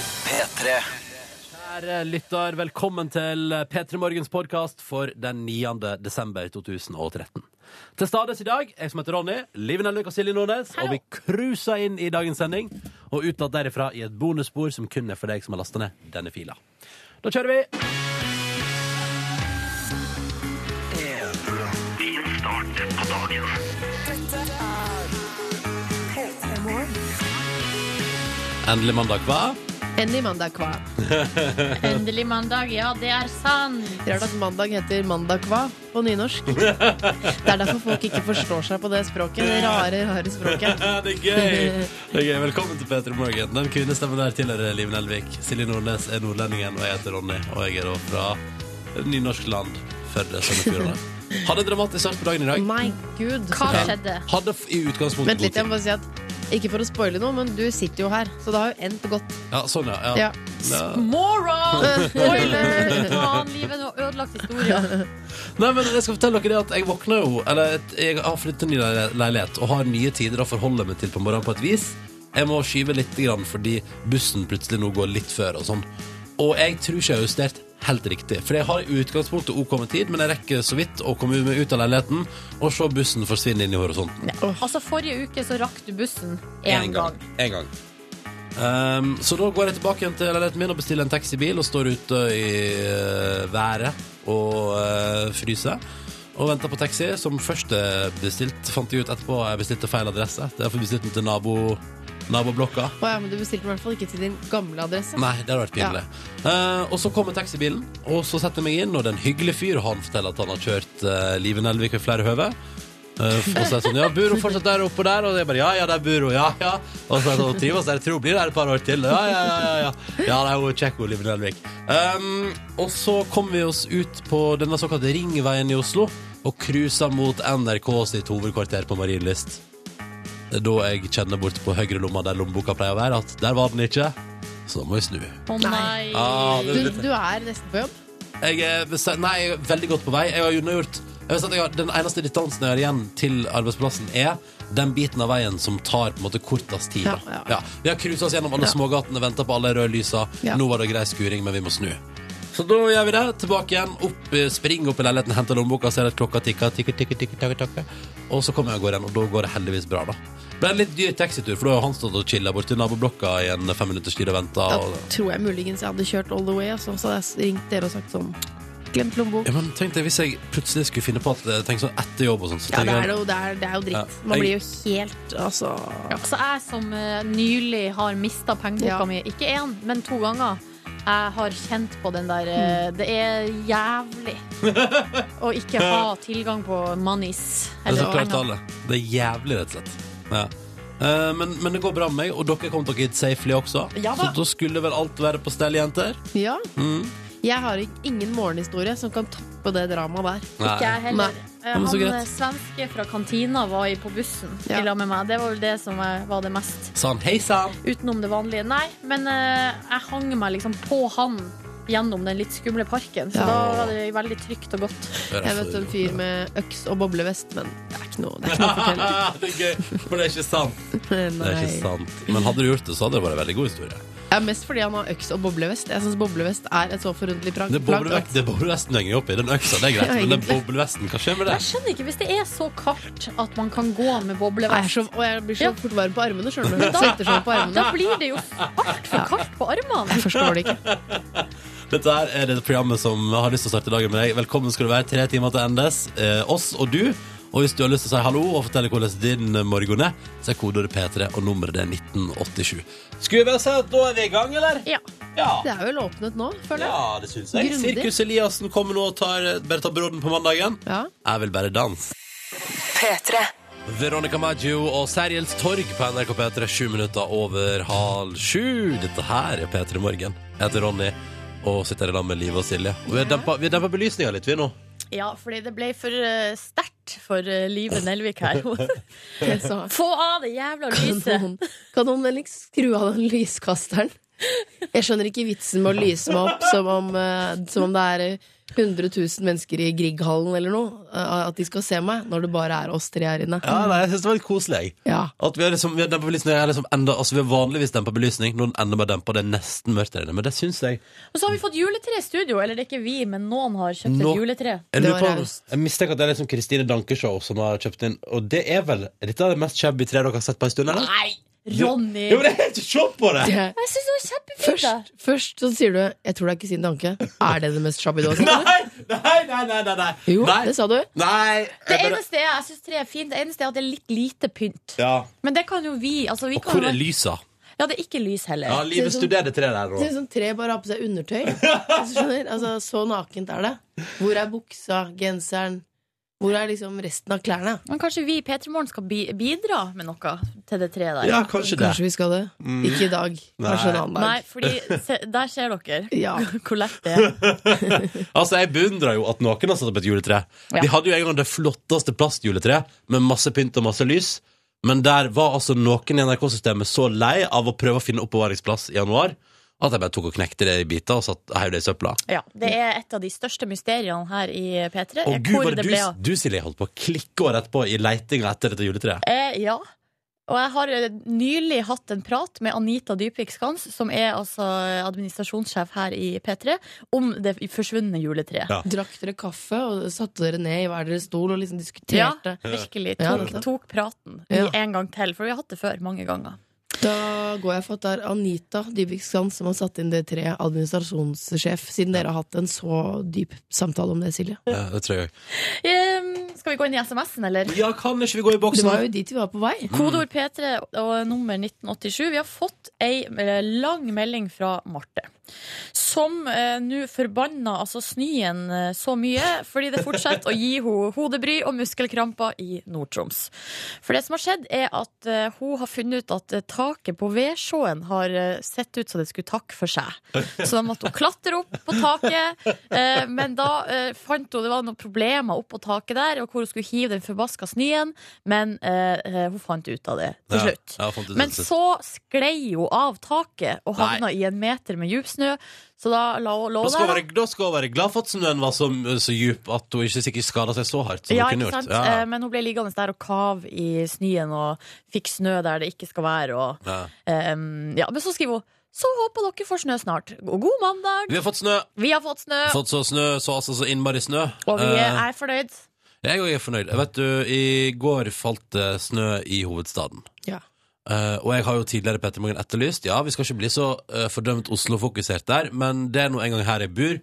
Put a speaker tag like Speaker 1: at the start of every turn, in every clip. Speaker 1: P3.
Speaker 2: Kjære lytter, velkommen til P3 Morgens podkast for den 9. desember 2013. Til stades i dag, jeg som heter Ronny, Liv Nelvik og Silje Nordnes, og vi cruiser inn i dagens sending og utlatt derifra i et bonusspor som kun er for deg som har lasta ned denne fila. Da kjører vi. Endelig mandag, hva?
Speaker 3: Endelig mandag hva?
Speaker 4: Endelig mandag, ja, det er sant.
Speaker 3: Rart at mandag heter mandag hva på nynorsk. Det er derfor folk ikke forstår seg på det språket. Det rare, rare språket.
Speaker 2: det er gøy! Det er gøy. Velkommen til P3 Morgen. Den kvinnestemmen der tilhører Liv Nelvik. Silje Nordnes er nordlendingen, og jeg heter Ronny. Og jeg er da fra nynorskland, Førde, Sogn og Fjordane. Hadde en dramatisk start på dagen i dag.
Speaker 3: My good.
Speaker 4: Hva skjedde?
Speaker 2: Hadde f- i utgangspunktet
Speaker 3: Vent litt, jeg
Speaker 2: god
Speaker 3: må bare si at ikke for å spoile noe, men du sitter jo her, så det har jo endt godt.
Speaker 2: tid. Ja, sånn, ja. ja.
Speaker 3: Ja.
Speaker 2: ja.
Speaker 4: Moron! Spoiler! Faen, livet er noe ødelagt historie.
Speaker 2: Nei, men jeg skal fortelle dere det at jeg våkna jo Eller jeg har flyttet til ny leil- leilighet og har nye tider å forholde meg til på morgenen på et vis. Jeg må skyve litt grann fordi bussen plutselig nå går litt før og sånn. Og jeg tror ikke jeg har justert helt riktig. For jeg har i utgangspunktet OK med tid, men jeg rekker så vidt å komme meg ut av leiligheten og se bussen forsvinne inn i horisonten.
Speaker 4: Altså, forrige uke så rakk du bussen én gang.
Speaker 2: En gang. Um, så da går jeg tilbake igjen til leiligheten min og bestiller en taxibil og står ute i eh, været og eh, fryser. Og venter på taxi, som først er bestilt. Fant jeg ut etterpå jeg bestilte feil adresse. Derfor bestilte den til nabo, naboblokka.
Speaker 3: Å ja, men du bestilte den i hvert fall ikke til din gamle adresse.
Speaker 2: Nei, det hadde vært pinlig. Eh, og så kommer taxibilen, og så setter jeg meg inn, og det er en hyggelig fyr. Han forteller at han har kjørt uh, Live Nelvik ved flere høve. Eh, og så er det sånn, ja, bor hun fortsatt der oppe og der? Og jeg bare, ja, ja, der bor hun, ja, ja. Og så er det sånn, trives der, jeg tror hun blir der et par år til. Ja, ja, ja, ja. Ja, ja det er jo kjekk, hun Live Nelvik. Ehm, og så kommer vi oss ut på denne såkalte ringveien i Oslo, og cruiser mot NRK sitt hovedkvarter på Marienlyst. Det er Da jeg kjenner bort på høyre lomma der lommeboka pleier å være, at der var den ikke. Så da må vi snu.
Speaker 4: Å nei.
Speaker 2: Ah,
Speaker 3: Du,
Speaker 2: det, det,
Speaker 3: du er nesten på jobb.
Speaker 2: jeg, er, bestemt- nei, jeg er veldig godt på vei. Jeg har unnagjort jeg har sagt at jeg har, Den eneste distansen jeg har igjen til arbeidsplassen, er den biten av veien som tar på en måte kortest tid. da.
Speaker 3: Ja, ja.
Speaker 2: Vi har cruisa oss gjennom alle smågatene, venta på alle røde lysa.
Speaker 3: Ja.
Speaker 2: Nå var det grei skuring, men vi må snu. Så da gjør vi det. Tilbake igjen. Opp, eh, spring opp i leiligheten, henter lommeboka, ser at klokka tikker. tikker, tikker, tikker, tikker, tikker. Og så kommer jeg og går igjen, og da går det heldigvis bra, da. Det ble en litt dyr taxitur, for da har han stått og chilla borti naboblokka i en fem minutters tid og venta.
Speaker 3: Da
Speaker 2: Og...
Speaker 3: tror jeg muligens jeg hadde kjørt all the way, altså, så hadde jeg ringt dere og sagt sånn Glemt lommebok.
Speaker 2: Ja, men tenk deg hvis jeg plutselig skulle finne på at eh, Tenk sånn etter jobb og sånn så
Speaker 3: Ja, det
Speaker 2: tenker
Speaker 3: er
Speaker 2: jeg,
Speaker 3: jo, det er, det er jo dritt.
Speaker 2: Ja.
Speaker 3: Man blir jo helt altså
Speaker 4: Altså, jeg som eh, nylig har mista pengeboka
Speaker 3: Ja.
Speaker 4: mi, ikke én, men to ganger, jeg har kjent på den der eh, Det er jævlig å ikke ha tilgang på monies.
Speaker 2: Det er
Speaker 4: eller
Speaker 2: så klart
Speaker 4: penger.
Speaker 2: alle Det er jævlig rett og slett ja. Eh, men, men det går bra med meg Og dere kom dere hit safely også
Speaker 4: Ja
Speaker 2: Så
Speaker 4: da.
Speaker 2: da skulle vel alt være på stell, jenter
Speaker 3: Ja.
Speaker 2: mm.
Speaker 3: Jeg har ik- ingen morgenhistorie som kan toppe det dramaet der.
Speaker 2: Nei.
Speaker 4: Ikke jeg heller.
Speaker 3: Nei.
Speaker 4: Eh,
Speaker 2: men så
Speaker 4: Han
Speaker 2: greit.
Speaker 4: eh, svenske fra kantina var i på bussen
Speaker 3: Ja.
Speaker 4: i lag med meg. Det var vel det som eh, var det mest.
Speaker 2: Sa han, Sånn. hei sann
Speaker 4: Utenom det vanlige. Nei, men eh, jeg hang meg liksom på han gjennom den litt skumle parken. Så
Speaker 3: Ja.
Speaker 4: da var det veldig trygt og godt.
Speaker 3: Jeg møtte
Speaker 2: altså,
Speaker 3: en fyr med øks og boblevest, men det er ikke noe, det er ikke noe å fortelle.
Speaker 2: Ah, Det er gøy, for det er ikke sant Det er ikke
Speaker 3: Nei.
Speaker 2: sant Men hadde du gjort det så hadde det vært en veldig god historie
Speaker 3: Det er mest fordi han har øks og boblevest. Jeg syns boblevest er et så forunderlig prang-
Speaker 2: Det er
Speaker 3: plagg.
Speaker 2: boblevest- det er boblevesten jeg henger opp i Den øksa, det er greit
Speaker 3: Ja,
Speaker 2: Men det er
Speaker 3: egentlig.
Speaker 2: boblevesten, hva skjer med det?
Speaker 4: Jeg skjønner ikke, hvis det er så kaldt at man kan gå
Speaker 3: Nei,
Speaker 4: med
Speaker 3: jeg, er
Speaker 4: boblevest
Speaker 3: så, og jeg blir så
Speaker 4: Ja.
Speaker 3: fort varm på armene, skjønner du. Svetter sånn på
Speaker 4: da
Speaker 3: armene.
Speaker 4: blir det jo altfor kaldt på armene.
Speaker 3: Jeg forstår det ikke.
Speaker 2: Dette her er det programmet som har lyst til å starte dagen med deg. Velkommen skal du være. Tre timer til endes. Eh, oss og du. Og hvis du har lyst til å si hallo og fortelle hvordan din morgen er, så er kodeordet P3, og nummeret det er 1987. Skulle vi bare si at da er vi i gang, eller?
Speaker 4: Ja.
Speaker 2: Ja.
Speaker 3: Det er vel åpnet nå, føler jeg.
Speaker 2: Ja, det syns jeg.
Speaker 3: Grundig.
Speaker 2: Sirkus Eliassen kommer nå og tar, eh, bare tar brodden på mandagen.
Speaker 3: Ja.
Speaker 2: Jeg vil bare danse. Veronica Maggio og Sergels Torg på NRK P3, sju minutter over halv sju. Dette her er P3 Morgen. Jeg heter Ronny og sitter i lag med Liv og Silje. Og vi har dempa, vi har dempa belysninga litt, vi nå.
Speaker 4: ja, fordi det ble for eh, sterkt for eh, Live Nelvik her.
Speaker 3: Jeg sa,
Speaker 4: Få av det jævla
Speaker 3: Kan
Speaker 4: lyset!
Speaker 3: noen, kan noen vennligst skru av den lyskasteren? Jeg skjønner ikke vitsen med å lyse meg opp som om, eh, som om det er eh, 100 000 mennesker i Grieghallen eller noe. eh, At de skal se meg, når det bare er oss tre her inne.
Speaker 2: Ja, nei, jeg synes det var litt koselig, jeg.
Speaker 3: Ja.
Speaker 2: At vi har liksom, vi har dempet belysning, jeg har liksom enda, altså vi har vanligvis dempet belysning, nå er den enda bare dempet, det er nesten mørkt der inne, men det synes jeg.
Speaker 4: Og så har vi fått juletre i studio. Eller det er ikke vi, men noen har kjøpt
Speaker 2: Nå-
Speaker 4: et juletre.
Speaker 2: Jeg,
Speaker 3: Det
Speaker 2: lurer
Speaker 3: var
Speaker 2: på, jeg mistenker at det er liksom Kristine Danke-show som har kjøpt inn, og det er vel, dette er det mest shabby tre dere har sett på en stund, eller?
Speaker 4: Nei! Ronny!
Speaker 2: Jo, men det er helt se på det!
Speaker 3: Det-
Speaker 4: Jeg syns det var kjempefint. det.
Speaker 3: Først, først så sier du 'jeg tror det er Kristin Danke'. Er det det mest shabby du har sett?
Speaker 2: Nei, nei, nei, nei, nei, nei.
Speaker 3: Jo,
Speaker 2: nei.
Speaker 3: det sa du.
Speaker 2: Nei.
Speaker 4: Det
Speaker 2: jeg bare-
Speaker 4: eneste er, jeg synes tre er fint, det eneste er at det er litt lite pynt.
Speaker 2: Ja.
Speaker 4: Men det kan jo vi. Altså, vi
Speaker 2: Og
Speaker 4: kan
Speaker 2: hvor
Speaker 4: jo,
Speaker 2: er lysa?
Speaker 4: ja, det er ikke lys heller.
Speaker 2: Ja, livet studerte tre der
Speaker 3: Det ser
Speaker 2: nå.
Speaker 3: ut som tre bare har på seg undertøy. Hvis du skjønner, altså Så nakent er det. Hvor er buksa, genseren? Hvor er liksom resten av klærne?
Speaker 4: Men kanskje vi i P3 Morgen skal bi bidra med noe til det treet der?
Speaker 2: Ja, Mm. kanskje det.
Speaker 3: Kanskje vi skal det. Ikke i dag. Kanskje en annen dag.
Speaker 4: Nei, fordi se, der ser dere
Speaker 3: Ja.
Speaker 4: hvor lett det er.
Speaker 2: Altså, Jeg beundrer jo at noen har satt opp et juletre.
Speaker 4: Ja.
Speaker 2: Vi hadde jo en gang det flotteste plastjuletreet med masse pynt og masse lys. Men der var altså noen i NRK-systemet så lei av å prøve å finne oppbevaringsplass i januar at jeg bare tok og knekte det i biter og satt heiv det i søpla.
Speaker 4: Ja, det er et av de største mysteriene her i P3.
Speaker 2: Og
Speaker 4: er
Speaker 2: gud,
Speaker 4: hvor
Speaker 2: var det
Speaker 4: det
Speaker 2: du,
Speaker 4: ble av.
Speaker 2: du Silje, holdt på å klikke året etterpå i leitinga etter dette juletreet.
Speaker 4: Eh, ja. Og jeg har eh, nylig hatt en prat med Anita Dybvik Skans, som er altså administrasjonssjef her i P3, om det forsvunne juletreet.
Speaker 2: Ja.
Speaker 3: Drakk dere kaffe og satte dere ned i hver deres stol og liksom
Speaker 4: Ja,
Speaker 3: diskuterte?
Speaker 4: virkelig.
Speaker 3: Ja,
Speaker 4: Tok,
Speaker 3: dette.
Speaker 4: tok praten
Speaker 3: Ja.
Speaker 4: i en gang til, for vi har hatt det før mange ganger.
Speaker 3: Da går jeg for at det er Anita Dybvik Skans som har satt inn det tre administrasjonssjef, siden dere har hatt en så dyp samtale om det, Silje.
Speaker 4: Eh,
Speaker 2: Ja, det tror jeg også.
Speaker 4: Ehm, skal vi gå inn i SMS-en, eller?
Speaker 2: Ja, kan ikke vi gå i
Speaker 3: Det
Speaker 2: boksen?
Speaker 3: var jo dit vi var på vei.
Speaker 4: Kodeord P3 og nummer 1987. Vi har fått ei eh, lang melding fra Marte. Som eh, nå forbanna altså snøen eh, så mye fordi det fortsetter å gi henne hodebry og muskelkramper i Nord-Troms. For det som har skjedd, er at eh, hun har funnet ut at eh, taket på Vesjåen har eh, sett ut som det skulle takke for seg. Så da måtte hun klatre opp på taket, eh, men da eh, fant hun det var noen problemer oppå taket der, og hvor hun skulle hive den forbaska snøen, men eh, eh, hun fant ut av det til
Speaker 2: Ja,
Speaker 4: slutt.
Speaker 2: ja, jeg fant ut det
Speaker 4: Men
Speaker 2: til slutt.
Speaker 4: så sklei hun av taket og havna i en meter med djup snø, så da la hun lå
Speaker 2: Da skal, hun
Speaker 4: der.
Speaker 2: være, da skal hun være glad for at snøen var så, så djup at hun ikke sikkert skada seg så hardt. som
Speaker 4: Ja,
Speaker 2: hun kunne
Speaker 4: ikke
Speaker 2: gjort.
Speaker 4: sant?
Speaker 2: Ja,
Speaker 4: Eh, Men hun ble liggende der og kave i snøen og fikk snø der det ikke skal være. Og,
Speaker 2: ja.
Speaker 4: ehm, ja, men så skriver hun Så håper dere får snø snart. Og god mandag!
Speaker 2: Vi har fått snø.
Speaker 4: Vi har fått snø,
Speaker 2: Fått så snø, så altså så innmari snø.
Speaker 4: og vi
Speaker 2: Eh,
Speaker 4: er fornøyd.
Speaker 2: Jeg òg er fornøyd. Vet du, I går falt det snø i hovedstaden.
Speaker 3: Ja.
Speaker 2: Eh, og jeg har jo tidligere Petter Morgen etterlyst Ja, vi skal ikke bli så eh, fordømt Oslo-fokusert der, men det er nå en gang her jeg bor.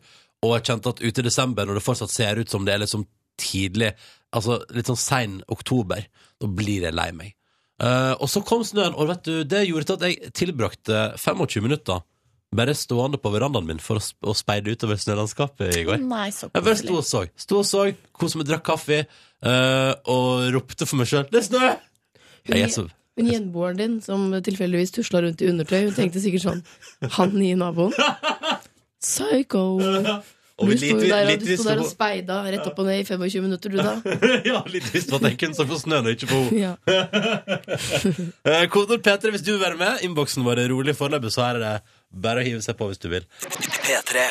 Speaker 2: Og jeg kjente at ute i desember, når det fortsatt ser ut som det er liksom tidlig, altså litt sånn sein oktober, da blir jeg lei meg. Eh, og så kom snøen, og vet du, det gjorde til at jeg tilbrakte 25 minutter bare stående på verandaen min for å, sp å speide utover snølandskapet i går.
Speaker 4: Nei, så
Speaker 2: Jeg bare sto
Speaker 4: koselig.
Speaker 2: og så. Sto og så, koste meg, drakk kaffe eh, og ropte for meg sjøl 'Det er snø!' Jeg er så
Speaker 3: Men gjenboeren din, som tilfeldigvis tusla rundt i undertøy, hun tenkte sikkert sånn Han nye naboen? Psycho.
Speaker 2: Og
Speaker 3: Du
Speaker 2: litt,
Speaker 3: sto jo der, og
Speaker 2: litt
Speaker 3: du
Speaker 2: visst
Speaker 3: sto der
Speaker 2: på-
Speaker 3: og speida rett opp og ned i 25 minutter, du da.
Speaker 2: ja, litt visst på at jeg kunne så på snøen og ikke på henne.
Speaker 3: Ja.
Speaker 2: Eh, Kodord P3 hvis du vil være med. Innboksen vår er rolig foreløpig, så her er det bare å hive seg på hvis du vil.
Speaker 1: P3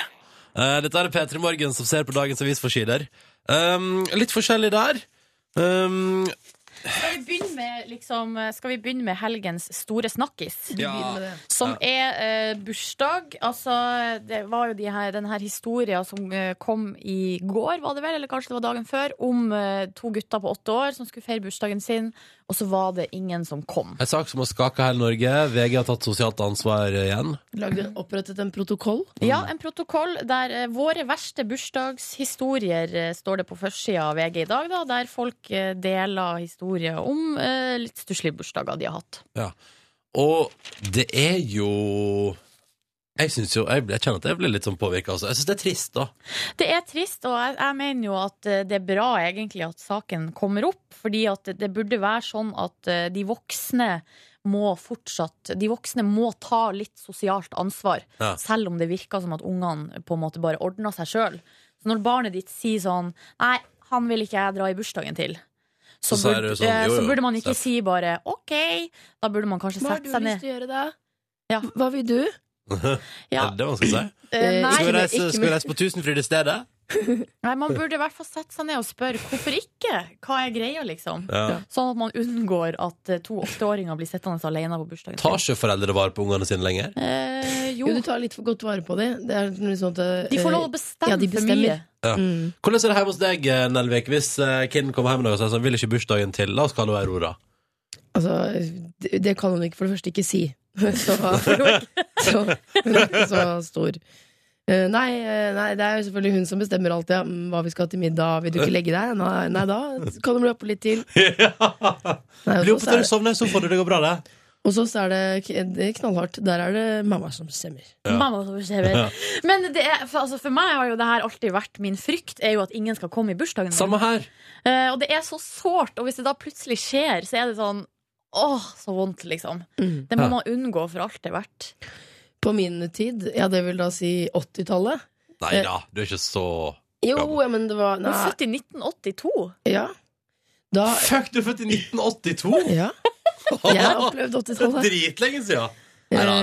Speaker 2: Eh, dette er P3 Morgen som ser på dagens avisforsider. Um, litt forskjellig der. Um,
Speaker 4: Skal vi begynne med, liksom, skal vi begynne med helgens store snakkis?
Speaker 3: Begynn med det.
Speaker 4: Som er eh, bursdag. Altså, det var jo de her, den her historia som eh, kom i går, var det vel, eller kanskje det var dagen før, om eh, to gutter på åtte år som skulle feire bursdagen sin, og så var det ingen som kom.
Speaker 2: en sak som har skaka hele Norge. VG har tatt sosialt ansvar igjen.
Speaker 3: Lagde, opprettet en protokoll.
Speaker 4: Ja,
Speaker 2: Mm.
Speaker 4: en protokoll der eh, våre verste bursdagshistorier eh, står det på førstesida av VG i dag, da, der folk eh, deler historier om eh, litt stusslige bursdager de har hatt.
Speaker 2: Ja. Og det er jo Jeg synes jo, jeg, jeg kjenner at jeg blir litt sånn påvirka. Altså. Jeg syns det er trist, da.
Speaker 4: Det er trist, og jeg, jeg mener jo at eh, det er bra egentlig at saken kommer opp. Fordi at det- det burde være sånn at eh, de voksne må fortsatt De voksne må ta litt sosialt ansvar.
Speaker 2: Ja.
Speaker 4: Selv om det virker som at ungene på en måte bare ordner seg sjøl. Så når barnet ditt sier sånn Nei, han vil ikke jeg dra i bursdagen til. Så,
Speaker 2: Så sier
Speaker 4: burde,
Speaker 2: du sånn,
Speaker 4: eh,
Speaker 2: «Jo,
Speaker 4: så
Speaker 2: jo,
Speaker 4: burde man ikke
Speaker 2: Steff.»
Speaker 4: si bare OK. Da burde man kanskje
Speaker 3: Hva har
Speaker 4: sette
Speaker 3: du
Speaker 4: seg ned.
Speaker 3: lyst til å gjøre da?
Speaker 4: Ja.
Speaker 3: Hva vil du?
Speaker 4: Ja.
Speaker 2: Er det det man skal si?
Speaker 4: Eh, nei,
Speaker 2: Skal vi
Speaker 3: men
Speaker 2: reise,
Speaker 3: ikke
Speaker 2: skal vi reise på Tusenfryd i stedet?
Speaker 4: nei, man burde i hvert fall sette seg ned og spørre hvorfor ikke? Hva er greia, liksom?
Speaker 2: Ja.
Speaker 4: Sånn at man unngår at eh, to åtteåringer blir sittende alene på bursdagen.
Speaker 2: Tar ikke foreldre vare på ungene sine lenger?
Speaker 4: Eh,
Speaker 3: Jo,
Speaker 4: jo,
Speaker 3: du tar litt for godt vare på dem. Det er litt sånn at eh,
Speaker 4: de får lov å bestemme
Speaker 3: ja, de
Speaker 4: for
Speaker 3: bestemmer.
Speaker 4: mye.
Speaker 3: mm.
Speaker 2: Hvordan er det hjemme hos deg, eh, Nelvik, hvis eh, kiden kommer hjem i dag og sier sånn, vil ikke bursdagen til, la oss kalle henne Aurora?
Speaker 3: Altså, det, det kan hun ikke for det første ikke si. Så, så hun er ikke så stor. Eh, Nei, eh, nei, det er jo selvfølgelig hun som bestemmer alt. Ja. mm, Hva vi skal ha til middag. Vil du ikke legge deg? Nei, nei da kan du bli oppe litt til. Nei,
Speaker 2: Bli
Speaker 3: hos oss
Speaker 2: opptatt
Speaker 3: er
Speaker 2: av
Speaker 3: det-
Speaker 2: å sovne i sofaen, det går bra, det.
Speaker 3: hos oss er det k- det er knallhardt. Der er det mamma som bestemmer.
Speaker 2: Ja.
Speaker 4: Mamma som bestemmer.
Speaker 2: Ja.
Speaker 4: Men det er, for, altså, for meg har jo det her alltid vært min frykt, er jo at ingen skal komme i bursdagen min.
Speaker 2: Samme her.
Speaker 4: Eh, og det er så sårt, og hvis det da plutselig skjer, så er det sånn Åh, så vondt, liksom.
Speaker 3: Mm.
Speaker 4: Det må
Speaker 2: Ja.
Speaker 4: man unngå for alt det er verdt.
Speaker 3: På min tid, ja det vil da si 80-tallet
Speaker 2: Nei da, du er ikke så
Speaker 3: Jo, ja, men det var
Speaker 4: Hun er
Speaker 3: Nei,
Speaker 4: født i 1982.
Speaker 3: ja. Da
Speaker 2: Fuck, du er født i 1982!
Speaker 3: Ja. Jeg har opplevd 80-tallet.
Speaker 2: Dritlenge siden! Neida,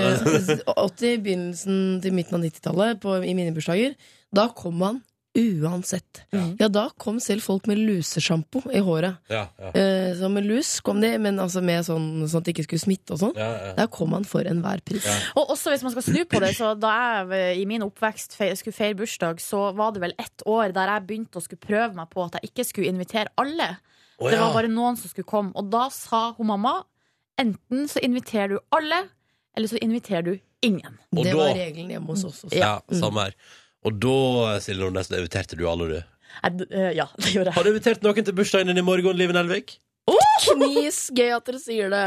Speaker 3: Eh, 80 begynnelsen til midten av 90-tallet på- i mine bursdager. Da kom han uansett. Ja,
Speaker 2: Mm.
Speaker 4: Ja.
Speaker 3: da kom selv folk med lusesjampo i håret.
Speaker 2: Ja, ja.
Speaker 3: Eh, så med lus kom de, men altså med sånn, sånn at det ikke skulle smitte og sånn.
Speaker 2: Ja, ja.
Speaker 3: Der kom han for enhver pris.
Speaker 2: Ja.
Speaker 4: Og også hvis man skal snu på det, så da jeg eh, i min oppvekst fe skulle feire bursdag, så var det vel ett år der jeg begynte å skulle prøve meg på at jeg ikke skulle invitere alle.
Speaker 2: Å,
Speaker 4: Det
Speaker 2: ja.
Speaker 4: var bare noen som skulle komme. Og da sa hun mamma enten så inviterer du alle, eller så inviterer du ingen.
Speaker 2: Og
Speaker 3: Det
Speaker 2: da-
Speaker 3: var regelen hjemme hos oss også.
Speaker 2: ja, samme her. Og da, Silje Nordnes, da inviterte du alle, du.
Speaker 4: Jeg, d- eh, ja, det gjorde
Speaker 2: Har
Speaker 4: jeg.
Speaker 2: du invitert noen til bursdagen din i morgen, Liven Elvik?
Speaker 3: Knis, gøy at dere sier det.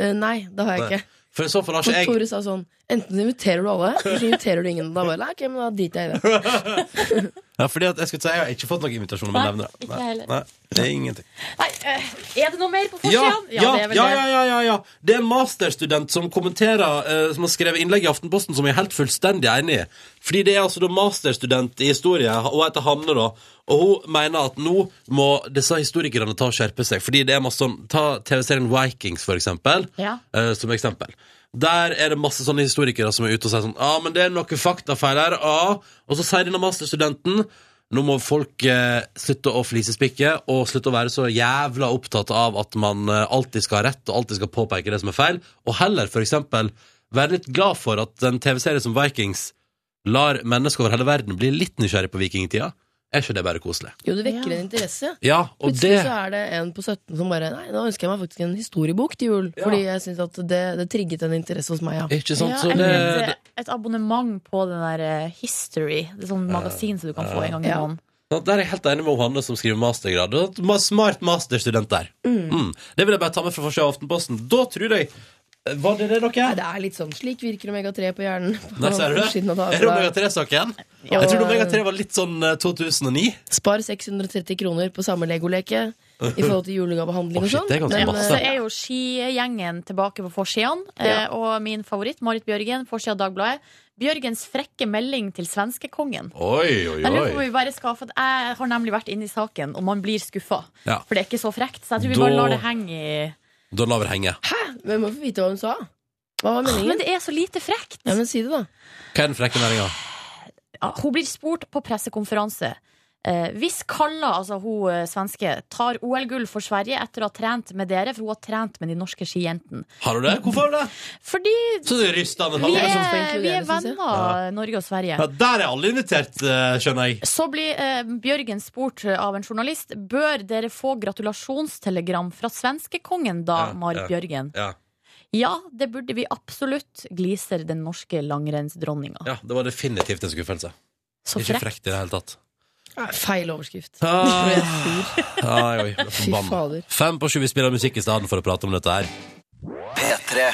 Speaker 3: Eh, nei, det har jeg
Speaker 2: Nei,
Speaker 3: ikke.
Speaker 2: For i så fall har
Speaker 3: For
Speaker 2: ikke jeg
Speaker 3: Tore sa sånn Enten så inviterer du alle, eller så inviterer du ingen. Da bare, nei, ok, men da driter jeg i det.
Speaker 2: Ja, fordi at jeg skulle si Jeg har ikke fått noen invitasjon om jeg
Speaker 4: Nei,
Speaker 2: nevner det.
Speaker 4: ikke heller.
Speaker 2: Nei, det er ingenting.
Speaker 4: Nei, eh, er det noe mer på
Speaker 2: Ja, ja,
Speaker 4: forsiden? det
Speaker 2: ja,
Speaker 4: er vel
Speaker 2: ja,
Speaker 4: det.
Speaker 2: ja, ja, ja. Det er en masterstudent som kommenterer eh, Som har skrevet innlegg i Aftenposten som jeg er helt fullstendig enig i. Fordi det er altså da masterstudent i historie, og heter Hanne, da. Og hun mener at nå må disse historikerne ta og skjerpe seg. Fordi det er masse sånn Ta TV-serien Vikings, for eksempel.
Speaker 4: Ja.
Speaker 2: eh, som eksempel. Der er det masse sånne historikere som er ute og sier sånn Ja, ah, men det er noe faktafeil her. Ah. Og så sier denne masterstudenten nå må folk eh, slutte å flisespikke og slutte å være så jævla opptatt av at man eh, alltid skal ha rett og alltid skal påpeke det som er feil, og heller for eksempel være litt glad for at en TV-serie som Vikings lar mennesker over hele verden bli litt nysgjerrig på vikingtida. Er ikke det bare koselig?
Speaker 3: Jo, det vekker
Speaker 4: Ja.
Speaker 3: en interesse.
Speaker 2: Ja, og
Speaker 3: Plutselig
Speaker 2: det
Speaker 3: så er det en på 17 som bare Nei, nå ønsker jeg meg faktisk en historiebok til jul.
Speaker 2: Ja. Eh.
Speaker 3: Fordi jeg syns at det, det trigget en interesse hos meg, ja.
Speaker 2: Ikke sant?
Speaker 4: Ja,
Speaker 2: Sånn, så det,
Speaker 4: eller
Speaker 2: det,
Speaker 4: et, et abonnement på den der eh, History. Det er sånn magasin som du kan få en gang i
Speaker 3: Ja.
Speaker 4: måneden.
Speaker 2: Sant? Der er jeg helt enig med Hanne som skriver mastergrad. Det er et Smart masterstudent der. Mm. Det vil jeg bare ta med fra forsida av Aftenposten. Da tror jeg Var det det dere?
Speaker 3: Nei, Det er litt sånn Slik virker Omega-3 på hjernen. På
Speaker 2: Nei, ser du det?
Speaker 3: forsiden av
Speaker 2: Er det
Speaker 3: Dagbladet.
Speaker 2: Omega-3-saken?
Speaker 3: Ja.
Speaker 2: Jeg trodde Omega-3 var litt sånn eh, 2009.
Speaker 3: Spar 630 kroner på samme legoleke i forhold til julegavehandling
Speaker 2: Å,
Speaker 3: og
Speaker 2: shit,
Speaker 3: sånn.
Speaker 2: det er ganske
Speaker 3: Men,
Speaker 2: masse.
Speaker 4: Så
Speaker 3: eh,
Speaker 4: er jo skigjengen tilbake på forsiden. eh, Og min favoritt, Marit Bjørgen, forsida av Dagbladet. Bjørgens frekke melding til svenskekongen.
Speaker 2: Oi, oi,
Speaker 4: Jeg lurer på om vi bare skal, for at jeg har nemlig vært inne i saken, og man blir skuffa.
Speaker 2: Ja.
Speaker 4: For det er ikke så frekt. Så jeg tror vi
Speaker 2: Da-
Speaker 4: bare lar det henge i
Speaker 2: Da lar vi det henge.
Speaker 3: eh, Men må få vite hva hun sa. Hva
Speaker 2: Ah,
Speaker 3: var
Speaker 4: Men
Speaker 3: meningen?
Speaker 4: det er så lite frekt!
Speaker 3: Ja, men si det, da.
Speaker 2: Hva er den frekke meldinga?
Speaker 4: Ja, Hun blir spurt på pressekonferanse. Eh, hvis Kalla, altså hun eh, svenske, tar OL-gull for Sverige etter å ha trent med dere, for hun har trent med de norske skijentene
Speaker 2: Har du det? Hvorfor har du det?
Speaker 4: Fordi
Speaker 2: Så det ryster han
Speaker 4: vi
Speaker 3: det er sånn som
Speaker 4: er,
Speaker 3: inkluderer,
Speaker 4: vi er
Speaker 3: synes jeg.
Speaker 4: venner, Norge og Sverige.
Speaker 2: ja, Der er alle invitert, eh, skjønner jeg.
Speaker 4: Så blir eh, Bjørgen spurt eh, av en journalist Bør dere få gratulasjonstelegram fra svenskekongen da,
Speaker 2: Ja,
Speaker 4: Marit
Speaker 2: ja.
Speaker 4: Bjørgen?
Speaker 2: Ja.
Speaker 4: Ja, det burde vi absolutt, gliser den norske langrennsdronninga.
Speaker 2: ja, Det var definitivt en skuffelse.
Speaker 4: Så
Speaker 2: Ikke
Speaker 4: frekk.
Speaker 2: frekt i det hele tatt.
Speaker 3: Feil overskrift.
Speaker 2: Ah.
Speaker 3: Ble sur.
Speaker 2: Ah, jeg ble
Speaker 3: Fy
Speaker 2: forbanna.
Speaker 3: fader.
Speaker 2: Fem på sju, vi spiller musikk i stedet for å prate om dette her.
Speaker 1: P3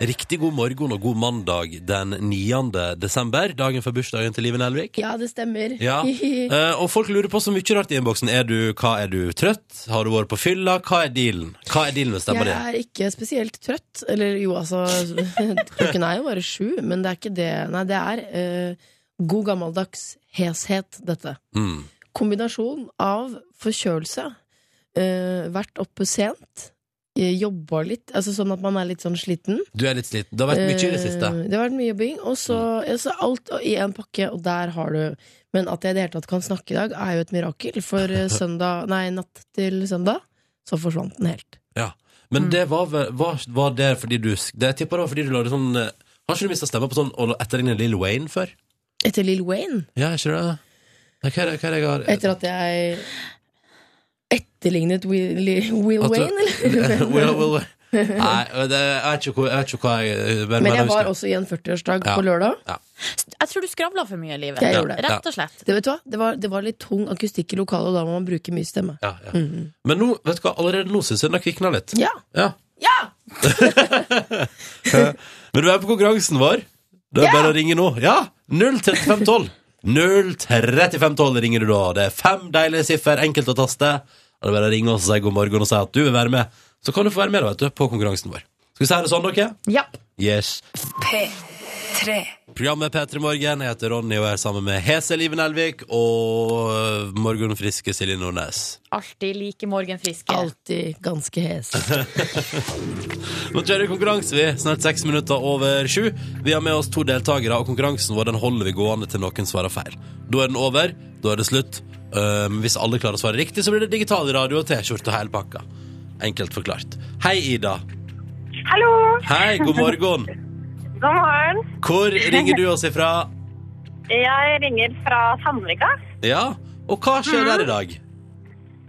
Speaker 2: Riktig god morgen og god mandag den 9. desember, dagen før bursdagen til Liven Elvik.
Speaker 3: Ja, det stemmer.
Speaker 2: Ja. Eh, og folk lurer på så mye rart i innboksen. Er du, hva er du trøtt? Har du vært på fylla? Hva er dealen? Hva er dealen med stemma
Speaker 3: Jeg
Speaker 2: di?
Speaker 3: er ikke spesielt trøtt. Eller jo, altså Klokken er jo bare sju, men det er ikke det. Nei, det er eh, god gammeldags heshet, dette.
Speaker 2: Mm.
Speaker 3: Kombinasjon av forkjølelse, eh, vært oppe sent, eh, jobba litt. Altså sånn at man er litt sånn sliten.
Speaker 2: Du er litt sliten. Det har vært mye i det siste. Mm.
Speaker 3: Eh, Det har vært mye jobbing. Og så ja, så alt i en pakke, og der har du Men at jeg i det hele tatt kan snakke i dag, er jo et mirakel. For eh, søndag, nei, natt til søndag, så forsvant den helt.
Speaker 2: Eh, Men
Speaker 4: Mm.
Speaker 2: det var, vel- var, var det fordi du Det jeg tipper det var fordi du lagde sånn eh, Har ikke du mista stemma på sånn og etterlignet Lill Wayne før?
Speaker 3: Etter Lill Wayne.
Speaker 2: Ja, ikke det? Nei, hva er det, hva er det jeg har
Speaker 3: Etter at jeg etterlignet Will, Li- Will
Speaker 2: At du-
Speaker 3: Wayne, eller?
Speaker 2: Will, Will, Will. Nei, det, jeg, vet ikke, hvor- jeg vet ikke hva jeg men-
Speaker 3: Men jeg
Speaker 2: husker.
Speaker 3: var også i en 40-årsdag
Speaker 2: Ja.
Speaker 3: på lørdag.
Speaker 4: Jeg tror du skravla for mye i livet.
Speaker 3: Jeg gjorde det.
Speaker 4: Rett og slett.
Speaker 3: Det, vet du hva? Det, var, det var litt tung akustikk i lokalet, og da må man bruke mye stemme.
Speaker 2: ja, ja. Men nå, vet du hva, allerede nå syns jeg den har kvikna litt.
Speaker 3: Ja.
Speaker 2: Ja. Men du er på konkurransen vår. Det er bare å ringe nå. Ja! 03512. 03512 ringer du da. Det er fem deilige siffer, enkelt å taste. Og det er bare å ringe oss og si god morgen og si at du vil være med. Så kan du få være med da, vet du, på konkurransen vår. Skal vi si det sånn, dere?
Speaker 4: Ja.
Speaker 2: Yes. Programmet P3 Morgen. Jeg heter Ronny og er sammen med Hese Liven Elvik og morgenfriske Silje Nordnes.
Speaker 4: Alltid like morgenfriske.
Speaker 3: Alltid ganske hes.
Speaker 2: Nå kjører vi konkurranse, vi. Snart seks minutter over sju. Vi har med oss to deltakere, og konkurransen vår den holder vi gående til noen svarer feil. Da er den over. Da er det slutt. Um, hvis alle klarer å svare riktig, så blir det digital radio og T-skjorte og hele pakka. Enkelt forklart. Hei, Ida.
Speaker 1: Hallo!
Speaker 2: Hei, god morgen.
Speaker 1: God morgen.
Speaker 2: Hvor ringer du oss ifra?
Speaker 1: Jeg ringer fra Sandvika.
Speaker 2: Ja, og hva skjer der i dag?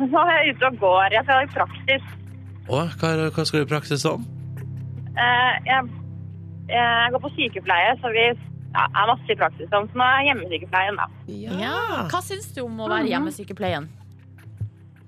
Speaker 1: Nå er jeg ute og går. Jeg skal i praksis.
Speaker 2: Å, hva, er, det- hva skal du i praksis om?
Speaker 1: Eh, Jeg, jeg går på sykepleie, så vi ja, er masse i praksis om. Så nå er jeg hjemmesykepleien, da.
Speaker 4: Ja. Hva syns du om å
Speaker 3: Mm.
Speaker 4: være hjemmesykepleien?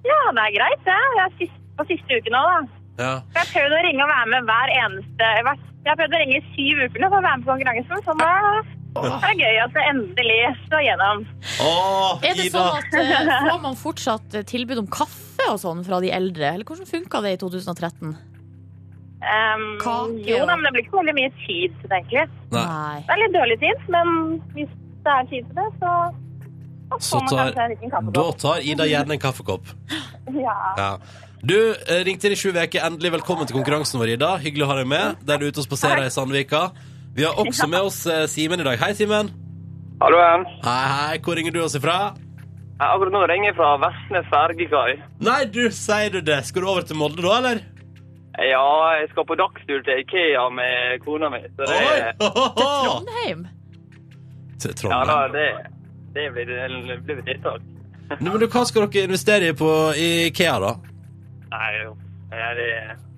Speaker 1: Ja, det er greit, det. Jeg er sist, på siste uke nå, da.
Speaker 2: Ja.
Speaker 1: Jeg har prøvd å ringe og være med hver eneste hver, Jeg har prøvd å ringe i syv uker nå for å være med på konkurransen, så nå er det gøy at det endelig slår gjennom.
Speaker 2: Åh,
Speaker 4: Er det
Speaker 2: Ida.
Speaker 4: sånn at eh, Får man fortsatt eh, tilbud om kaffe og sånn fra de eldre? Eller hvordan funka det i 2013?
Speaker 1: Ehm,
Speaker 4: Kake,
Speaker 1: jo
Speaker 4: ja.
Speaker 1: da, men det blir ikke så veldig mye tid til det, egentlig.
Speaker 2: Nei.
Speaker 1: Det er litt dårlig tid, men hvis det er tid til det, så da
Speaker 2: Så
Speaker 1: får man
Speaker 2: tar,
Speaker 1: kanskje en liten
Speaker 2: da
Speaker 1: kaffekopp.
Speaker 2: tar Ida gjerne en kaffekopp.
Speaker 1: Ja.
Speaker 2: Ja. Du eh, ringte inn i sju uker. Endelig velkommen til konkurransen vår, Ida. Hyggelig å ha deg med. Der du er ute og spaserer i Sandvika. Vi har også med oss eh, Simen i dag. Hei, Simen.
Speaker 5: Hallo, ja.
Speaker 2: Hei, hei. Hvor ringer du oss ifra?
Speaker 5: Jeg er akkurat nå ringer jeg fra Vestnes fergekai.
Speaker 2: Nei, du, sier du det. Skal du over til Molde da, eller?
Speaker 5: Ja, jeg skal på dagstur til Ikea med kona mi, så det,
Speaker 2: Oi!
Speaker 4: Trondheim?
Speaker 2: Til
Speaker 5: ja, da,
Speaker 2: Trondheim.
Speaker 5: det, det blir det blir et tiltak.
Speaker 2: Nå, men du, hva skal dere investere i på i IKEA, da?
Speaker 5: Nei, jo. Nei, det,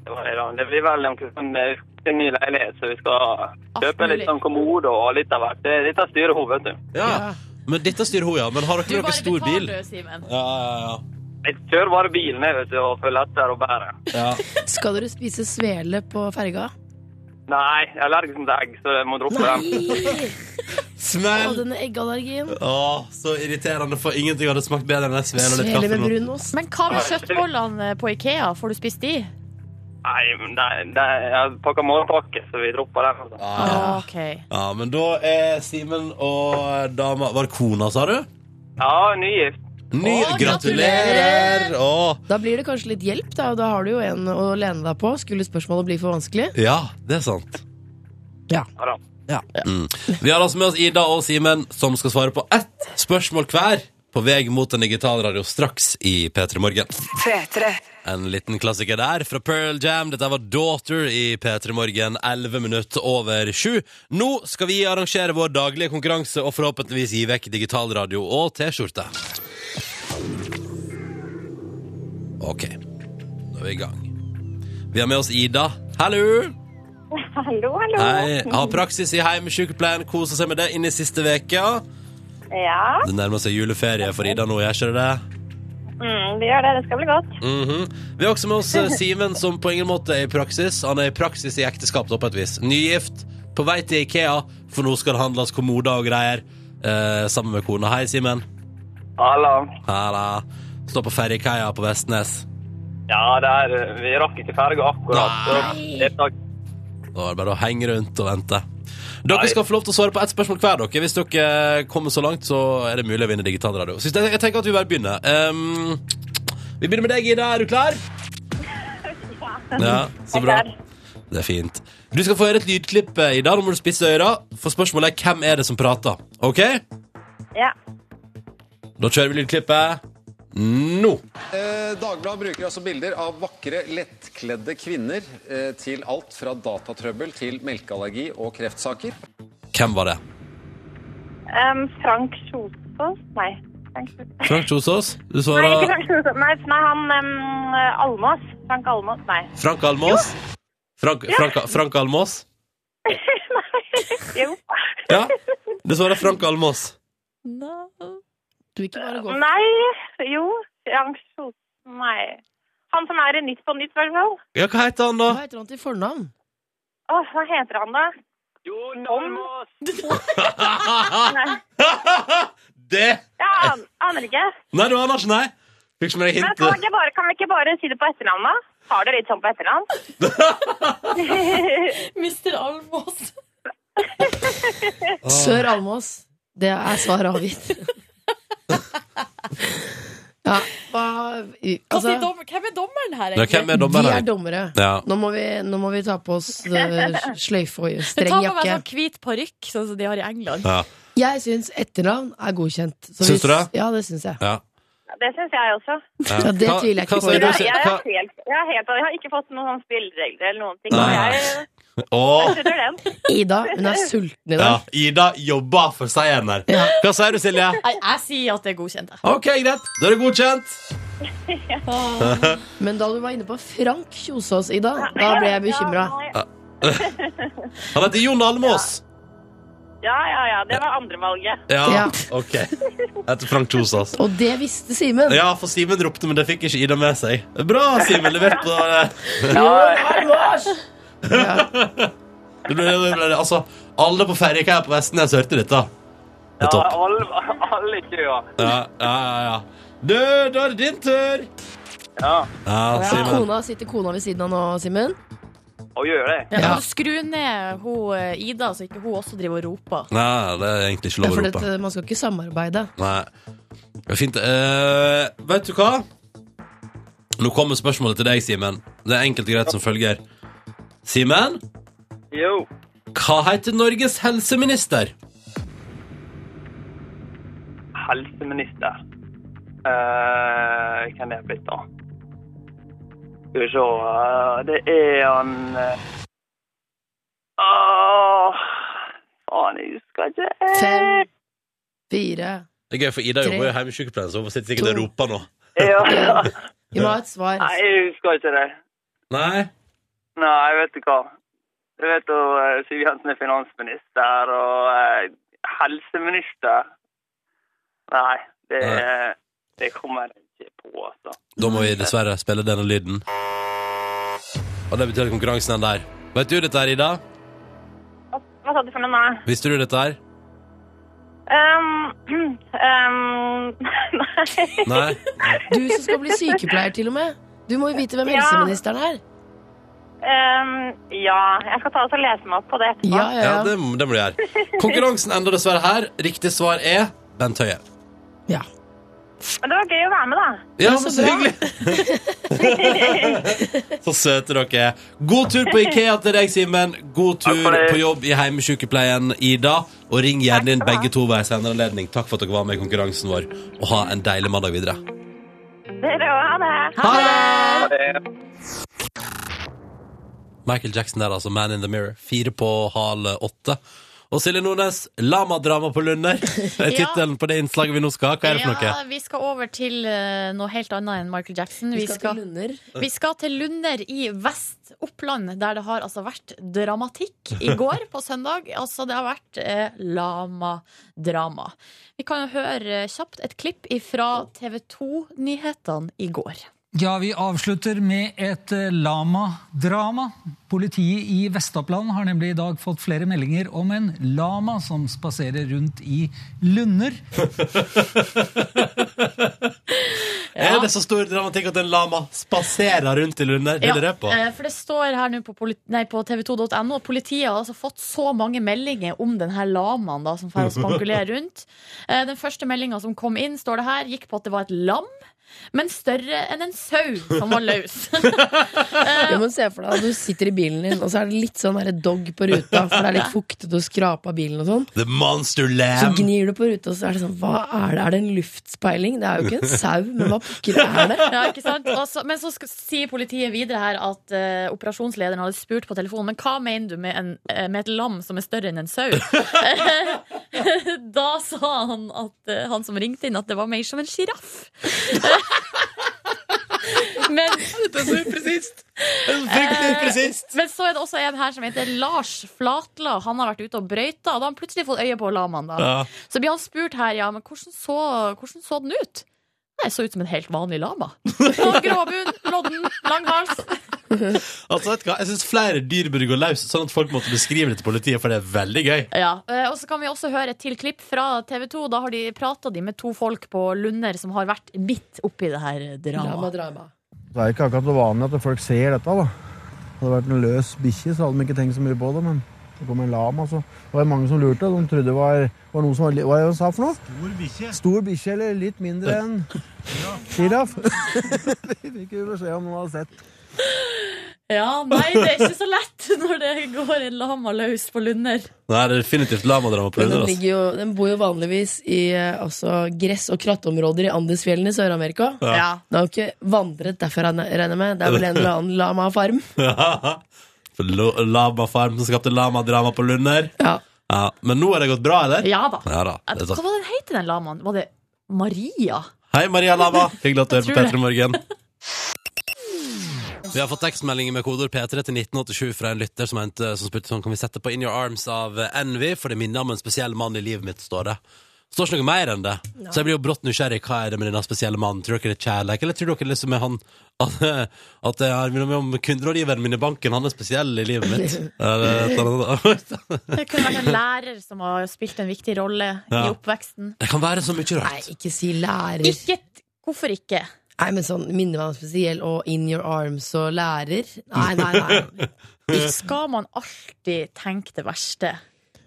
Speaker 5: det, var det, da. det blir vel noe sånn eh, en ny leilighet, så vi skal
Speaker 4: Alt
Speaker 5: kjøpe
Speaker 4: mulig.
Speaker 5: litt sånn kommode og litt av hvert. Det- Dette styrer hun, vet du.
Speaker 2: Ja. Men dette styrer hun, ja. Men har
Speaker 4: Du
Speaker 2: dere
Speaker 4: bare
Speaker 2: noen stor
Speaker 4: betaler,
Speaker 2: bil?
Speaker 4: du, Simen.
Speaker 2: Ja, ja, ja.
Speaker 5: Jeg kjører bare bilen jeg, vet du, og følger etter og bærer.
Speaker 2: ja.
Speaker 3: Skal dere spise svele på ferga?
Speaker 5: Nei, jeg er allergisk mot egg, så jeg må droppe den.
Speaker 3: Og
Speaker 2: Smell!
Speaker 3: denne eggallergien.
Speaker 2: Åh, så irriterende, for ingenting hadde smakt bedre enn den svelen og litt
Speaker 3: Svele
Speaker 2: kaffe
Speaker 3: med
Speaker 2: nå.
Speaker 3: brunost.
Speaker 4: Men hva med kjøttbollene på Ikea? Får du spist de?
Speaker 5: Nei, men det, det, jeg pakker morgenpakke, så vi dropper den. altså.
Speaker 2: Ah, Ja.
Speaker 4: Ah, Ok.
Speaker 2: ja, men da er Simen og dama Var det kona, sa du?
Speaker 5: Ja, nygift.
Speaker 2: Ny,
Speaker 4: Å,
Speaker 2: gratulerer! Å,
Speaker 3: Da blir det kanskje litt hjelp, da. Da har du jo en å lene deg på. Skulle spørsmålet bli for vanskelig?
Speaker 2: ja, det er sant.
Speaker 5: Ja da.
Speaker 2: Vi har altså med oss Ida og Simen, som skal svare på ett spørsmål hver. På vei mot en digital radio straks i P3 Morgen. En liten klassiker der fra Pearl Jam. Dette var Daughter i P3 Morgen, 11 minutter over 7. Nå skal vi arrangere vår daglige konkurranse og forhåpentligvis gi vekk digitalradio og T-skjorte. OK, nå er vi i gang. Vi har med oss Ida. Hallo!
Speaker 1: Hallo, hallo.
Speaker 2: Hei. Har praksis i heimesykepleien. Koser seg med det inn i siste veka
Speaker 1: Ja,
Speaker 2: Det nærmer seg juleferie for Ida nå, gjør ikke det det?
Speaker 1: mm, vi gjør det. Det skal bli godt.
Speaker 2: Mhm. Vi har også med oss eh, Simen, som på ingen måte er i praksis. Han er i praksis i ekteskap, da, på et vis. Nygift, på vei til Ikea, for nå skal det handles kommoder og greier. Eh, sammen med kona. Hei, Simen.
Speaker 5: Halla.
Speaker 2: Halla. Står på ferjekaia på Vestnes.
Speaker 5: Ja, det er, vi rakk ikke ferga akkurat.
Speaker 2: Nei.
Speaker 5: Så det er
Speaker 2: Da er det bare å henge rundt og vente. Dere skal få lov til å svare på ett spørsmål hver. dere Hvis dere kommer så langt, så er det mulig å vinne digital radio. Så jeg jeg tenker at Vi bare begynner. Ehm, vi begynner med deg, Ida. Er du klar? Ja, så bra. Det er fint. Du skal få høre et lydklipp eh, i dag. Nå må du spisse øra, for spørsmålet er hvem er det som prater. OK?
Speaker 1: Ja.
Speaker 2: Da kjører vi lydklippet nå.
Speaker 6: Eh, Dagbladet bruker altså bilder av vakre, lettkledde kvinner eh, til alt fra datatrøbbel til melkeallergi og kreftsaker.
Speaker 2: Hvem var det?
Speaker 1: Ehm, Frank Kjosås? Nei. Frank Kjosås.
Speaker 2: Frank Kjosås? Du
Speaker 1: Nei, ikke
Speaker 2: svarer
Speaker 1: Frank Kjosås. Nei, nei han ehm, Almås. Frank Almås. Nei.
Speaker 2: Frank Almås? Frank, Frank, Frank Almås?
Speaker 1: Jo.
Speaker 2: Ja, du svarer Frank Almås.
Speaker 4: No.
Speaker 3: Du ikke bare går
Speaker 1: Nei. Jo. Frank Kjosås. Nei. Han som er i Nytt på Nytt, i hvert fall.
Speaker 2: Ja, hva heter han da?
Speaker 3: Hva heter han til fornavn?
Speaker 1: Åh, hva heter han, da?
Speaker 5: Jon
Speaker 1: Almaas. Nei.
Speaker 2: det!
Speaker 1: Jeg an- aner ikke.
Speaker 2: Nei, du aner ikke, nei. Fikk ikke med deg
Speaker 1: Men kan, vi
Speaker 2: hintet.
Speaker 1: ikke bare, kan vi ikke bare si det på etternavn, da? Har du litt sånn på etternavn?
Speaker 4: Mr. Almås.
Speaker 3: Sør Almås. Det er svaret avgitt. ja, hva
Speaker 4: Hva
Speaker 3: Altså,
Speaker 4: sier dommer- Hvem er dommeren her,
Speaker 2: Ja, hvem er
Speaker 3: de er
Speaker 2: dommeren?
Speaker 3: dommere.
Speaker 2: Ja.
Speaker 3: Nå må vi, nå må vi ta på oss eh, sløyfe og
Speaker 4: Ta
Speaker 3: streng
Speaker 4: på meg
Speaker 3: jakke.
Speaker 4: sånn hvit parykk, sånn som de har i England.
Speaker 2: Ja.
Speaker 3: Jeg syns etternavn er godkjent. Så
Speaker 2: Syns du det?
Speaker 3: Ja, det syns jeg.
Speaker 2: Ja.
Speaker 1: Det syns jeg også.
Speaker 3: Ja, det
Speaker 2: Hva-
Speaker 3: tviler jeg ikke
Speaker 2: hva
Speaker 3: på.
Speaker 2: sier
Speaker 1: Jeg,
Speaker 2: du,
Speaker 3: Ja,
Speaker 2: Sil-
Speaker 1: jeg, er
Speaker 2: hva-
Speaker 1: helt, jeg, er helt, jeg har ikke fått noen sånne spilleregler eller noen ting.
Speaker 2: Nei.
Speaker 1: Jeg, jeg
Speaker 2: Åh,
Speaker 1: støtter den.
Speaker 3: Ida, hun er sulten i
Speaker 2: ja.
Speaker 3: dag.
Speaker 2: Ida jobber for seieren her. Hva sier du, Silje?
Speaker 4: Nei, jeg sier at det er godkjent. jeg.
Speaker 2: Ok, greit. Da er det godkjent.
Speaker 3: Men da du var inne på Frank Kjosås, Ida, da ble jeg bekymra.
Speaker 1: Ja,
Speaker 2: Han heter Jon Almås.
Speaker 1: Ja, ja, ja. Det var andrevalget.
Speaker 2: Ja,
Speaker 3: Ja.
Speaker 2: ok. Etter Frank Kjosås.
Speaker 3: Og det visste Simen!
Speaker 2: Ja, for Simen ropte, men det fikk ikke Ida med seg. Bra, Simen. Levert på eh, det ble, det ble, Altså, alle på Ferjekær på Vestnes hørte dette. Det er topp.
Speaker 5: alle, alle i køa.
Speaker 2: Ja, ja, ja. ja. Du, da er det din tur.
Speaker 5: Ja,
Speaker 2: Ja,
Speaker 3: Så
Speaker 2: Simen.
Speaker 3: kona, sitter kona ved siden av nå, Simen?
Speaker 5: og gjør det.
Speaker 4: Ja,
Speaker 3: Ja.
Speaker 4: men Skru ned hun eh, Ida, så ikke hun også driver og roper.
Speaker 2: Nei, det er egentlig ikke
Speaker 3: Ja,
Speaker 2: lov å
Speaker 3: for
Speaker 2: rope.
Speaker 3: dette, man skal ikke samarbeide.
Speaker 2: Nei. Det er fint. Eh, vet du hva? Nå kommer spørsmålet til deg, Simen. Det er enkelt og greit som følger. Simen,
Speaker 5: Jo.
Speaker 2: hva heter Norges helseminister?
Speaker 5: Helseminister. Eh, hvem er det blitt, da? Skal vi se eh, Det er han eh, Åh Faen, jeg husker ikke.
Speaker 3: Fem, fire
Speaker 2: Det er gøy, for Ida
Speaker 3: Tre.
Speaker 2: jobber jo hjemmesykepleien, så hun sitter sikkert og
Speaker 3: To.
Speaker 2: roper nå.
Speaker 5: Ja.
Speaker 3: Vi må ha et svar.
Speaker 5: Nei, jeg husker ikke det.
Speaker 2: Nei?
Speaker 5: Nei, vet du hva. Du vet jo eh, Siv Jensen er finansminister og eh, helseminister. Nei, det, det kommer jeg ikke på, altså.
Speaker 2: Da må vi dessverre spille denne lyden. Og det betyr at konkurransen er der. Vet du dette her, Ida?
Speaker 1: Hva, hva sa du for noe nå?
Speaker 2: Visste du dette her?
Speaker 1: Ehm, ehm, nei.
Speaker 2: Nei?
Speaker 3: Du som skal bli sykepleier, til og med. Du må jo vite hvem
Speaker 1: Ja.
Speaker 3: helseministeren er.
Speaker 1: Ehm, ja, jeg skal ta og så lese meg opp på det etterpå.
Speaker 3: Ja, ja,
Speaker 2: Ja,
Speaker 3: ja.
Speaker 2: det, må- det må du gjøre. Konkurransen ender dessverre her. Riktig svar er Bent Høie.
Speaker 3: ja.
Speaker 1: Men det var gøy å være med, da.
Speaker 2: Ja,
Speaker 3: så
Speaker 2: men så
Speaker 3: bra.
Speaker 2: hyggelig! så søte dere er. God tur på Ikea til deg, Simen. God tur
Speaker 5: Takk for det.
Speaker 2: på jobb i heimesykepleien, Ida. Og ring gjerne inn begge to ved en senere anledning. Takk for at dere var med i konkurransen vår. Og ha en deilig mandag videre.
Speaker 1: Dere òg. Ha det.
Speaker 2: Ha det!
Speaker 5: Ja, det er
Speaker 2: Michael Jackson der, altså. Man in the Mirror. Fire på hal åtte. Og Silje Nordnes, 'Lamadrama på Lunder' er
Speaker 4: Ja.
Speaker 2: tittelen på det innslaget vi nå skal ha. Hva er det for noe?
Speaker 4: Ja, vi skal over til eh, noe helt annet enn Michael Jackson.
Speaker 3: Vi skal til Lunder.
Speaker 4: Vi skal til Lunder i Vest-Oppland, der det har altså vært dramatikk i går på søndag. Altså, det har vært eh, lamadrama. Vi kan jo høre eh, kjapt et klipp fra TV 2-nyhetene i går.
Speaker 7: Ja, vi avslutter med et eh, lamadrama. Politiet i Vest-Oppland har nemlig i dag fått flere meldinger om en lama som spaserer rundt i lunder.
Speaker 2: Er det så stor dramatikk at en lama spaserer rundt i lunder? Det
Speaker 4: Ja,
Speaker 2: lurer jeg på.
Speaker 4: eh, for det står her nå på, polit- nei, på tv2.no at politiet har altså fått så mange meldinger om denne lamaen da, som får spankulere rundt. Eh, Den første meldinga som kom inn, står det her, gikk på at det var et lam. Men større enn en sau som var løs.
Speaker 3: Ja, men se for deg at du sitter i bilen din, og så er det litt sånn der dog på ruta, for det er litt fuktet og skrapa bilen og sånn.
Speaker 2: The monster
Speaker 3: Så
Speaker 2: lamb.
Speaker 3: gnir du på ruta, og så er det sånn Hva er det? Er det en luftspeiling? Det er jo ikke en sau, men hva pokker er det?
Speaker 4: Ja, ikke sant? Og så, men så skal, sier politiet videre her at eh, operasjonslederen hadde spurt på telefonen Men hva mener du med, en, eh, med et lam som er større enn en sau? da sa han, at, eh, han som ringte inn, at det var mer som en sjiraff. men,
Speaker 2: Det er så upresist! Det er så Fryktelig upresist!
Speaker 4: Eh, men så er det også en her som heter Lars Flatla. Han har vært ute og brøyta, og da har han plutselig fått øye på lamaen. Da.
Speaker 2: Ja.
Speaker 4: Så blir han spurt her, ja, men hvordan så, hvordan så den ut? Nei, så ut som en helt vanlig lama. Og grå bunn, lodden, lang hals.
Speaker 2: Altså, vet du hva? Jeg syns flere dyr burde gå løs, sånn at folk måtte beskrive det til politiet, for det er veldig gøy.
Speaker 4: Ja, eh, og så kan vi også høre et til klipp fra TV 2. Da har de prata med to folk på Lunder som har vært midt oppi det her
Speaker 3: Drama,
Speaker 4: dramaet.
Speaker 3: drama.
Speaker 8: Det er ikke akkurat noe vanlig at folk ser dette. da. Hadde det vært en løs bikkje, så hadde de ikke tenkt så mye på det. Men det kom en lam. altså. Det var mange som lurte. De trodde det var, var noe som var li- Hva er det de sa for noe? Stor bikkje. Stor bikkje, eller litt mindre enn sjiraff. Vi fikk jo beskjed om noen hadde sett.
Speaker 4: Ja, nei, det er ikke så lett når det går en lama løs på Lunder.
Speaker 2: Nei, det er definitivt lamadrama på
Speaker 3: Men
Speaker 2: Lunder.
Speaker 3: den,
Speaker 2: Altså.
Speaker 3: ligger jo, den bor jo vanligvis i eh, altså, gress- og krattområder i Andesfjellene i Sør-Amerika.
Speaker 2: Ja.
Speaker 4: Ja.
Speaker 3: Den har jo ikke vandret derfra, regner regner jeg med. Det er vel en eller annen lamafarm.
Speaker 2: altså. For lo- Lamafarm som skapte lamadrama på Lunder.
Speaker 3: Ja.
Speaker 2: Ja. Men nå har det gått bra, eller?
Speaker 4: ja da.
Speaker 2: Ja da. Det er sånn.
Speaker 4: Hva
Speaker 2: sant.
Speaker 4: var den het den lamaen? Var det Maria?
Speaker 2: Hei, Maria Lama. Hyggelig at du hører på
Speaker 4: tror det.
Speaker 2: P3 Morgen. Vi har fått tekstmeldinger med kodeord P3 til 1987 fra en lytter som, mente, som spurte sånn, kan vi sette på In Your Arms av eh, Envy, for det minner om en spesiell mann i livet mitt, står det. Det står ikke noe mer enn det. Så jeg blir jo brått nysgjerrig. Hva er det med denne spesielle mannen? Tror dere det er kjærlighet, eller tror dere liksom er han at, at jeg har minner meg om kunderådgiveren min i banken, han er spesiell i livet mitt? Eller et eller annet.
Speaker 4: Det kunne vært en lærer som har spilt en viktig rolle i
Speaker 2: Ja.
Speaker 4: oppveksten.
Speaker 2: Det kan være så mye
Speaker 3: Nei,
Speaker 2: rart.
Speaker 3: ikke si lærer.
Speaker 4: Ikke et- Hvorfor ikke?
Speaker 3: Nei, men sånn minner meg om spesiell og In Your Arms og lærer. Nei, nei, nei.
Speaker 4: Skal man alltid tenke det verste?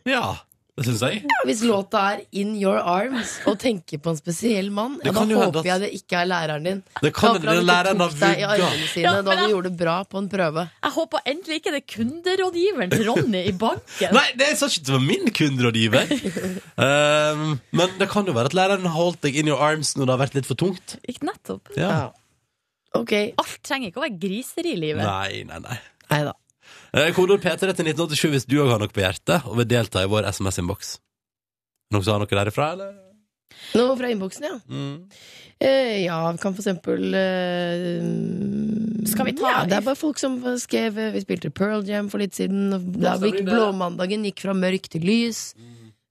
Speaker 2: Ja, det syns jeg.
Speaker 3: Hvis låta er In Your Arms og tenker på en spesiell mann,
Speaker 2: Det
Speaker 3: ja, da
Speaker 2: kan jo hende
Speaker 3: håper
Speaker 2: at-
Speaker 3: jeg det ikke er læreren din.
Speaker 2: Det kan
Speaker 3: Jeg håper
Speaker 2: hende den
Speaker 3: han ikke
Speaker 2: læreren
Speaker 3: tok
Speaker 2: har
Speaker 3: deg i
Speaker 2: vugga.
Speaker 3: armene
Speaker 4: Ja,
Speaker 3: sine
Speaker 4: men
Speaker 3: da du
Speaker 4: jeg-
Speaker 3: gjorde det bra på en prøve.
Speaker 4: Jeg håper endelig ikke det er kunderådgiveren til Ronny i banken.
Speaker 2: Nei, det sa ikke det var min kunderådgiver. um, men det kan jo være at læreren har holdt deg in your arms når det har vært litt for tungt.
Speaker 4: Ikke nettopp.
Speaker 2: Ja.
Speaker 3: Ok,
Speaker 4: Alt trenger ikke å være griseri i livet.
Speaker 2: Nei, nei, nei.
Speaker 3: nei da.
Speaker 2: Eh, Kodeord P3 til 1987 hvis du òg har noe på hjertet og vil delta i vår SMS-innboks. Noen som har noe derifra, eller?
Speaker 3: Nå fra innboksen, ja.
Speaker 2: Mm.
Speaker 3: Eh, ja, vi kan for eksempel eh,
Speaker 4: Skal vi ta-
Speaker 3: ja, Det er bare folk som skrev eh, Vi spilte Pearl Jam for litt siden. og Da
Speaker 2: stemmer
Speaker 3: gikk
Speaker 2: det.
Speaker 3: blåmandagen gikk fra mørk til lys.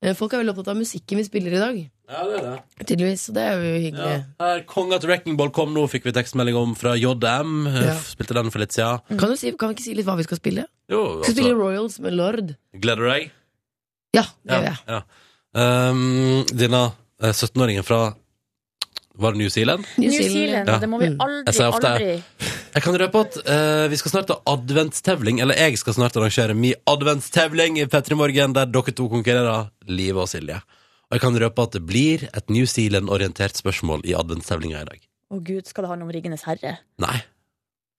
Speaker 3: Eh, folk er veldig opptatt av musikken vi spiller i dag,
Speaker 2: Ja, det er det.
Speaker 3: tydeligvis. Og det er jo hyggelig.
Speaker 2: Her, Konga til Wrecking Ball kom nå, fikk vi tekstmelding om fra JM. Eh,
Speaker 3: Ja.
Speaker 2: Spilte den for litt siden.
Speaker 3: Kan, du si, kan vi ikke si litt hva vi skal spille?
Speaker 2: Jo,
Speaker 3: Vi skal spille
Speaker 2: altså,
Speaker 3: Royals med Lord.
Speaker 2: gleder du deg?
Speaker 3: Ja, det gjør jeg.
Speaker 2: ja. Um, Denne eh, 17-åringen fra Var det New Zealand?
Speaker 4: New Zealand,
Speaker 2: Ja.
Speaker 4: det må vi
Speaker 2: Jeg
Speaker 3: Mm.
Speaker 4: aldri,
Speaker 2: sier ofte-
Speaker 4: aldri
Speaker 2: Jeg kan røpe at eh, vi skal snart ha adventstevling, eller jeg skal snart arrangere min adventstevling i P3 Morgen, der dere to konkurrerer, Live og Silje. Og jeg kan røpe at det blir et New Zealand-orientert spørsmål i adventstevlinga i dag.
Speaker 4: Å gud, skal det handle om Ringenes herre?
Speaker 2: Nei,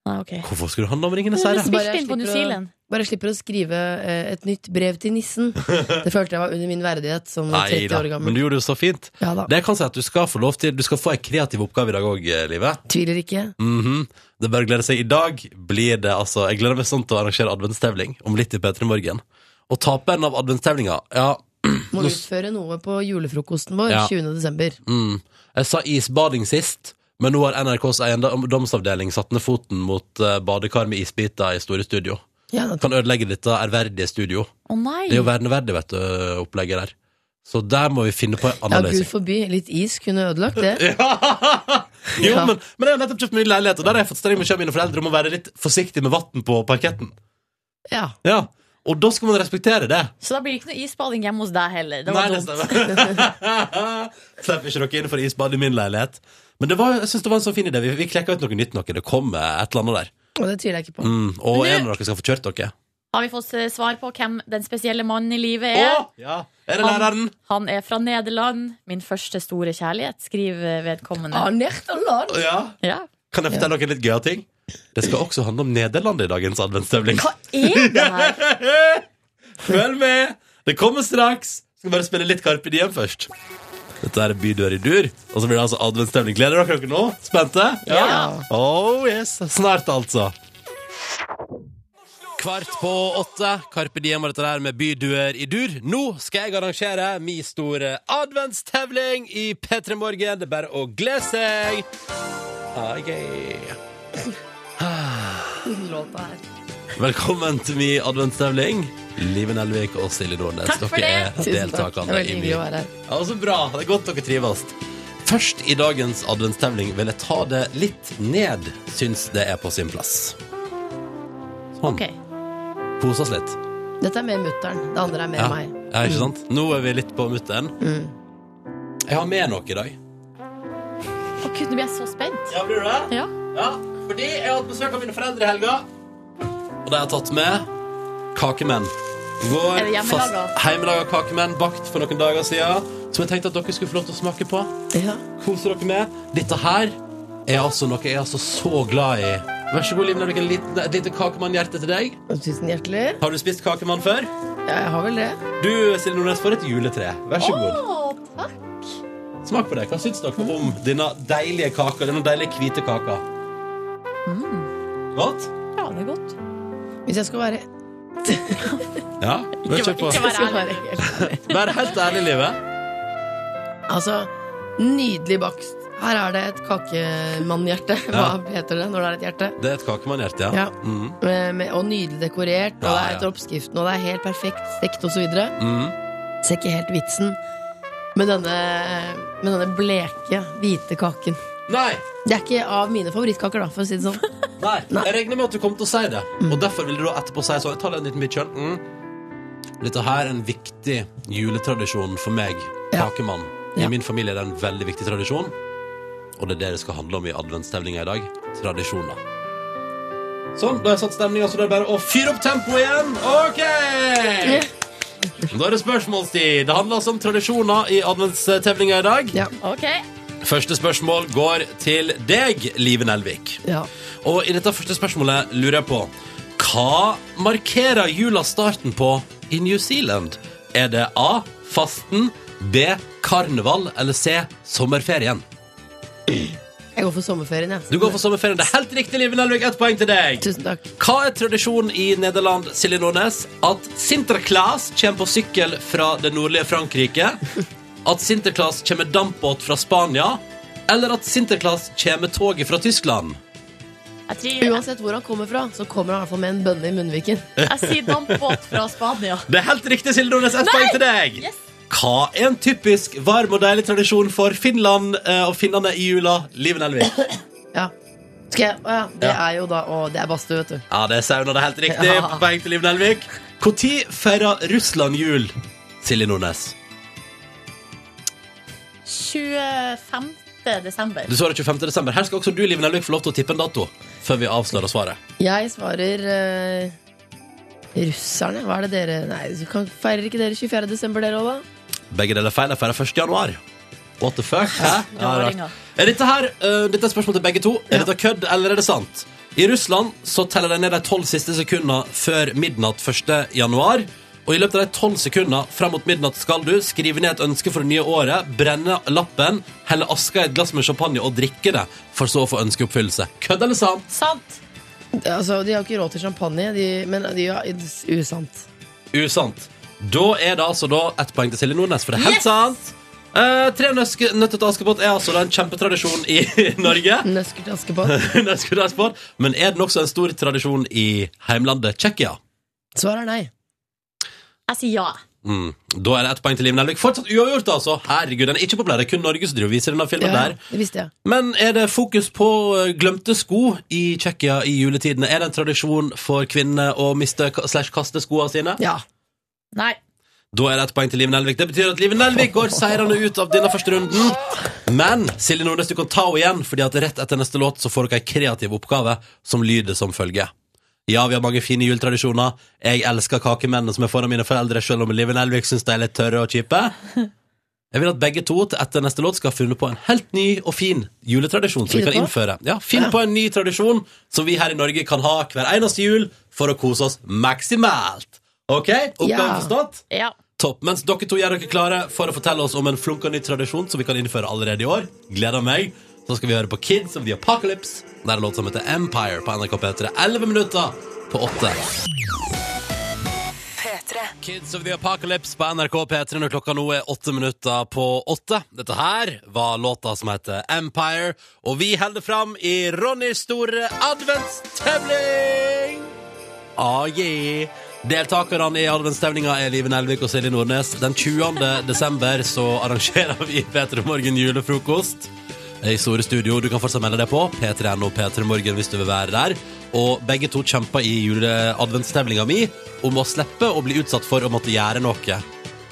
Speaker 4: Nei, ok.
Speaker 2: hvorfor skulle det handle om Ringenes
Speaker 4: Men
Speaker 2: herre?
Speaker 4: det spilte
Speaker 3: Bare
Speaker 4: inn på New
Speaker 3: slipper å-
Speaker 4: Zealand.
Speaker 3: Bare slipper å skrive eh, et nytt brev til nissen. Det følte jeg var under min verdighet som
Speaker 2: Nei
Speaker 3: 30
Speaker 2: da,
Speaker 3: år
Speaker 2: men
Speaker 3: gammel.
Speaker 2: du gjorde det så fint.
Speaker 3: Ja da.
Speaker 2: Det jeg kan si at Du skal få lov til Du skal få ei kreativ oppgave i dag òg, Live.
Speaker 3: Tviler ikke.
Speaker 2: Mhm. Det er bare å glede seg. I dag blir det altså Jeg gleder meg sånn til å arrangere adventstevling om litt i P3 Morgen. Og taperen av adventstevlinga Ja,
Speaker 3: Må utføre noe på julefrokosten vår
Speaker 2: Ja.
Speaker 3: 20. desember.
Speaker 2: Mm. Jeg sa isbading sist, men nå har NRKs eiendomsavdeling satt ned foten mot eh, badekar med isbiter i store studio.
Speaker 3: Ja, da-
Speaker 2: Kan ødelegge dette ærverdige studio.
Speaker 4: Å nei!
Speaker 2: Det er jo verneverdig, vet du, opplegget der. Så der må vi finne på en
Speaker 3: ja,
Speaker 2: annen
Speaker 3: gud
Speaker 2: løsning.
Speaker 3: forby. Litt is kunne ødelagt det.
Speaker 2: jo, men, men jeg har nettopp kjøpt meg ny leilighet, og der har jeg fått streng beskjed av mine foreldre om å være litt forsiktig med vann på parketten.
Speaker 3: Ja.
Speaker 2: Ja. Og da skal man respektere det.
Speaker 4: Så da blir det ikke noe isbading hjemme hos deg heller. Det
Speaker 2: Nei,
Speaker 4: var
Speaker 2: det
Speaker 4: dumt.
Speaker 2: stemmer. Slipper ikke dere inn for isbad i min leilighet. Men det var, jeg synes det var en sånn fin idé. Vi, vi klekka ut noe nytt noe. Det kom eh, et eller annet der.
Speaker 3: Og det tviler jeg ikke på.
Speaker 2: Mm, og
Speaker 4: Men du-
Speaker 2: en av dere skal få kjørt dere.
Speaker 4: Har vi fått eh, svar på hvem den spesielle mannen i livet
Speaker 2: Å!
Speaker 4: er?
Speaker 2: Ja. Er det læreren?
Speaker 4: Han er fra Nederland. Min første store kjærlighet, skriver vedkommende.
Speaker 3: Ah, Nertaland!
Speaker 2: Ja.
Speaker 4: Ja.
Speaker 2: Kan jeg fortelle dere litt gøye ting? Det skal også handle om Nederland i dagens adventsstevling.
Speaker 4: Hva er det her?
Speaker 2: Følg med! Det kommer straks. Skal bare spille litt Carpe Diem først. Dette er Bydør i dur, og så blir det altså adventsstemning. Gleder dere dere nå? Spente?
Speaker 4: Ja.
Speaker 2: Oh yes. Snart, altså. Kvart på åtte. Carpe Diem og dette der med Byduer i dur. Nå skal jeg arrangere min store adventstevling i P3 Morgen. Det er bare å glede seg. Ah, yeah.
Speaker 3: Låta her.
Speaker 2: Velkommen til min adventstevling. Liven Elvik og Silje Nordnes.
Speaker 4: Takk for
Speaker 2: dere er
Speaker 3: Tusen takk. Det er
Speaker 2: deltakerne
Speaker 3: veldig
Speaker 2: i
Speaker 3: hyggelig
Speaker 2: min
Speaker 3: å være her.
Speaker 2: ja, så bra. Det er godt dere trives. Først i dagens adventstevling vil jeg ta det litt ned, syns det er på sin plass. Sånn.
Speaker 4: Ok.
Speaker 2: Kose oss litt.
Speaker 3: Dette er mer mutter'n. Det andre er mer
Speaker 2: Ja.
Speaker 3: meg. Mm.
Speaker 2: ja, ikke sant? Nå er vi litt på mutteren. Jeg har med noe i dag.
Speaker 4: Å, Gud, nå blir jeg så spent.
Speaker 2: Ja, blir du det?
Speaker 4: Ja.
Speaker 2: Ja, fordi jeg har hatt besøk av mine foreldre i helga. Og de har tatt med kakemenn. Vår
Speaker 4: Er det hjemmelaga?
Speaker 2: fast- Hjemmelaga kakemenn bakt for noen dager siden. Som jeg tenkte at dere skulle få lov til å smake på.
Speaker 3: Ja.
Speaker 2: Koser dere med. Dette her er altså noe jeg er altså så glad i. Vær så god, Liv Nelvik, en liten- et lite kakemannhjerte til deg.
Speaker 3: Tusen hjertelig.
Speaker 2: Har du spist kakemann før?
Speaker 3: Ja, jeg har vel det.
Speaker 2: Du, Silje Nordnes, får et juletre. Vær så god.
Speaker 4: Å, takk.
Speaker 2: Smak på det. Hva syns dere om denne deilige kaka? Denne deilige hvite kaka?
Speaker 4: Mm.
Speaker 2: Godt?
Speaker 4: Ja, det er godt.
Speaker 3: Hvis jeg skal være
Speaker 2: Ja. men
Speaker 4: Ikke
Speaker 2: kjør
Speaker 4: vær-
Speaker 2: på.
Speaker 4: ikke
Speaker 3: Jeg skal
Speaker 4: ærlig.
Speaker 3: være helt ærlig.
Speaker 2: Vær helt ærlig, livet.
Speaker 3: Altså, nydelig bakst. Her er det et kakemannhjerte. Hva
Speaker 2: Ja.
Speaker 3: heter det når det er et hjerte?
Speaker 2: Det er et kakemannhjerte, ja.
Speaker 3: Ja.
Speaker 2: Mm.
Speaker 3: Med- med- Og nydelig dekorert, og
Speaker 2: Ja,
Speaker 3: det er
Speaker 2: ja.
Speaker 3: etter oppskriften, og det er helt perfekt stekt osv.
Speaker 2: Mm.
Speaker 3: Ser ikke helt vitsen med denne, med denne bleke, hvite kaken.
Speaker 2: Nei,
Speaker 3: Det er ikke av mine favorittkaker, da, for å si det sånn.
Speaker 2: nei,
Speaker 3: Nei. Mm.
Speaker 2: jeg regner med at du kom til å si det. Og derfor vil du da etterpå si sånn. Jeg tar en liten bit selv. Mm. Dette her er en viktig juletradisjon for meg,
Speaker 3: Ja.
Speaker 2: kakemann. I
Speaker 3: Ja.
Speaker 2: min familie er det en veldig viktig tradisjon. Og det er det det skal handle om i adventsstemninga i dag. Tradisjoner. Sånn, da har jeg satt stemninga, så det er bare å fyre opp tempoet igjen. OK! Da er det spørsmålstid. Det handler altså om tradisjoner i adventstevninga i dag.
Speaker 3: Ja,
Speaker 4: Ok.
Speaker 2: Første spørsmål går til deg, Live Nelvik.
Speaker 3: ja.
Speaker 2: Og i dette første spørsmålet lurer jeg på Hva markerer jula starten på i New Zealand? Er det A. Fasten, B. Karneval eller C. Sommerferien?
Speaker 3: Jeg går for sommerferien, jeg.
Speaker 2: Du går for sommerferien. Det er helt riktig, Live Nelvik. Ett poeng til deg.
Speaker 3: Tusen takk.
Speaker 2: Hva er tradisjonen i Nederland, Silje Nordnes? At Sinterklaas kommer på sykkel fra det nordlige Frankrike? At Sinterklaas kommer med dampbåt fra Spania? Eller at Sinterklaas kommer med toget fra Tyskland?
Speaker 4: Jeg, tror,
Speaker 3: Uansett hvor han kommer fra, så kommer han i hvert fall med en bønne i munnviken.
Speaker 4: jeg sier dampbåt fra Spania.
Speaker 2: Det er helt riktig, Silje Nordnes. Ett poeng til deg.
Speaker 4: Yes.
Speaker 2: Hva er en typisk varm og deilig tradisjon for Finland eh, og finnene i jula? Liven Elvik.
Speaker 3: Ja. Skal jeg, å ja, det
Speaker 2: Ja.
Speaker 3: er jo da Å, det er badstue, vet du.
Speaker 2: Ja, det er sauna. Det er helt riktig.
Speaker 3: Ja.
Speaker 2: Poeng til Liven Elvik. Når feirer Russland jul? Silje Nordnes.
Speaker 4: 25. desember.
Speaker 2: Du svarer 25. desember. Her skal også du, Liv Nelvik, få lov til å tippe en dato før vi avslører svaret.
Speaker 3: Jeg svarer eh, russerne. Hva er det dere Nei, så kan, feirer ikke dere 24. desember, dere òg, da?
Speaker 2: Begge deler feil. Jeg feirer 1. januar. What the fuck? Hæ? Ja, rart.
Speaker 4: Raringer.
Speaker 2: er dette her eh, Dette er spørsmål til begge to. Er dette kødd, eller er det sant? I Russland så teller de ned de tolv siste sekundene før midnatt 1. januar. Og i løpet av de tolv sekundene fram mot midnatt skal du skrive ned et ønske for det nye året, brenne lappen, helle aska i et glass med champagne og drikke det, for så å få ønskeoppfyllelse. Kødd eller sant?
Speaker 4: Sant.
Speaker 3: Altså, de har jo ikke råd til champagne, de, men de har usant.
Speaker 2: Usant. Da er det altså da ett poeng til Silje Nordnes, for det er helt
Speaker 4: Yes!
Speaker 2: sant. Eh, tre nøske, nøtter til Askepott er altså da en kjempetradisjon i Norge.
Speaker 3: Nøsker til Askepott.
Speaker 2: Nøsker til Askepott. Men er den også en stor tradisjon i heimlandet Tsjekkia?
Speaker 3: Svaret er nei.
Speaker 4: Jeg sier ja.
Speaker 2: Mm. Da er det ett poeng til Liv Nelvik. Fortsatt uavgjort, altså! Herregud, den er ikke populær. Det er kun Norge som driver og viser denne filmen
Speaker 3: Ja,
Speaker 2: der.
Speaker 3: det visste jeg.
Speaker 2: Men er det fokus på eh, glemte sko i Tsjekkia i juletidene? Er det en tradisjon for kvinner å miste ka- slash kaste skoene sine?
Speaker 3: Ja.
Speaker 4: Nei.
Speaker 2: Da er det ett poeng til Liv Nelvik. Det betyr at Liv Nelvik går seirende ut av denne første runden. Men Silje Nordnes, du kan ta henne igjen, Fordi at rett etter neste låt så får dere ei kreativ oppgave som lyder som følger. Ja, vi har mange fine juletradisjoner. Jeg elsker kakemennene som er foran mine foreldre, selv om Liv Nelvik syns de er litt tørre og kjipe. Jeg vil at begge to til etter neste låt skal ha funnet på en helt ny og fin juletradisjon. som vi
Speaker 3: Finne
Speaker 2: kan
Speaker 3: på?
Speaker 2: innføre. Ja, Finn på en ny tradisjon som vi her i Norge kan ha hver eneste jul for å kose oss maksimalt. Ok? Oppgaven
Speaker 3: Ja.
Speaker 2: forstått?
Speaker 4: Ja.
Speaker 2: Topp. Mens dere to gjør dere klare for å fortelle oss om en flunka ny tradisjon som vi kan innføre allerede i år. Gleder meg. Så skal vi høre på Kids of the Apocalypse. Det er en låt som heter Empire på NRK P3. 11 minutter på 8. Kids of the Apocalypse på NRK P3 når klokka nå er åtte minutter på åtte. Dette her var låta som heter Empire, og vi holder fram i Ronnys store adventstevling! Ah, yeah. Deltakerne i adventstevninga er Live Nelvik og Silje Nordnes. Den 20. desember så arrangerer vi P3 Morgen julefrokost i Store Studio. Du kan fortsatt melde deg på. P3NO P3 Morgen hvis du vil være der. Og begge to kjemper i juleadventstevlinga mi om å slippe å bli utsatt for å måtte gjøre noe.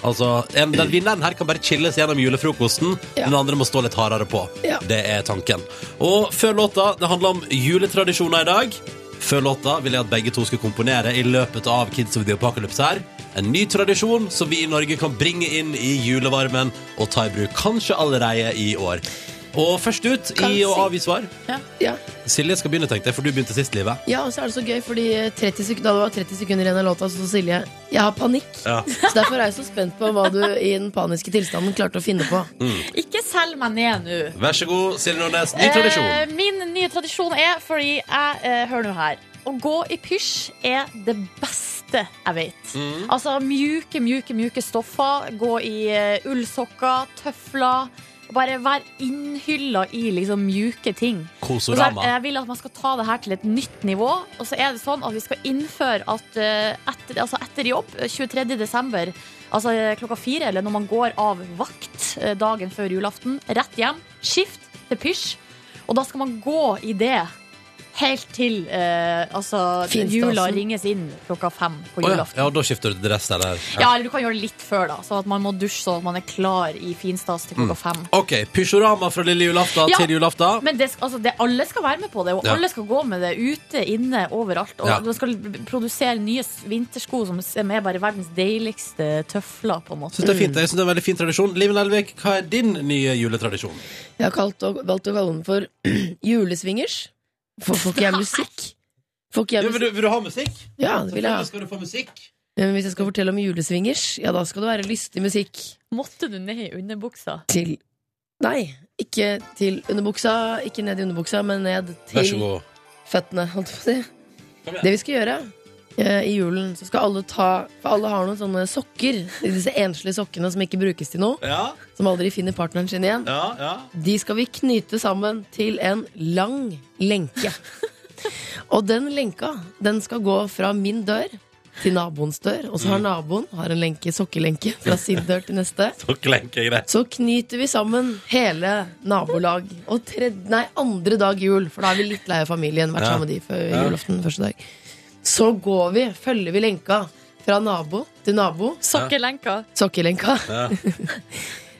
Speaker 2: Altså, en, Den vinneren her kan bare chilles gjennom julefrokosten.
Speaker 3: Ja.
Speaker 2: Den andre må stå litt hardere på.
Speaker 3: Ja.
Speaker 2: Det er tanken. Og før låta, det handler om juletradisjoner i dag. Før låta vil jeg at begge to skal komponere i løpet av Kids of the Apocalypse her. En ny tradisjon som vi i Norge kan bringe inn i julevarmen og ta i bruk kanskje allerede i år. Og først ut i
Speaker 3: Kanskje.
Speaker 2: å avgi svar.
Speaker 3: Ja.
Speaker 2: Silje skal begynne, tenkte jeg, for du begynte sist, Livet.
Speaker 3: ja, og så er det så gøy, fordi 30 sek- da det var 30 sekunder igjen av låta, så sa Silje Jeg har panikk.
Speaker 2: Ja.
Speaker 3: Så derfor er jeg så spent på hva du i den paniske tilstanden klarte å finne på.
Speaker 4: Ikke selg meg ned nå.
Speaker 2: Vær så god, Silje Nordnes. Ny tradisjon.
Speaker 4: Eh, min nye tradisjon er, fordi jeg eh, Hør nå her. Å gå i pysj er det beste jeg vet.
Speaker 2: Mm.
Speaker 4: Altså mjuke, mjuke, mjuke stoffer. Gå i eh, ullsokker, tøfler. Bare vær innhylla i liksom mjuke ting. Og så er-
Speaker 2: Kosorama.
Speaker 4: Jeg vil at man skal ta det her til et nytt nivå. Og så er det sånn at vi skal innføre at eh, etter, altså etter jobb, eh, 23. desember, altså eh, klokka fire, eller når man går av vakt eh, dagen før julaften, rett hjem, skift til pysj, og da skal man gå i det. Helt til eh, altså,
Speaker 3: Finstasen.
Speaker 4: jula ringes inn klokka fem på
Speaker 2: Å ja.
Speaker 4: julaften.
Speaker 2: ja, da skifter du til dress, eller?
Speaker 4: ja. eller Du kan gjøre det litt før, da sånn at man må dusje sånn at man er klar i finstas til klokka fem.
Speaker 2: Ok, Pysjorama fra lille julaften
Speaker 4: Ja.
Speaker 2: til julaften.
Speaker 4: Men det, skal- altså, det, alle skal være med på det, og
Speaker 2: Ja.
Speaker 4: alle skal gå med det ute, inne, overalt. Og
Speaker 2: Ja.
Speaker 4: man skal produsere nye s- vintersko som som er bare verdens deiligste tøfler, på en måte.
Speaker 2: Synes det er fint, jeg synes det er en veldig fin tradisjon Liv Nelvik, hva er din nye juletradisjon?
Speaker 3: Jeg har kalt og, valgt å kalle den for julesvingers. For får ikke jeg musikk? Får ikke
Speaker 2: Ja,
Speaker 3: jeg
Speaker 2: vil,
Speaker 3: musikk?
Speaker 2: du, vil du ha musikk?
Speaker 3: Ja, det vil jeg
Speaker 2: Selvfølgelig
Speaker 3: ha.
Speaker 2: Skal du få musikk?
Speaker 3: Men hvis jeg skal fortelle om julesvingers, ja, da skal det være lystig musikk
Speaker 4: Måtte du ned i underbuksa?
Speaker 3: til Nei, ikke til underbuksa, ikke ned i underbuksa, men ned
Speaker 2: Vær så
Speaker 3: til
Speaker 2: god
Speaker 3: føttene, holdt jeg på å si.
Speaker 2: Kom igjen.
Speaker 3: Det vi skal gjøre eh, i julen, så skal alle ta For alle har noen sånne sokker, disse enslige sokkene som ikke brukes til noe,
Speaker 2: Ja,
Speaker 3: som aldri finner partneren sin igjen.
Speaker 2: ja, ja
Speaker 3: De skal vi knyte sammen til en lang lenke. Og den lenka den skal gå fra min dør til naboens dør.
Speaker 2: Mm.
Speaker 3: Og så har naboen har en lenke, sokkelenke fra sin dør til neste.
Speaker 2: Tokklenke, greit
Speaker 3: Så knyter vi sammen hele nabolag. Og tredje, nei, andre dag jul, for da er vi litt lei av familien. Vært
Speaker 2: Ja.
Speaker 3: sammen med de før julaften første dag. Så går vi, følger vi lenka fra nabo til nabo.
Speaker 4: Sokkelenka.
Speaker 3: Sokkelenka.
Speaker 2: Ja.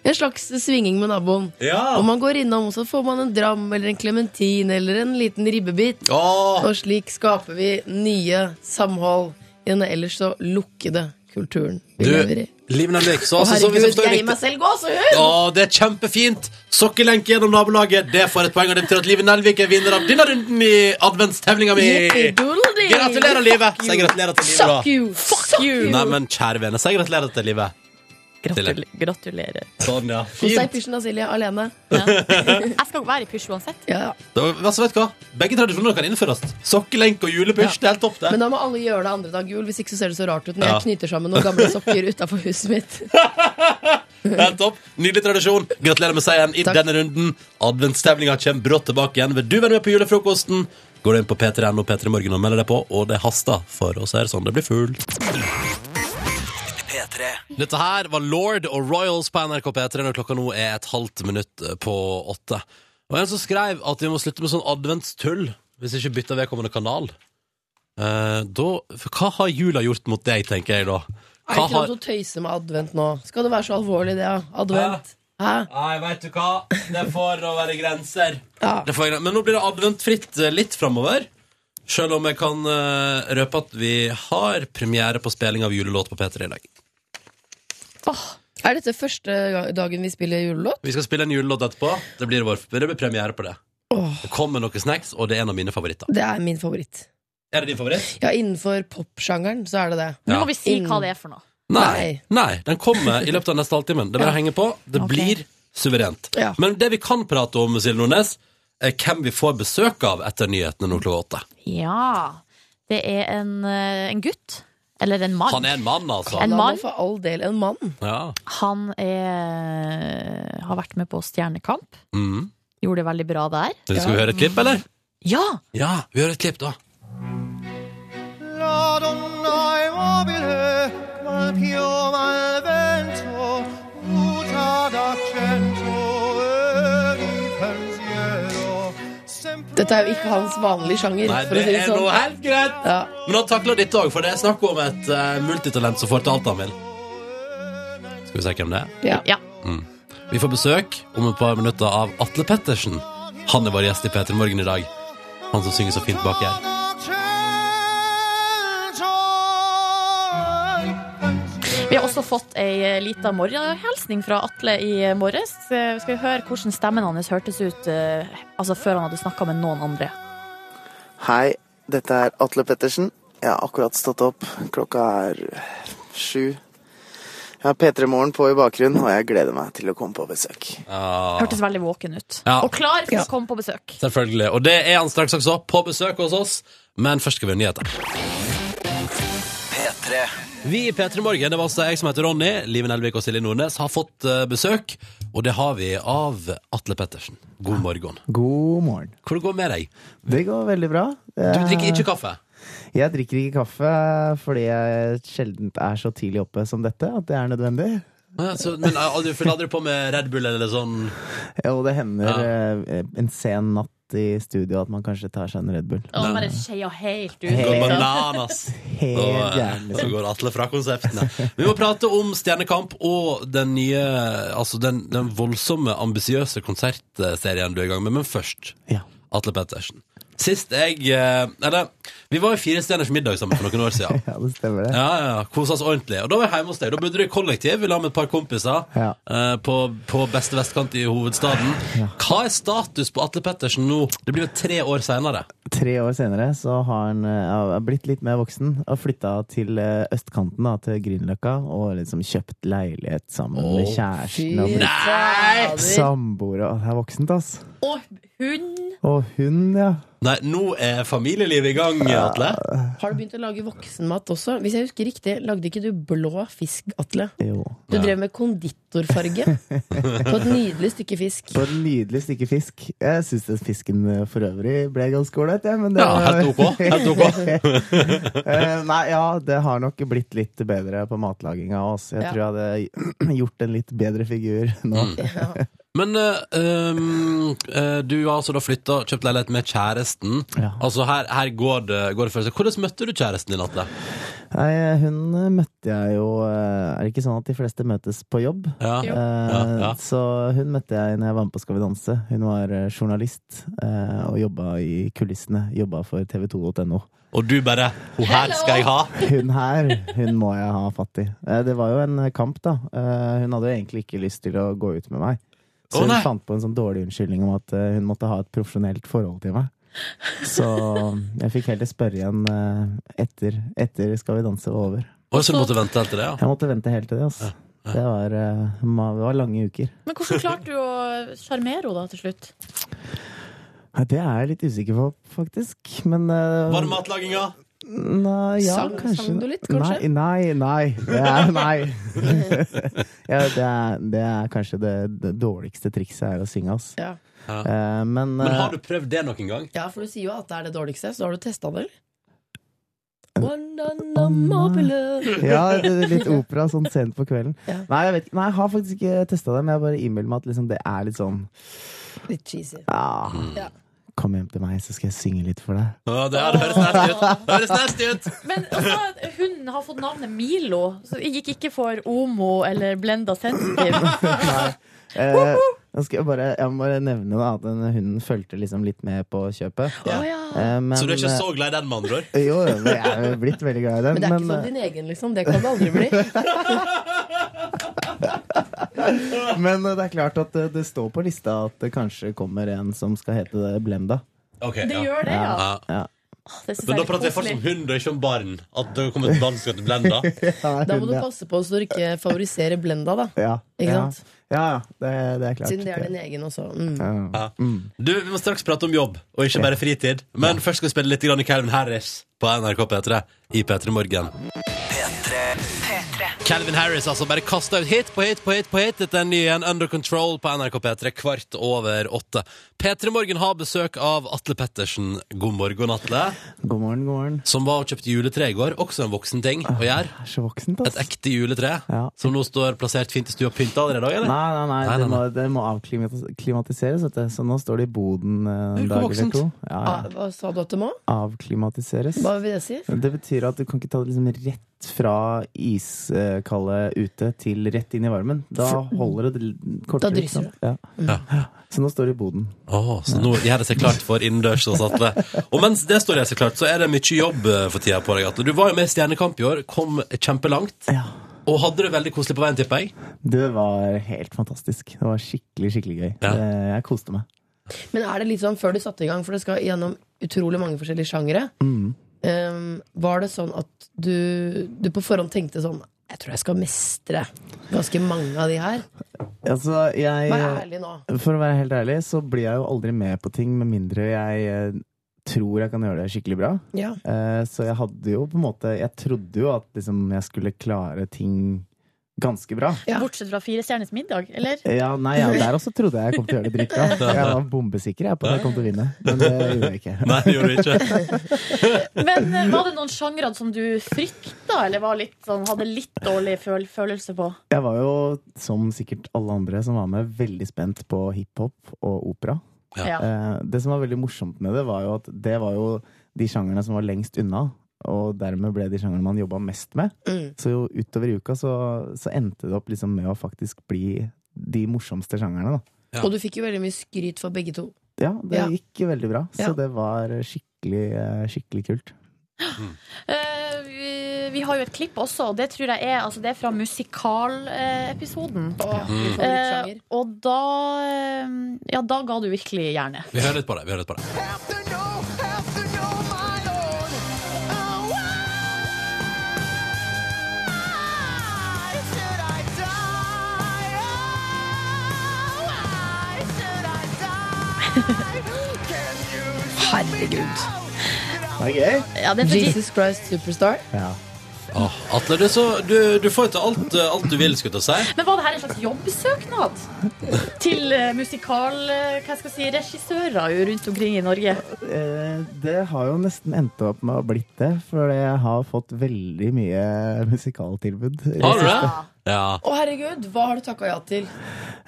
Speaker 3: en slags svinging med naboen.
Speaker 2: Ja
Speaker 3: Om man går innom, så får man en dram eller en klementin eller en liten ribbebit.
Speaker 2: Åh,
Speaker 3: Og slik skaper vi nye samhold i denne ellers så lukkede kulturen vi
Speaker 2: du,
Speaker 3: lever i.
Speaker 2: Liv Nelvik så,
Speaker 3: Å,
Speaker 2: altså, så,
Speaker 3: herregud,
Speaker 2: hvis jeg forstår
Speaker 3: jeg
Speaker 2: det
Speaker 3: gir meg
Speaker 2: riktig-
Speaker 3: selv gåsehud!
Speaker 2: Åh, det er kjempefint Sokkelenke gjennom nabolaget Det får et poeng, og det betyr at Liv Nelvik er vinner av denne runden i adventstevninga mi
Speaker 3: Yippee-doodle-dee.
Speaker 2: Gratulerer, livet Så jeg gratulerer til
Speaker 3: Suck
Speaker 2: livet da
Speaker 3: you! Fuck you!
Speaker 2: Nei, men kjære vene, så jeg gratulerer til livet
Speaker 4: Gratul gratulerer.
Speaker 2: Sånn, ja
Speaker 3: Kos deg i
Speaker 2: Fint
Speaker 3: pysjen da, Silje. Alene.
Speaker 4: Jeg skal være i pysj uansett.
Speaker 3: Ja, ja.
Speaker 2: Da, altså, vet du hva? Begge tradisjoner kan innføres. Sokkelenke og julepysj. Det er helt topp, det.
Speaker 3: Men da må alle gjøre det andre dag jul, hvis ikke så ser det så rart ut når
Speaker 2: Ja.
Speaker 3: jeg knyter sammen noen gamle sokker utafor huset mitt.
Speaker 2: Helt topp. Nydelig tradisjon. Gratulerer med seieren i
Speaker 3: Takk.
Speaker 2: denne runden. Adventsstemninga kommer brått tilbake igjen. Vil du være med på julefrokosten? Går du inn på p3.no P3 Morgen og melder deg på, og det haster, for oss er det sånn det blir fullt.
Speaker 9: P3
Speaker 2: Dette her var Lord og Royals på NRK P3 når klokka nå er et halvt minutt på åtte. Og en som skrev at vi må slutte med sånn adventstull hvis ikke bytter vedkommende kanal. Eh, da, for hva har jula gjort mot deg, tenker jeg da?
Speaker 3: Er
Speaker 2: Hva
Speaker 3: det ikke lov
Speaker 2: har...
Speaker 3: til å tøyse med advent nå? Skal det være så alvorlig, det? ja? Advent? Hæ?
Speaker 2: Nei, veit du hva? Det får å være grenser.
Speaker 3: Ja.
Speaker 2: Det får jeg gre- Men nå blir det adventfritt eh, litt framover. Sjøl om jeg kan eh, røpe at vi har premiere på spilling av julelåt på P3 i dag.
Speaker 3: Er dette første ga- dagen vi spiller julelåt?
Speaker 2: Vi skal spille en julelåt etterpå. Det blir, vår, det blir premiere på det.
Speaker 3: Åh,
Speaker 2: Det kommer noen snacks, og det er en av mine favoritter.
Speaker 3: det er min favoritt.
Speaker 2: Er det din favoritt?
Speaker 3: Ja, innenfor popsjangeren så er det det.
Speaker 4: Nå
Speaker 2: Ja.
Speaker 4: må vi si hva det er for noe.
Speaker 2: Nei. Nei, den kommer i løpet av neste halvtimen. Det er bare å henge på. Det
Speaker 4: Ok.
Speaker 2: blir suverent.
Speaker 3: Ja.
Speaker 2: Men det vi kan prate om, Silje Nordnes, er hvem vi får besøk av etter nyhetene nå klokka åtte.
Speaker 4: Ja. Det er en, eh, en gutt. Eller en mann.
Speaker 2: Han er en mann, altså.
Speaker 3: Da
Speaker 4: En
Speaker 3: må
Speaker 4: mann?
Speaker 3: For all del en mann.
Speaker 2: Ja.
Speaker 4: Han er, har vært med på Stjernekamp.
Speaker 2: Mm.
Speaker 4: Gjorde det veldig bra der.
Speaker 2: Skal vi høre et klipp, eller?
Speaker 4: Ja!
Speaker 2: Ja, vi hører et klipp, da.
Speaker 3: Dette er jo ikke hans vanlige sjanger,
Speaker 2: Nei,
Speaker 3: for
Speaker 2: det
Speaker 3: å si det
Speaker 2: er noe
Speaker 3: sånn.
Speaker 2: helt greit.
Speaker 3: Ja.
Speaker 2: Men han takler ditt òg, for det er snakk om et eh, multitalent som får til alt han vil. Skal vi se hvem det er?
Speaker 3: Ja.
Speaker 4: ja.
Speaker 2: Vi får besøk om et par minutter av Atle Pettersen. Han er vår gjest i P3 Morgen i dag. Han som synger så fint bak her.
Speaker 4: Vi har også fått ei eh, lita morgenhilsning fra Atle i eh, morges. Eh, Skal vi høre hvordan stemmen hans hørtes ut eh, altså før han hadde snakka med noen andre.
Speaker 9: Hei, dette er Atle Pettersen. Jeg har akkurat stått opp. Klokka er eh, sju. Jeg har P3 Morgen på i bakgrunnen, og jeg gleder meg til å komme på besøk.
Speaker 4: Hørtes veldig våken ut.
Speaker 2: Ah. Ja.
Speaker 4: Og klar for å komme på besøk.
Speaker 2: Selvfølgelig. Og det er han straks også, på besøk hos oss. Men først skal vi ha nyheter. Vi i P3 Morgen, det var altså jeg som heter Ronny, Live Nelvik og Silje Nordnes, har fått eh, besøk. Og det har vi av Atle Pettersen. God morgen.
Speaker 9: God morgen.
Speaker 2: Hvor går det med deg?
Speaker 9: Det går veldig bra.
Speaker 2: Du drikker ikke kaffe?
Speaker 9: Jeg drikker ikke kaffe fordi jeg sjelden er så tidlig oppe som dette, at det er nødvendig.
Speaker 2: Ja, så, men eh, aldri, fyller aldri på med Red Bull eller sånn?
Speaker 9: Og det hender
Speaker 2: Ja.
Speaker 9: eh, en sen natt i studio at man kanskje tar seg en Red Bull.
Speaker 4: Og bare skeia helt ut.
Speaker 9: Helt.
Speaker 2: Går
Speaker 9: Ja.
Speaker 2: bananas!
Speaker 9: Helt
Speaker 2: Da, eh,
Speaker 9: gjerne. sånn.
Speaker 2: Så går Atle fra konseptene. Vi må prate om Stjernekamp og den nye, altså den, den voldsomme, ambisiøse konsertserien du er i gang med, men først
Speaker 9: Ja.
Speaker 2: Atle Pettersen. Sist jeg eh, Eller, vi var i Fire stjerners middag sammen for noen år siden.
Speaker 9: ja, det stemmer det.
Speaker 2: Ja, ja, ja. Kosa oss ordentlig. Og da var jeg hjemme hos deg. Da bodde du i kollektiv vi la med et par kompiser
Speaker 9: Ja.
Speaker 2: eh, på, på beste vestkant i hovedstaden. Hva er status på Atle Pettersen nå? Det blir jo tre år seinere.
Speaker 9: Tre år senere så har han eh, ja, blitt litt mer voksen og flytta til eh, østkanten, da, til Grünerløkka, og liksom kjøpt leilighet sammen med
Speaker 2: Åh,
Speaker 9: kjæresten og blitt
Speaker 3: Nei!
Speaker 9: samboere. Og Det er voksent, ass.
Speaker 4: Og hund
Speaker 9: Og hun, ja.
Speaker 2: Nei, nå er familielivet i gang, Atle.
Speaker 3: Har du begynt å lage voksenmat også? Hvis jeg husker riktig, lagde ikke du blå fisk, Atle?
Speaker 9: Jo.
Speaker 3: Du
Speaker 2: Ja.
Speaker 3: drev med konditorfarge på et nydelig stykke fisk.
Speaker 9: På et nydelig stykke fisk. Jeg syns den fisken eh, for øvrig ble ganske ålreit, jeg. men det
Speaker 2: Ja,
Speaker 9: var-
Speaker 2: helt ok. Helt ok.
Speaker 9: Eh, Nei, ja, det har nok blitt litt bedre på matlaginga også. Jeg
Speaker 3: Ja.
Speaker 9: tror jeg hadde gjort en litt bedre figur nå.
Speaker 2: Mm. Men eh, um, eh, du har altså da flytta, kjøpt leilighet med kjæresten.
Speaker 9: Ja.
Speaker 2: Altså her, her går det, går det for seg. Hvordan møtte du kjæresten din, Atle?
Speaker 9: Nei, hun eh, møtte jeg jo eh, Er det ikke sånn at de fleste møtes på jobb?
Speaker 2: Ja.
Speaker 9: Eh,
Speaker 2: Ja, ja.
Speaker 9: Så hun møtte jeg når jeg var med på Skal vi danse. Hun var eh, journalist eh, og jobba i kulissene. Jobba for tv2.no.
Speaker 2: Og du bare 'Hun her skal jeg ha'.
Speaker 9: Hun her, hun må jeg ha fatt i. Eh, Det var jo en kamp, da. Eh, Hun hadde jo egentlig ikke lyst til å gå ut med meg.
Speaker 2: Å,
Speaker 9: Så hun
Speaker 2: nei.
Speaker 9: fant på en sånn dårlig unnskyldning om at eh, hun måtte ha et profesjonelt forhold til meg. Så um, jeg fikk heller spørre igjen eh, etter, etter Skal vi danse var over.
Speaker 2: Og så du måtte vente helt til det, ja.
Speaker 9: Jeg måtte vente helt til det, altså. Det var, eh, ma- det var lange uker.
Speaker 4: Men hvordan klarte du å sjarmere henne da til slutt?
Speaker 9: Nei, Det er jeg litt usikker på, faktisk. Men eh,
Speaker 2: Var det matlaginga?
Speaker 9: Nei, ja,
Speaker 3: Sang-
Speaker 9: kanskje.
Speaker 3: sang du litt, kanskje?
Speaker 9: Nei, nei. nei. Det er, nei. ja, det, er, det er kanskje det, det dårligste trikset er å synge, ass.
Speaker 3: Ja.
Speaker 9: Eh, men
Speaker 2: Men
Speaker 9: eh,
Speaker 2: har du prøvd det noen gang?
Speaker 3: ja, for du sier jo at det er det dårligste, så da har du testa det, eller? Wandanamabele.
Speaker 9: Ja, det- det- litt opera sånn sent på kvelden.
Speaker 3: Ja.
Speaker 9: Nei, jeg vet ikke. Nei, jeg har faktisk ikke testa det, men jeg bare innbiller meg at liksom, det er litt sånn
Speaker 3: Litt cheesy.
Speaker 9: ah,
Speaker 2: Mm.
Speaker 3: Ja.
Speaker 9: Kom hjem til meg, så skal jeg synge litt for deg.
Speaker 2: Ja, det her høres nasty ut. Høres nasty ut.
Speaker 4: Men altså, hunden har fått navnet Milo, så jeg gikk ikke for Omo eller Blenda Sensitive.
Speaker 9: Eh, nå skal jeg, bare, jeg må bare nevne da, at den hunden fulgte liksom litt med på kjøpet.
Speaker 4: Å ja.
Speaker 9: Eh, men,
Speaker 2: Så du er ikke så glad i den, med andre ord?
Speaker 9: eh, Jo, jo, jeg er jo blitt veldig glad i den.
Speaker 3: Men det er ikke
Speaker 9: men,
Speaker 3: som din egen, liksom. Det kan det aldri bli.
Speaker 9: eh, men, eh, det er klart at eh, det står på lista at det kanskje kommer en som skal hete eh, det Blemda.
Speaker 2: Ok,
Speaker 4: Det
Speaker 2: ja.
Speaker 4: gjør det, ja.
Speaker 2: Ja.
Speaker 4: Åh, Det synes
Speaker 2: Men da
Speaker 4: jeg er
Speaker 2: prater jeg fortsatt om
Speaker 4: koselig.
Speaker 2: hund og ikke om barn. At det kommer et barn som heter Blenda.
Speaker 3: Da må du passe på så du ikke favoriserer Blenda, da.
Speaker 9: ja,
Speaker 3: Ikke
Speaker 9: ja,
Speaker 3: sant?
Speaker 9: ja, ja, det, det er klart.
Speaker 3: Siden det er din egen også. Mm.
Speaker 9: Ja.
Speaker 2: Ja. Du, Vi må straks prate om jobb, og ikke bare fritid. Men først skal vi spille litt grann Calvin Harris på NRK P3 i P3 Morgen. Calvin Harris altså bare kasta ut hit på hit på hit. på hit Dette er en ny en Under Control på NRK P3 kvart over åtte. P3 Morgen har besøk av Atle Pettersen. God morgen, Atle.
Speaker 9: God morgen, god morgen.
Speaker 2: Som var og kjøpte juletre i går. Også en voksen ting å gjøre.
Speaker 9: Jeg er så voksent,
Speaker 2: Et
Speaker 9: ass.
Speaker 2: ekte juletre
Speaker 9: Ja.
Speaker 2: som nå står plassert fint i stua. Pynta allerede i dag,
Speaker 9: Nei,
Speaker 2: eller?
Speaker 9: nei, nei,
Speaker 2: Nei, nei,
Speaker 9: det må, det må avklimatiseres, vet du. Så nå står det i boden eh,
Speaker 2: Det er
Speaker 9: en dag eller
Speaker 2: voksent.
Speaker 9: to. Ja,
Speaker 3: Ah,
Speaker 9: ja.
Speaker 3: hva sa du at det må?
Speaker 9: Avklimatiseres.
Speaker 3: Hva vil det si?
Speaker 9: Det betyr at du kan ikke ta det liksom rett fra iskalde ute til rett inn i varmen. Da holder det l- kortere.
Speaker 3: Da drysser
Speaker 9: ikke sant? Ja. Så nå står det i boden.
Speaker 2: Åh, så nå gjør det seg klart for innendørs hos Atle. Og mens det står det seg klart, så er det mye jobb eh, for tida på deg, Atle. Du var jo med i Stjernekamp i år, kom kjempelangt,
Speaker 9: Ja.
Speaker 2: og hadde det veldig koselig på veien, tipper jeg.
Speaker 9: Det var helt fantastisk. Det var skikkelig, skikkelig gøy.
Speaker 2: Ja.
Speaker 9: Eh, Jeg koste meg.
Speaker 3: Men er det litt sånn før du satte i gang, for det skal gjennom utrolig mange forskjellige sjangere,
Speaker 9: Mm.
Speaker 3: ehm, var det sånn at du, du på forhånd tenkte sånn Jeg tror jeg skal mestre ganske mange av de her.
Speaker 9: Altså, jeg
Speaker 3: Vær ærlig nå.
Speaker 9: For å være helt ærlig, så blir jeg jo aldri med på ting med mindre jeg eh, tror jeg kan gjøre det skikkelig bra.
Speaker 3: Ja.
Speaker 9: Eh, Så jeg hadde jo på en måte Jeg trodde jo at liksom jeg skulle klare ting ganske bra.
Speaker 3: Ja.
Speaker 4: Bortsett fra Firestjerners middag, eller?
Speaker 9: Ja, nei, ja, Der også trodde jeg jeg kom til å gjøre det dritbra. Jeg var bombesikker jeg på at jeg kom til å vinne, men det gjorde jeg ikke.
Speaker 2: Nei, det gjorde du ikke.
Speaker 4: Men eh, var det noen sjangre som du frykta, eller var litt sånn, hadde litt dårlig føl følelse på?
Speaker 9: Jeg var jo, som sikkert alle andre som var med, veldig spent på hiphop og opera.
Speaker 2: Ja.
Speaker 4: Ja.
Speaker 9: Eh, Det som var veldig morsomt med det, var jo at det var jo de sjangerne som var lengst unna. Og dermed ble de sjangerne man jobba mest med.
Speaker 3: Mm.
Speaker 9: Så jo utover i uka så, så endte det opp liksom med å faktisk bli de morsomste sjangerne, da.
Speaker 2: Ja.
Speaker 3: Og du fikk jo veldig mye skryt for begge to.
Speaker 9: Ja, det
Speaker 3: Ja.
Speaker 9: gikk veldig bra. Så
Speaker 3: Ja.
Speaker 9: det var skikkelig, eh, skikkelig kult.
Speaker 4: Eh, vi, vi har jo et klipp også, og det tror jeg er, altså det er fra musikalepisoden.
Speaker 3: Åh, min
Speaker 4: Eh,
Speaker 3: favorittsjanger.
Speaker 4: og da eh, Ja, da ga du virkelig jernet.
Speaker 2: Vi hører litt på det. vi hører litt på det
Speaker 3: Herregud.
Speaker 9: Det er gøy!
Speaker 4: Ja, det er fordi,
Speaker 3: Jesus Christ Superstar.
Speaker 9: Ja.
Speaker 2: Åh, Atle, du, er så, du, du får jo til alt, eh, alt du vil, skulle jeg til å si.
Speaker 4: men var det her en slags jobbsøknad? Til eh, musikal... eh, hva skal jeg si, regissører jo rundt omkring i Norge.
Speaker 9: Eh, Det har jo nesten endt opp med å ha blitt det, for jeg har fått veldig mye musikaltilbud.
Speaker 2: Har du det? Ja.
Speaker 3: Å, herregud, hva har du takka ja til?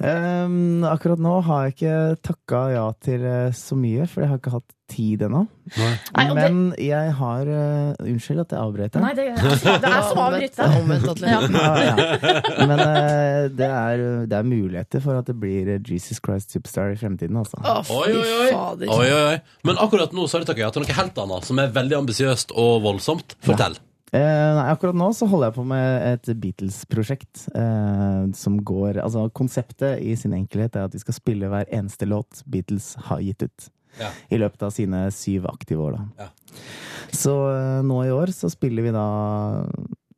Speaker 9: Ehm, akkurat nå har jeg ikke takka ja til eh, så mye, for jeg har ikke hatt tid ennå.
Speaker 4: Nei, og det-
Speaker 9: Men jeg har eh, Unnskyld at jeg avbrøt deg.
Speaker 4: Nei, det er, det er som
Speaker 3: Omvendt,
Speaker 4: avbryter.
Speaker 3: omvendt, Atle.
Speaker 4: Ja.
Speaker 9: Ja, ja. Men eh, det, er, det er muligheter for at det blir eh, Jesus Christ Superstar i fremtiden, altså.
Speaker 3: Å,
Speaker 2: Oi,
Speaker 3: fy
Speaker 2: oi, oi.
Speaker 3: fader.
Speaker 2: oi, oi, oi. Men akkurat nå så har du takka ja til noe helt annet, som er veldig ambisiøst og voldsomt. Fortell.
Speaker 9: Eh, nei, akkurat nå så holder jeg på med et Beatles-prosjekt eh, som går Altså, konseptet i sin enkelhet er at vi skal spille hver eneste låt Beatles har gitt ut.
Speaker 2: Ja.
Speaker 9: I løpet av sine syv aktive år, da.
Speaker 2: Ja.
Speaker 9: Så eh, nå i år så spiller vi da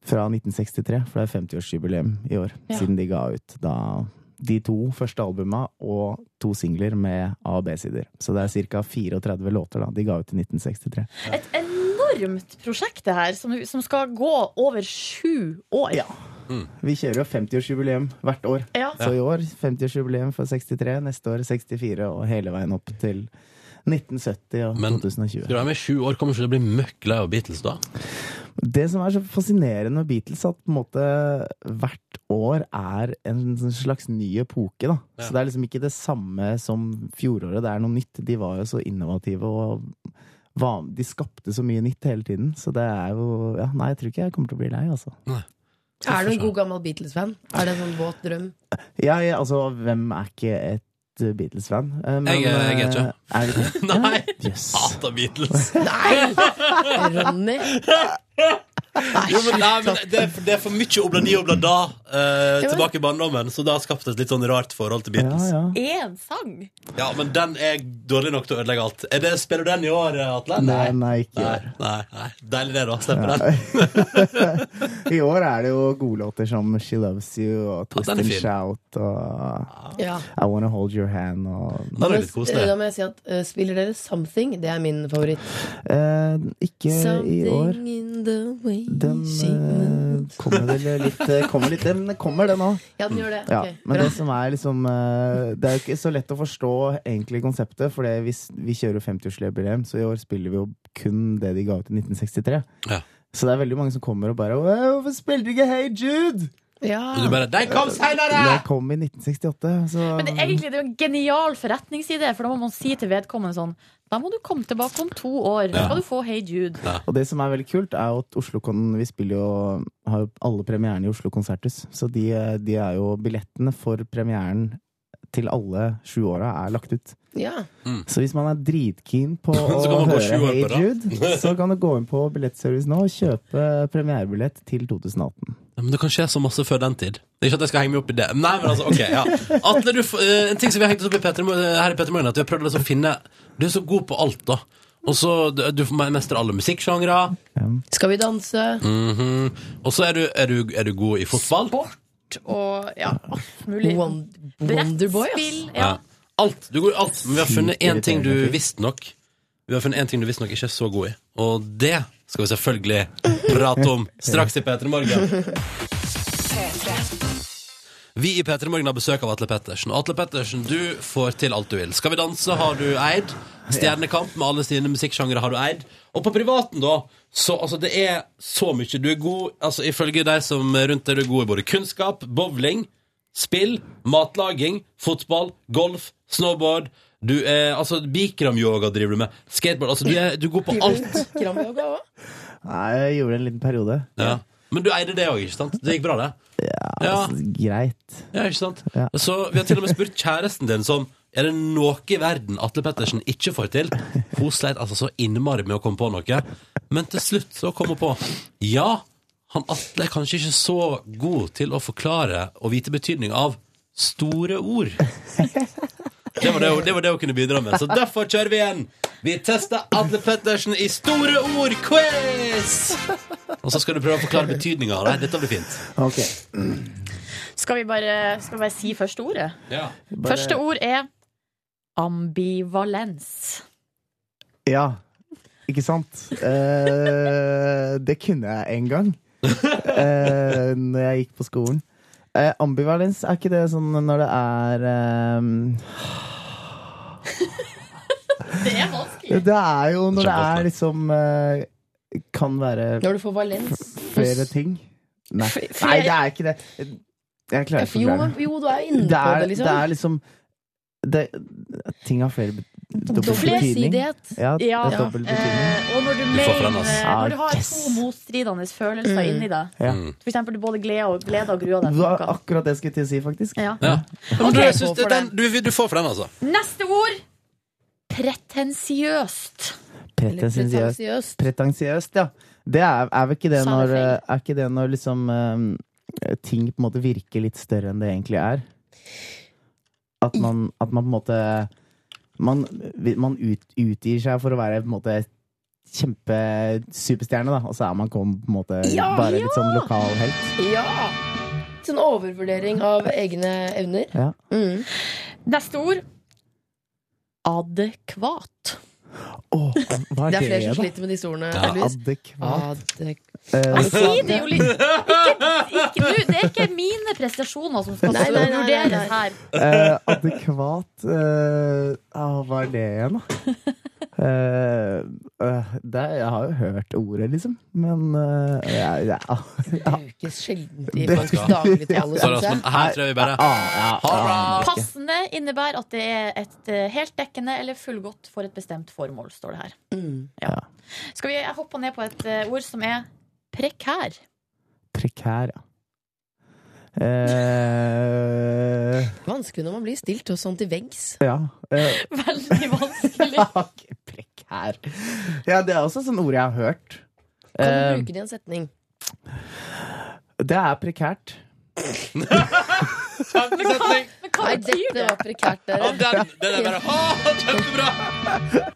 Speaker 9: fra 1963, for det er 50-årsjubileum i år,
Speaker 4: Ja.
Speaker 9: siden de ga ut da de to første albuma og to singler med A- og B-sider. Så det er ca. 34 låter da de ga ut i 1963.
Speaker 4: Et enormt prosjekt det her, som, som skal gå over sju år.
Speaker 9: Ja. Vi kjører jo 50-årsjubileum hvert år.
Speaker 4: Ja.
Speaker 9: Så i år 50-årsjubileum for 63, neste år 64 og hele veien opp til 1970 og
Speaker 2: Men-
Speaker 9: 2020.
Speaker 2: Skal du være med i sju år, kommer ikke du til å bli møkk lei av Beatles da?
Speaker 9: Det som er så fascinerende med Beatles, at på en måte hvert år er en sånn slags ny epoke. da.
Speaker 2: Ja.
Speaker 9: Så det er liksom ikke det samme som fjoråret. Det er noe nytt. De var jo så innovative og van- de skapte så mye nytt hele tiden. Så det er jo ja, Nei, jeg tror ikke jeg kommer til å bli lei, altså.
Speaker 3: Er du en god gammel Beatles-fan? Er det en sånn våt drøm?
Speaker 9: Jeg, altså, hvem er ikke et eh, Beatles-fan? Eh, men,
Speaker 2: Jeg er- jeg er ikke.
Speaker 9: eh, Er du ikke?
Speaker 2: Nei! Ah.
Speaker 9: Jøss.
Speaker 2: Hater Beatles.
Speaker 3: Ronny?
Speaker 2: Jo, men, nei, men det, er, det er for mye obladi og oblada eh,
Speaker 3: men-
Speaker 2: tilbake i barndommen, så det har skapt et litt sånn rart forhold til
Speaker 9: Ja,
Speaker 2: Beatles. Ja,
Speaker 9: ja.
Speaker 4: Én sang?
Speaker 2: men den er dårlig nok til å ødelegge alt. Er det, spiller du den i år, eh, Atle?
Speaker 9: Nei, nei, ikke i
Speaker 2: Nei,
Speaker 9: år.
Speaker 2: nei, nei. Deilig det, da. Slipper den.
Speaker 9: I år er det jo godlåter som She Loves You og Twist
Speaker 2: den er
Speaker 9: and
Speaker 2: fin.
Speaker 9: Shout og
Speaker 3: Ja.
Speaker 9: I Wanna Hold Your Hand og
Speaker 2: Den er litt koselig.
Speaker 3: Da må jeg si at eh, spiller dere Something? Det er min favoritt.
Speaker 9: eh, Ikke i år.
Speaker 3: Something in the way
Speaker 9: Den
Speaker 3: she
Speaker 9: eh,
Speaker 3: moves.
Speaker 9: kommer vel litt, eh, kommer litt Den kommer, den òg.
Speaker 3: Ja, den gjør det.
Speaker 9: Mm. Ja,
Speaker 3: Ok,
Speaker 9: men
Speaker 3: bra.
Speaker 9: det som er liksom eh, Det er jo ikke så lett å forstå egentlig konseptet, for det, hvis vi kjører jo 50-årsjubileum, så i år spiller vi jo kun det de ga ut i 1963.
Speaker 2: Ja.
Speaker 9: Så det er veldig mange som kommer og bare «Wow, Hvorfor spiller du ikke Hey Jude?!
Speaker 2: Og Du
Speaker 3: ja.
Speaker 2: bare Den kom seinere!
Speaker 9: Det kom i 1968, så
Speaker 4: Men det, er egentlig det er jo en genial forretningsidé, for da må man si til vedkommende sånn Da må du komme tilbake om to år. Da skal du få Hey Jude.
Speaker 9: Og det som er veldig kult, er jo at Oslo Kon vi spiller jo, har jo alle premierene i Oslo Konserthus. Så de, de er jo billettene for premieren til alle sju åra er lagt ut.
Speaker 3: ja.
Speaker 9: Så hvis man er dritkeen på
Speaker 2: Mm.
Speaker 9: å
Speaker 2: Så kan man gå
Speaker 9: høre
Speaker 2: sju år
Speaker 9: Hey
Speaker 2: på rad.
Speaker 9: Jude, så kan du gå inn på Billettservice nå og kjøpe premierebillett til 2018.
Speaker 2: Ja, Men det kan skje så masse før den tid. Det er ikke at jeg skal henge meg opp i det. Nei, men altså, ok, ja Atle, du, f- eh, en ting som vi har hengt oss opp i Petter, Mo- her i Petter Morgen, er at vi har prøvd liksom å finne Du er så god på alt, da. Og så Du du mestrer alle musikksjangre.
Speaker 3: Skal vi danse?
Speaker 9: Mm.
Speaker 2: Mhm. Og så er, du- er, du- er du god i fotball.
Speaker 4: Og ja, alt mulig.
Speaker 3: Won- Wonderboy, ass.
Speaker 4: Brettspill, ja.
Speaker 2: Alt. Du er god i alt. Men vi har funnet én ting du visstnok Vi har funnet en ting du visstnok ikke er så god i. Og det skal vi selvfølgelig prate om straks i P3 Morgen. Vi i P3 Morgen har besøk av Atle Pettersen. Og Atle Pettersen, du får til alt du vil. Skal vi danse har du eid. Stjernekamp med alle sine musikksjangre har du eid. Og på privaten, da, så altså, det er så mye. Du er god altså, Ifølge de som er rundt deg, du er god i både kunnskap, bowling, spill, matlaging, fotball, golf, snowboard. Du er, altså, Bikramyoga driver du med. Skateboard. Altså, du er, du er god på alt.
Speaker 3: Kramyoga også?
Speaker 9: Nei, jeg gjorde en liten periode.
Speaker 2: Ja. Men du eide det òg, ikke sant? Det gikk bra, det? Ja.
Speaker 9: Altså, greit.
Speaker 2: Ja, ikke sant?
Speaker 9: Ja.
Speaker 2: Så vi har til og med spurt kjæresten din som er det noe i verden Atle Pettersen ikke får til? Hun sleit altså så innmari med å komme på noe, men til slutt så kom hun på Ja, han Atle er kanskje ikke så god til å forklare og vite betydning av store ord. Det var det, hun- det var det hun kunne bidra med, så derfor kjører vi igjen. Vi tester Atle Pettersen i Store ord-quiz! Og så skal du prøve å forklare betydninga av det. Dette blir fint.
Speaker 9: Ok.
Speaker 4: Skal vi bare, skal vi bare si første ordet?
Speaker 2: Ja.
Speaker 9: Bare-
Speaker 4: Første ord er ambivalens.
Speaker 9: Ja, ikke sant? Eh, det kunne jeg en gang eh, Når jeg gikk på skolen eh, Ambivalens, er ikke det sånn når det er eh,
Speaker 4: Det er vanskelig.
Speaker 9: Det er jo når det
Speaker 2: Kjempevanskelig.
Speaker 9: er liksom eh, Kan være
Speaker 3: Når du får Valens
Speaker 9: flere ting Nei,
Speaker 4: F- flere-
Speaker 9: Nei det er ikke det Jeg klarer ikke å
Speaker 3: Jo,
Speaker 9: forklare
Speaker 3: men- jo, du er inne
Speaker 9: det
Speaker 3: på
Speaker 9: er,
Speaker 3: det,
Speaker 9: det
Speaker 3: liksom.
Speaker 9: er liksom det, Ting har flere bet- dobbelt betydning
Speaker 3: Flersidighet.
Speaker 9: Ja, det
Speaker 4: Ja.
Speaker 9: er dobbelt betydning
Speaker 4: Eh, og når du,
Speaker 2: Du får
Speaker 4: mener,
Speaker 2: fram, ass.
Speaker 4: når du har
Speaker 9: Ah, yes.
Speaker 4: to motstridende følelser
Speaker 3: Mm.
Speaker 4: inni deg,
Speaker 9: Ja.
Speaker 2: Mm.
Speaker 4: for eksempel du både gleder og, gleder og gruer deg
Speaker 9: Det
Speaker 4: til
Speaker 9: var
Speaker 4: noe.
Speaker 9: akkurat det jeg skulle til å si faktisk
Speaker 4: Ja.
Speaker 2: Ja. Men
Speaker 4: Ok,
Speaker 2: du, jeg synes
Speaker 3: gå for
Speaker 2: den, du, du får for den, altså.
Speaker 4: Neste ord pretensiøst.
Speaker 9: Pretensiøst
Speaker 3: Pretensiøst.
Speaker 9: Pretensiøst, ja. Det er, er vel ikke
Speaker 4: Sa
Speaker 9: det
Speaker 4: det
Speaker 9: når eh,
Speaker 4: feil?
Speaker 9: Er ikke det når liksom eh, ting på en måte virker litt større enn det egentlig er? At man, at man på en måte Man, man ut, utgir seg for å være på en måte kjempesuperstjerne, da, og så er man kom, på en måte
Speaker 3: Ja,
Speaker 9: bare
Speaker 3: ja!
Speaker 9: litt sånn lokal helt.
Speaker 3: Ja! Sånn overvurdering av egne evner.
Speaker 9: Ja.
Speaker 3: Mm.
Speaker 4: Neste ord adekvat.
Speaker 9: Åh, hva
Speaker 3: Det er
Speaker 9: er det,
Speaker 3: flere som
Speaker 9: da? Ah.
Speaker 3: sliter med disse ordene.
Speaker 2: Ja.
Speaker 3: heldigvis.
Speaker 9: Adekvat.
Speaker 3: Adek-
Speaker 9: Eh,
Speaker 4: Jeg sier det jo litt ikke, ikke, nå, Det er ikke mine prestasjoner som skal
Speaker 3: Nei, nei, nei, nei,
Speaker 4: vurderes her.
Speaker 9: eh, adekvat eh, ah, Hva er det igjen, da? Eh, eh, det, jeg har jo hørt ordet, liksom, men eh, jeg, jeg, jeg,
Speaker 3: Brukes sjelden i folks dagligtale.
Speaker 2: Sorry, ass,
Speaker 3: synes jeg.
Speaker 2: men her tror jeg vi bare Ha
Speaker 9: det!
Speaker 4: Passende innebærer at det er et eh, heltdekkende eller fullgodt for et bestemt formål, står det her.
Speaker 9: Mm.
Speaker 4: Ja. Skal vi jeg hopper ned på et eh, ord som er prekær?
Speaker 9: Prekær, ja. Eh,
Speaker 3: Vanskelig når man blir stilt og sånn til veggs.
Speaker 9: ja. eh,
Speaker 4: Veldig vanskelig.
Speaker 9: Ok, Prekær. Ja, det er også sånn ord jeg har hørt.
Speaker 3: Kan du
Speaker 9: Eh,
Speaker 3: bruke det i en setning?
Speaker 9: det er prekært.
Speaker 4: Men hva
Speaker 3: Nei,
Speaker 4: betyr
Speaker 3: dette
Speaker 4: det?
Speaker 3: var prekært, dere.
Speaker 2: Den, den er bare Å, kjempebra!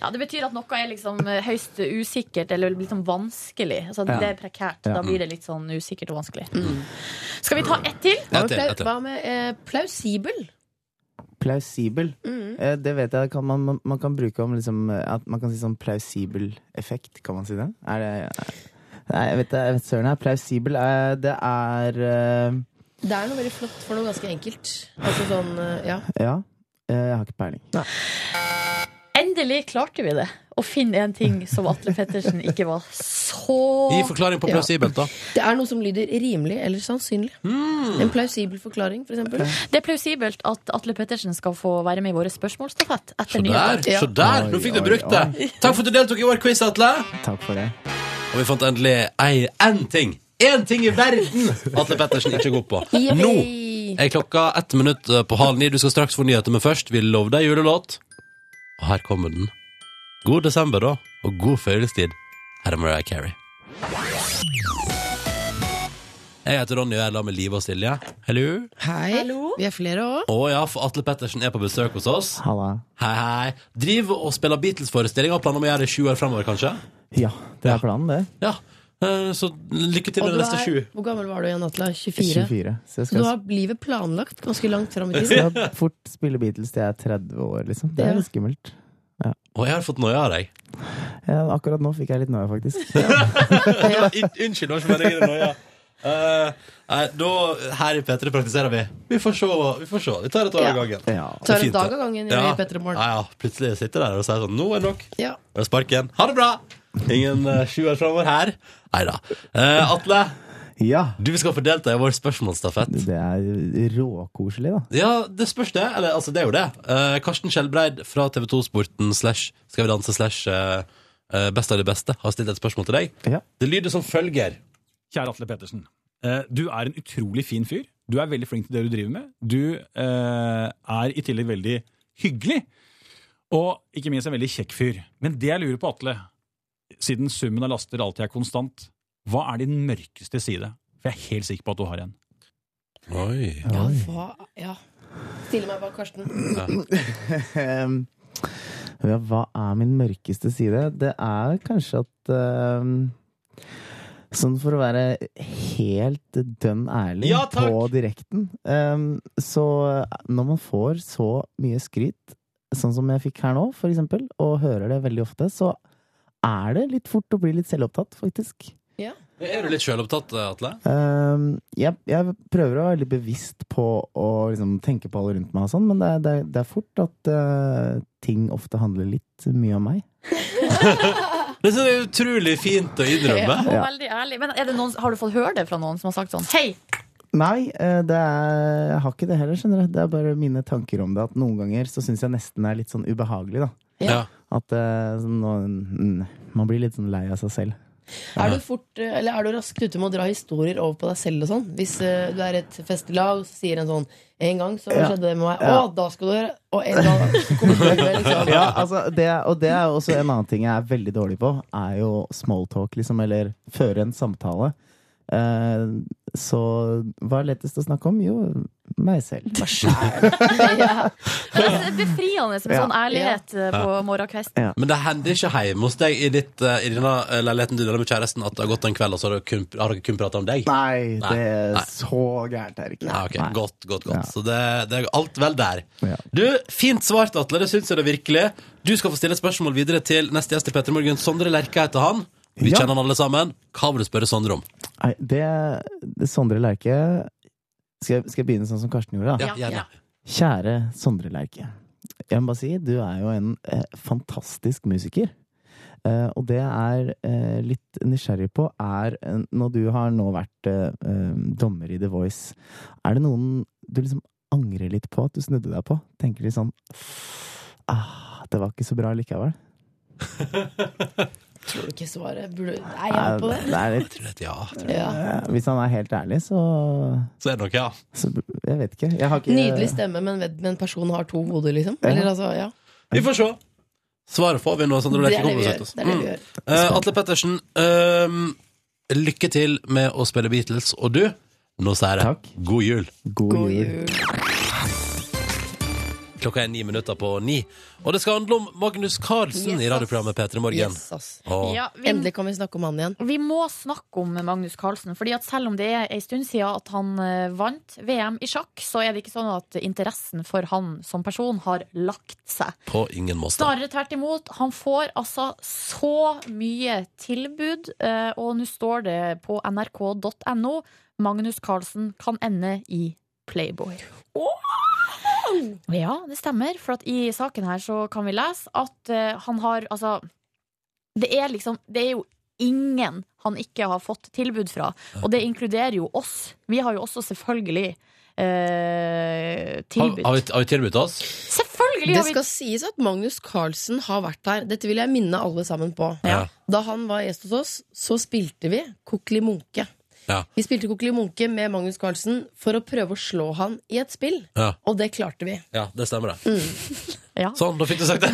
Speaker 4: Ja, det betyr at noe er liksom eh, høyst usikkert eller liksom vanskelig. Altså,
Speaker 9: Ja.
Speaker 4: Det er prekært.
Speaker 9: Ja. Mm.
Speaker 4: Da blir det litt sånn usikkert og vanskelig. Skal vi ta ett til?
Speaker 3: Hva
Speaker 2: Ett
Speaker 3: med,
Speaker 2: til, ett
Speaker 3: plau-
Speaker 2: til.
Speaker 3: hva med eh, plausibel?
Speaker 9: Plausibel.
Speaker 3: Mm.
Speaker 9: Eh, det vet jeg kan man, man- man kan bruke om liksom, eh, at man kan si sånn plausibel effekt. Kan man si det? Er det Nei, jeg vet, det- jeg vet søren. her. Plausibel er Det er eh,
Speaker 3: Det er noe veldig flott for noe ganske enkelt. Altså sånn, eh, ja.
Speaker 9: Ja. eh, Jeg har ikke peiling.
Speaker 4: Endelig klarte vi det. Å finne en ting som Atle Pettersen ikke var
Speaker 2: Gi
Speaker 4: så
Speaker 2: forklaring på
Speaker 3: Ja.
Speaker 2: plausibelt, da.
Speaker 3: Det er noe som lyder rimelig eller sannsynlig. En plausibel forklaring, for eksempel.
Speaker 4: Det er plausibelt at Atle Pettersen skal få være med i vår spørsmålstafett
Speaker 2: Se
Speaker 4: etter
Speaker 2: der!
Speaker 4: nyheter.
Speaker 3: Ja.
Speaker 2: Se der! Nå fikk du brukt det! Takk for at du deltok i vår quiz, Atle.
Speaker 9: Takk for det.
Speaker 2: Og vi fant endelig ei- én ting. Én ting i verden Atle Pettersen ikke er god på. Nå
Speaker 3: Yippee!
Speaker 2: er klokka ett minutt eh, på halv ni. Du skal straks få nyheter, men først, vi lover deg julelåt. Og her kommer den. God desember, da, og god følelsestid. Her er Mariah Carey. Jeg heter Ronny, og jeg er sammen med Live og Silje. Hello.
Speaker 3: Hei. Vi er flere òg.
Speaker 2: Å ja, for Atle Pettersen er på besøk hos oss.
Speaker 9: Halla.
Speaker 2: Hei, hei. Driver og spiller Beatles-forestilling. Har planer om å gjøre det i sju år framover, kanskje?
Speaker 9: Ja, det
Speaker 2: Ja.
Speaker 9: er planen, det.
Speaker 2: Ja. Eh, Så lykke til
Speaker 3: Og
Speaker 2: med
Speaker 3: du
Speaker 2: de neste
Speaker 3: er-
Speaker 2: sju.
Speaker 3: Hvor gammel var du igjen, Atle? 24?
Speaker 9: 24. Så jeg
Speaker 3: Så du
Speaker 9: skal
Speaker 3: har livet planlagt ganske langt fram i tid.
Speaker 9: skal fort spille Beatles til jeg er 30 år, liksom. Det er
Speaker 3: Ja.
Speaker 9: litt skummelt.
Speaker 2: Og jeg har fått noia av deg.
Speaker 9: Ja, akkurat nå fikk jeg litt noia, faktisk.
Speaker 2: Ja, in- Unnskyld, det var ikke meningen å noia. Eh, nei, da, her i P3 praktiserer vi. Vi får se. Vi, får se. vi tar et år av
Speaker 3: Ja.
Speaker 2: gangen.
Speaker 9: Ja.
Speaker 3: Tar
Speaker 2: Det er
Speaker 3: en
Speaker 2: fint,
Speaker 3: dag
Speaker 2: det.
Speaker 3: av gangen i
Speaker 2: Ja.
Speaker 3: Petter i morgen.
Speaker 2: Ja, ja. Plutselig sitter jeg der og sier sånn Nå er nok.
Speaker 3: Ja.
Speaker 2: Og jeg sparker igjen. Ha det bra! Ingen uh, sju år framover her. Nei da. Eh, Atle,
Speaker 9: ja.
Speaker 2: du skal få delta i vår spørsmålsstafett.
Speaker 9: Det er råkoselig, da.
Speaker 2: Ja, det spørs det. Eller, altså, det er jo det. Eh, Karsten Skjelbreid fra TV2 Sporten slash Skal vi danse slash eh, eh, Best av det beste har stilt et spørsmål til deg.
Speaker 9: Ja.
Speaker 2: Det lyder som følger.
Speaker 10: Kjære Atle Pettersen. eh, Du er en utrolig fin fyr. Du er veldig flink til det du driver med. Du eh, er i tillegg veldig hyggelig. Og ikke minst en veldig kjekk fyr. Men det jeg lurer på, Atle, siden summen av laster alltid er konstant, hva er din mørkeste side? For jeg er helt sikker på at du har en.
Speaker 2: Oi.
Speaker 3: Ja, hva Ja. Stille meg bak Karsten.
Speaker 9: Ehm, ja, hva er min mørkeste side? Det er kanskje at ehm, Sånn for å være helt dønn ærlig
Speaker 2: Ja, takk!
Speaker 9: på direkten ehm, Så når man får så mye skryt, sånn som jeg fikk her nå, for eksempel, og hører det veldig ofte, så er det litt fort å bli litt selvopptatt, faktisk.
Speaker 2: Er du litt sjølopptatt, Atle?
Speaker 9: Ehm, jeg, jeg prøver å være litt bevisst på å liksom, tenke på alle rundt meg, og sånn, men det er, det, er, det er fort at eh, ting ofte handler litt mye om meg.
Speaker 2: Det synes jeg er utrolig fint å innrømme.
Speaker 4: Og
Speaker 9: Ja.
Speaker 4: veldig ærlig. Men er det noen, har du fått høre det fra noen som har sagt sånn Hei,
Speaker 9: Nei, eh, det er, jeg har ikke det heller, skjønner du. Det er bare mine tanker om det. At noen ganger så syns jeg nesten det er litt sånn ubehagelig, da.
Speaker 2: Ja.
Speaker 9: At eh, sånn, nå- mm, man blir litt sånn lei av seg selv.
Speaker 3: Er du, fort, eh, eller er du raskt ute med å dra historier over på deg selv og sånn? Hvis eh, du er i et festelag og så sier en sånn En gang så
Speaker 9: Ja.
Speaker 3: skjedde det med meg.
Speaker 9: Ja.
Speaker 3: Å, da skal du gjøre Og en gang så kommer du med
Speaker 2: sånn.
Speaker 3: liksom.
Speaker 9: Ja, altså, det, og det er jo også en annen ting jeg er veldig dårlig på, er jo smalltalk, liksom, eller føre en samtale. Eh, så hva er lettest å snakke om? Jo, meg selv.
Speaker 3: Ja.
Speaker 4: Men det er befriende med sånn ærlighet eh, på morgenkvisten.
Speaker 2: Men det hender ikke hjemme hos deg i, ditt, eh, i denne eh, leiligheten du deler med kjæresten, at det har gått en kveld, og så har dere kun, har dere kun pratet om deg?
Speaker 9: Nei,
Speaker 2: Nei,
Speaker 9: det er
Speaker 2: nei.
Speaker 9: så gærent er det ikke.
Speaker 2: Ja, ok,
Speaker 9: Nei.
Speaker 2: Godt, godt, godt.
Speaker 9: Ja.
Speaker 2: Så det, det er alt vel der.
Speaker 9: Ja.
Speaker 2: Du, Fint svart, Atle. Det syns jeg det virkelig. Du skal få stille et spørsmål videre til neste gjest i Petter Morgen. Sondre Lerche heter han. Vi
Speaker 9: Ja.
Speaker 2: kjenner han alle sammen. Hva vil du spørre Sondre om?
Speaker 9: Nei, det, det Sondre Lerche skal, jeg- skal jeg begynne sånn som Karsten gjorde? da?
Speaker 2: Ja, gjerne.
Speaker 9: Kjære Sondre Lerche. jeg må bare si, du er jo en eh, fantastisk musiker. Eh, og det jeg er eh, litt nysgjerrig på, er eh, når du har nå vært eh, eh, dommer i The Voice, er det noen du liksom angrer litt på at du snudde deg på? Tenker litt sånn ah, det var ikke så bra likevel.
Speaker 3: Tror du ikke svaret burde Nei, jeg er på det.
Speaker 9: Nei, det er litt,
Speaker 2: Tror du et ja? Tror du.
Speaker 3: Ja.
Speaker 9: eh, hvis han er helt ærlig, så,
Speaker 2: Så er det nok ja.
Speaker 9: så Jeg vet ikke. Jeg har ikke
Speaker 3: Nydelig stemme, men vet men personen har to hoder, liksom.
Speaker 9: Ja.
Speaker 3: Eller altså, ja.
Speaker 2: Vi får se. Svaret får vi nå. Sandra, det
Speaker 3: Det er Mm.
Speaker 2: ikke
Speaker 3: det
Speaker 2: kommer
Speaker 3: vi gjør.
Speaker 2: oss ut.
Speaker 3: Det er det vi gjør.
Speaker 2: Eh, Atle Pettersen, eh, lykke til med å spille Beatles. Og du, nå sier jeg
Speaker 9: Takk.
Speaker 2: god jul.
Speaker 9: God
Speaker 3: God jul.
Speaker 9: jul.
Speaker 2: Klokka er ni minutter på ni. Og det skal handle om Magnus Carlsen
Speaker 3: Yes,
Speaker 2: i radioprogrammet P3 Morgen.
Speaker 3: Yes, ass.
Speaker 2: Og
Speaker 4: Ja, vi,
Speaker 3: Endelig kan vi snakke om han igjen.
Speaker 4: vi må snakke om Magnus Carlsen. Fordi at selv om det er en stund siden at han eh, vant VM i sjakk, så er det ikke sånn at interessen for han som person har lagt seg.
Speaker 2: på ingen måte.
Speaker 4: Snarere tvert imot. Han får altså så mye tilbud, eh, og nå står det på nrk.no Magnus Carlsen kan ende i Playboy. Ja, det stemmer. For at i saken her så kan vi lese at eh, han har Altså, det er liksom Det er jo ingen han ikke har fått tilbud fra. Og det inkluderer jo oss. Vi har jo også selvfølgelig eh,
Speaker 2: Har,
Speaker 4: tilbud.
Speaker 2: har vi, har vi tilbudt oss?
Speaker 4: Selvfølgelig
Speaker 3: Det
Speaker 4: har vi
Speaker 3: skal sies at Magnus Carlsen har vært her. Dette vil jeg minne alle sammen på.
Speaker 2: Ja.
Speaker 3: Da han var gjest hos oss, så spilte vi Kokeli Munke.
Speaker 2: Ja.
Speaker 3: Vi spilte Kokeli Munke med Magnus Carlsen for å prøve å slå han i et spill,
Speaker 2: Ja.
Speaker 3: og det klarte vi.
Speaker 2: Ja, det stemmer, det.
Speaker 4: Ja.
Speaker 2: Sånn, da fikk du sagt det.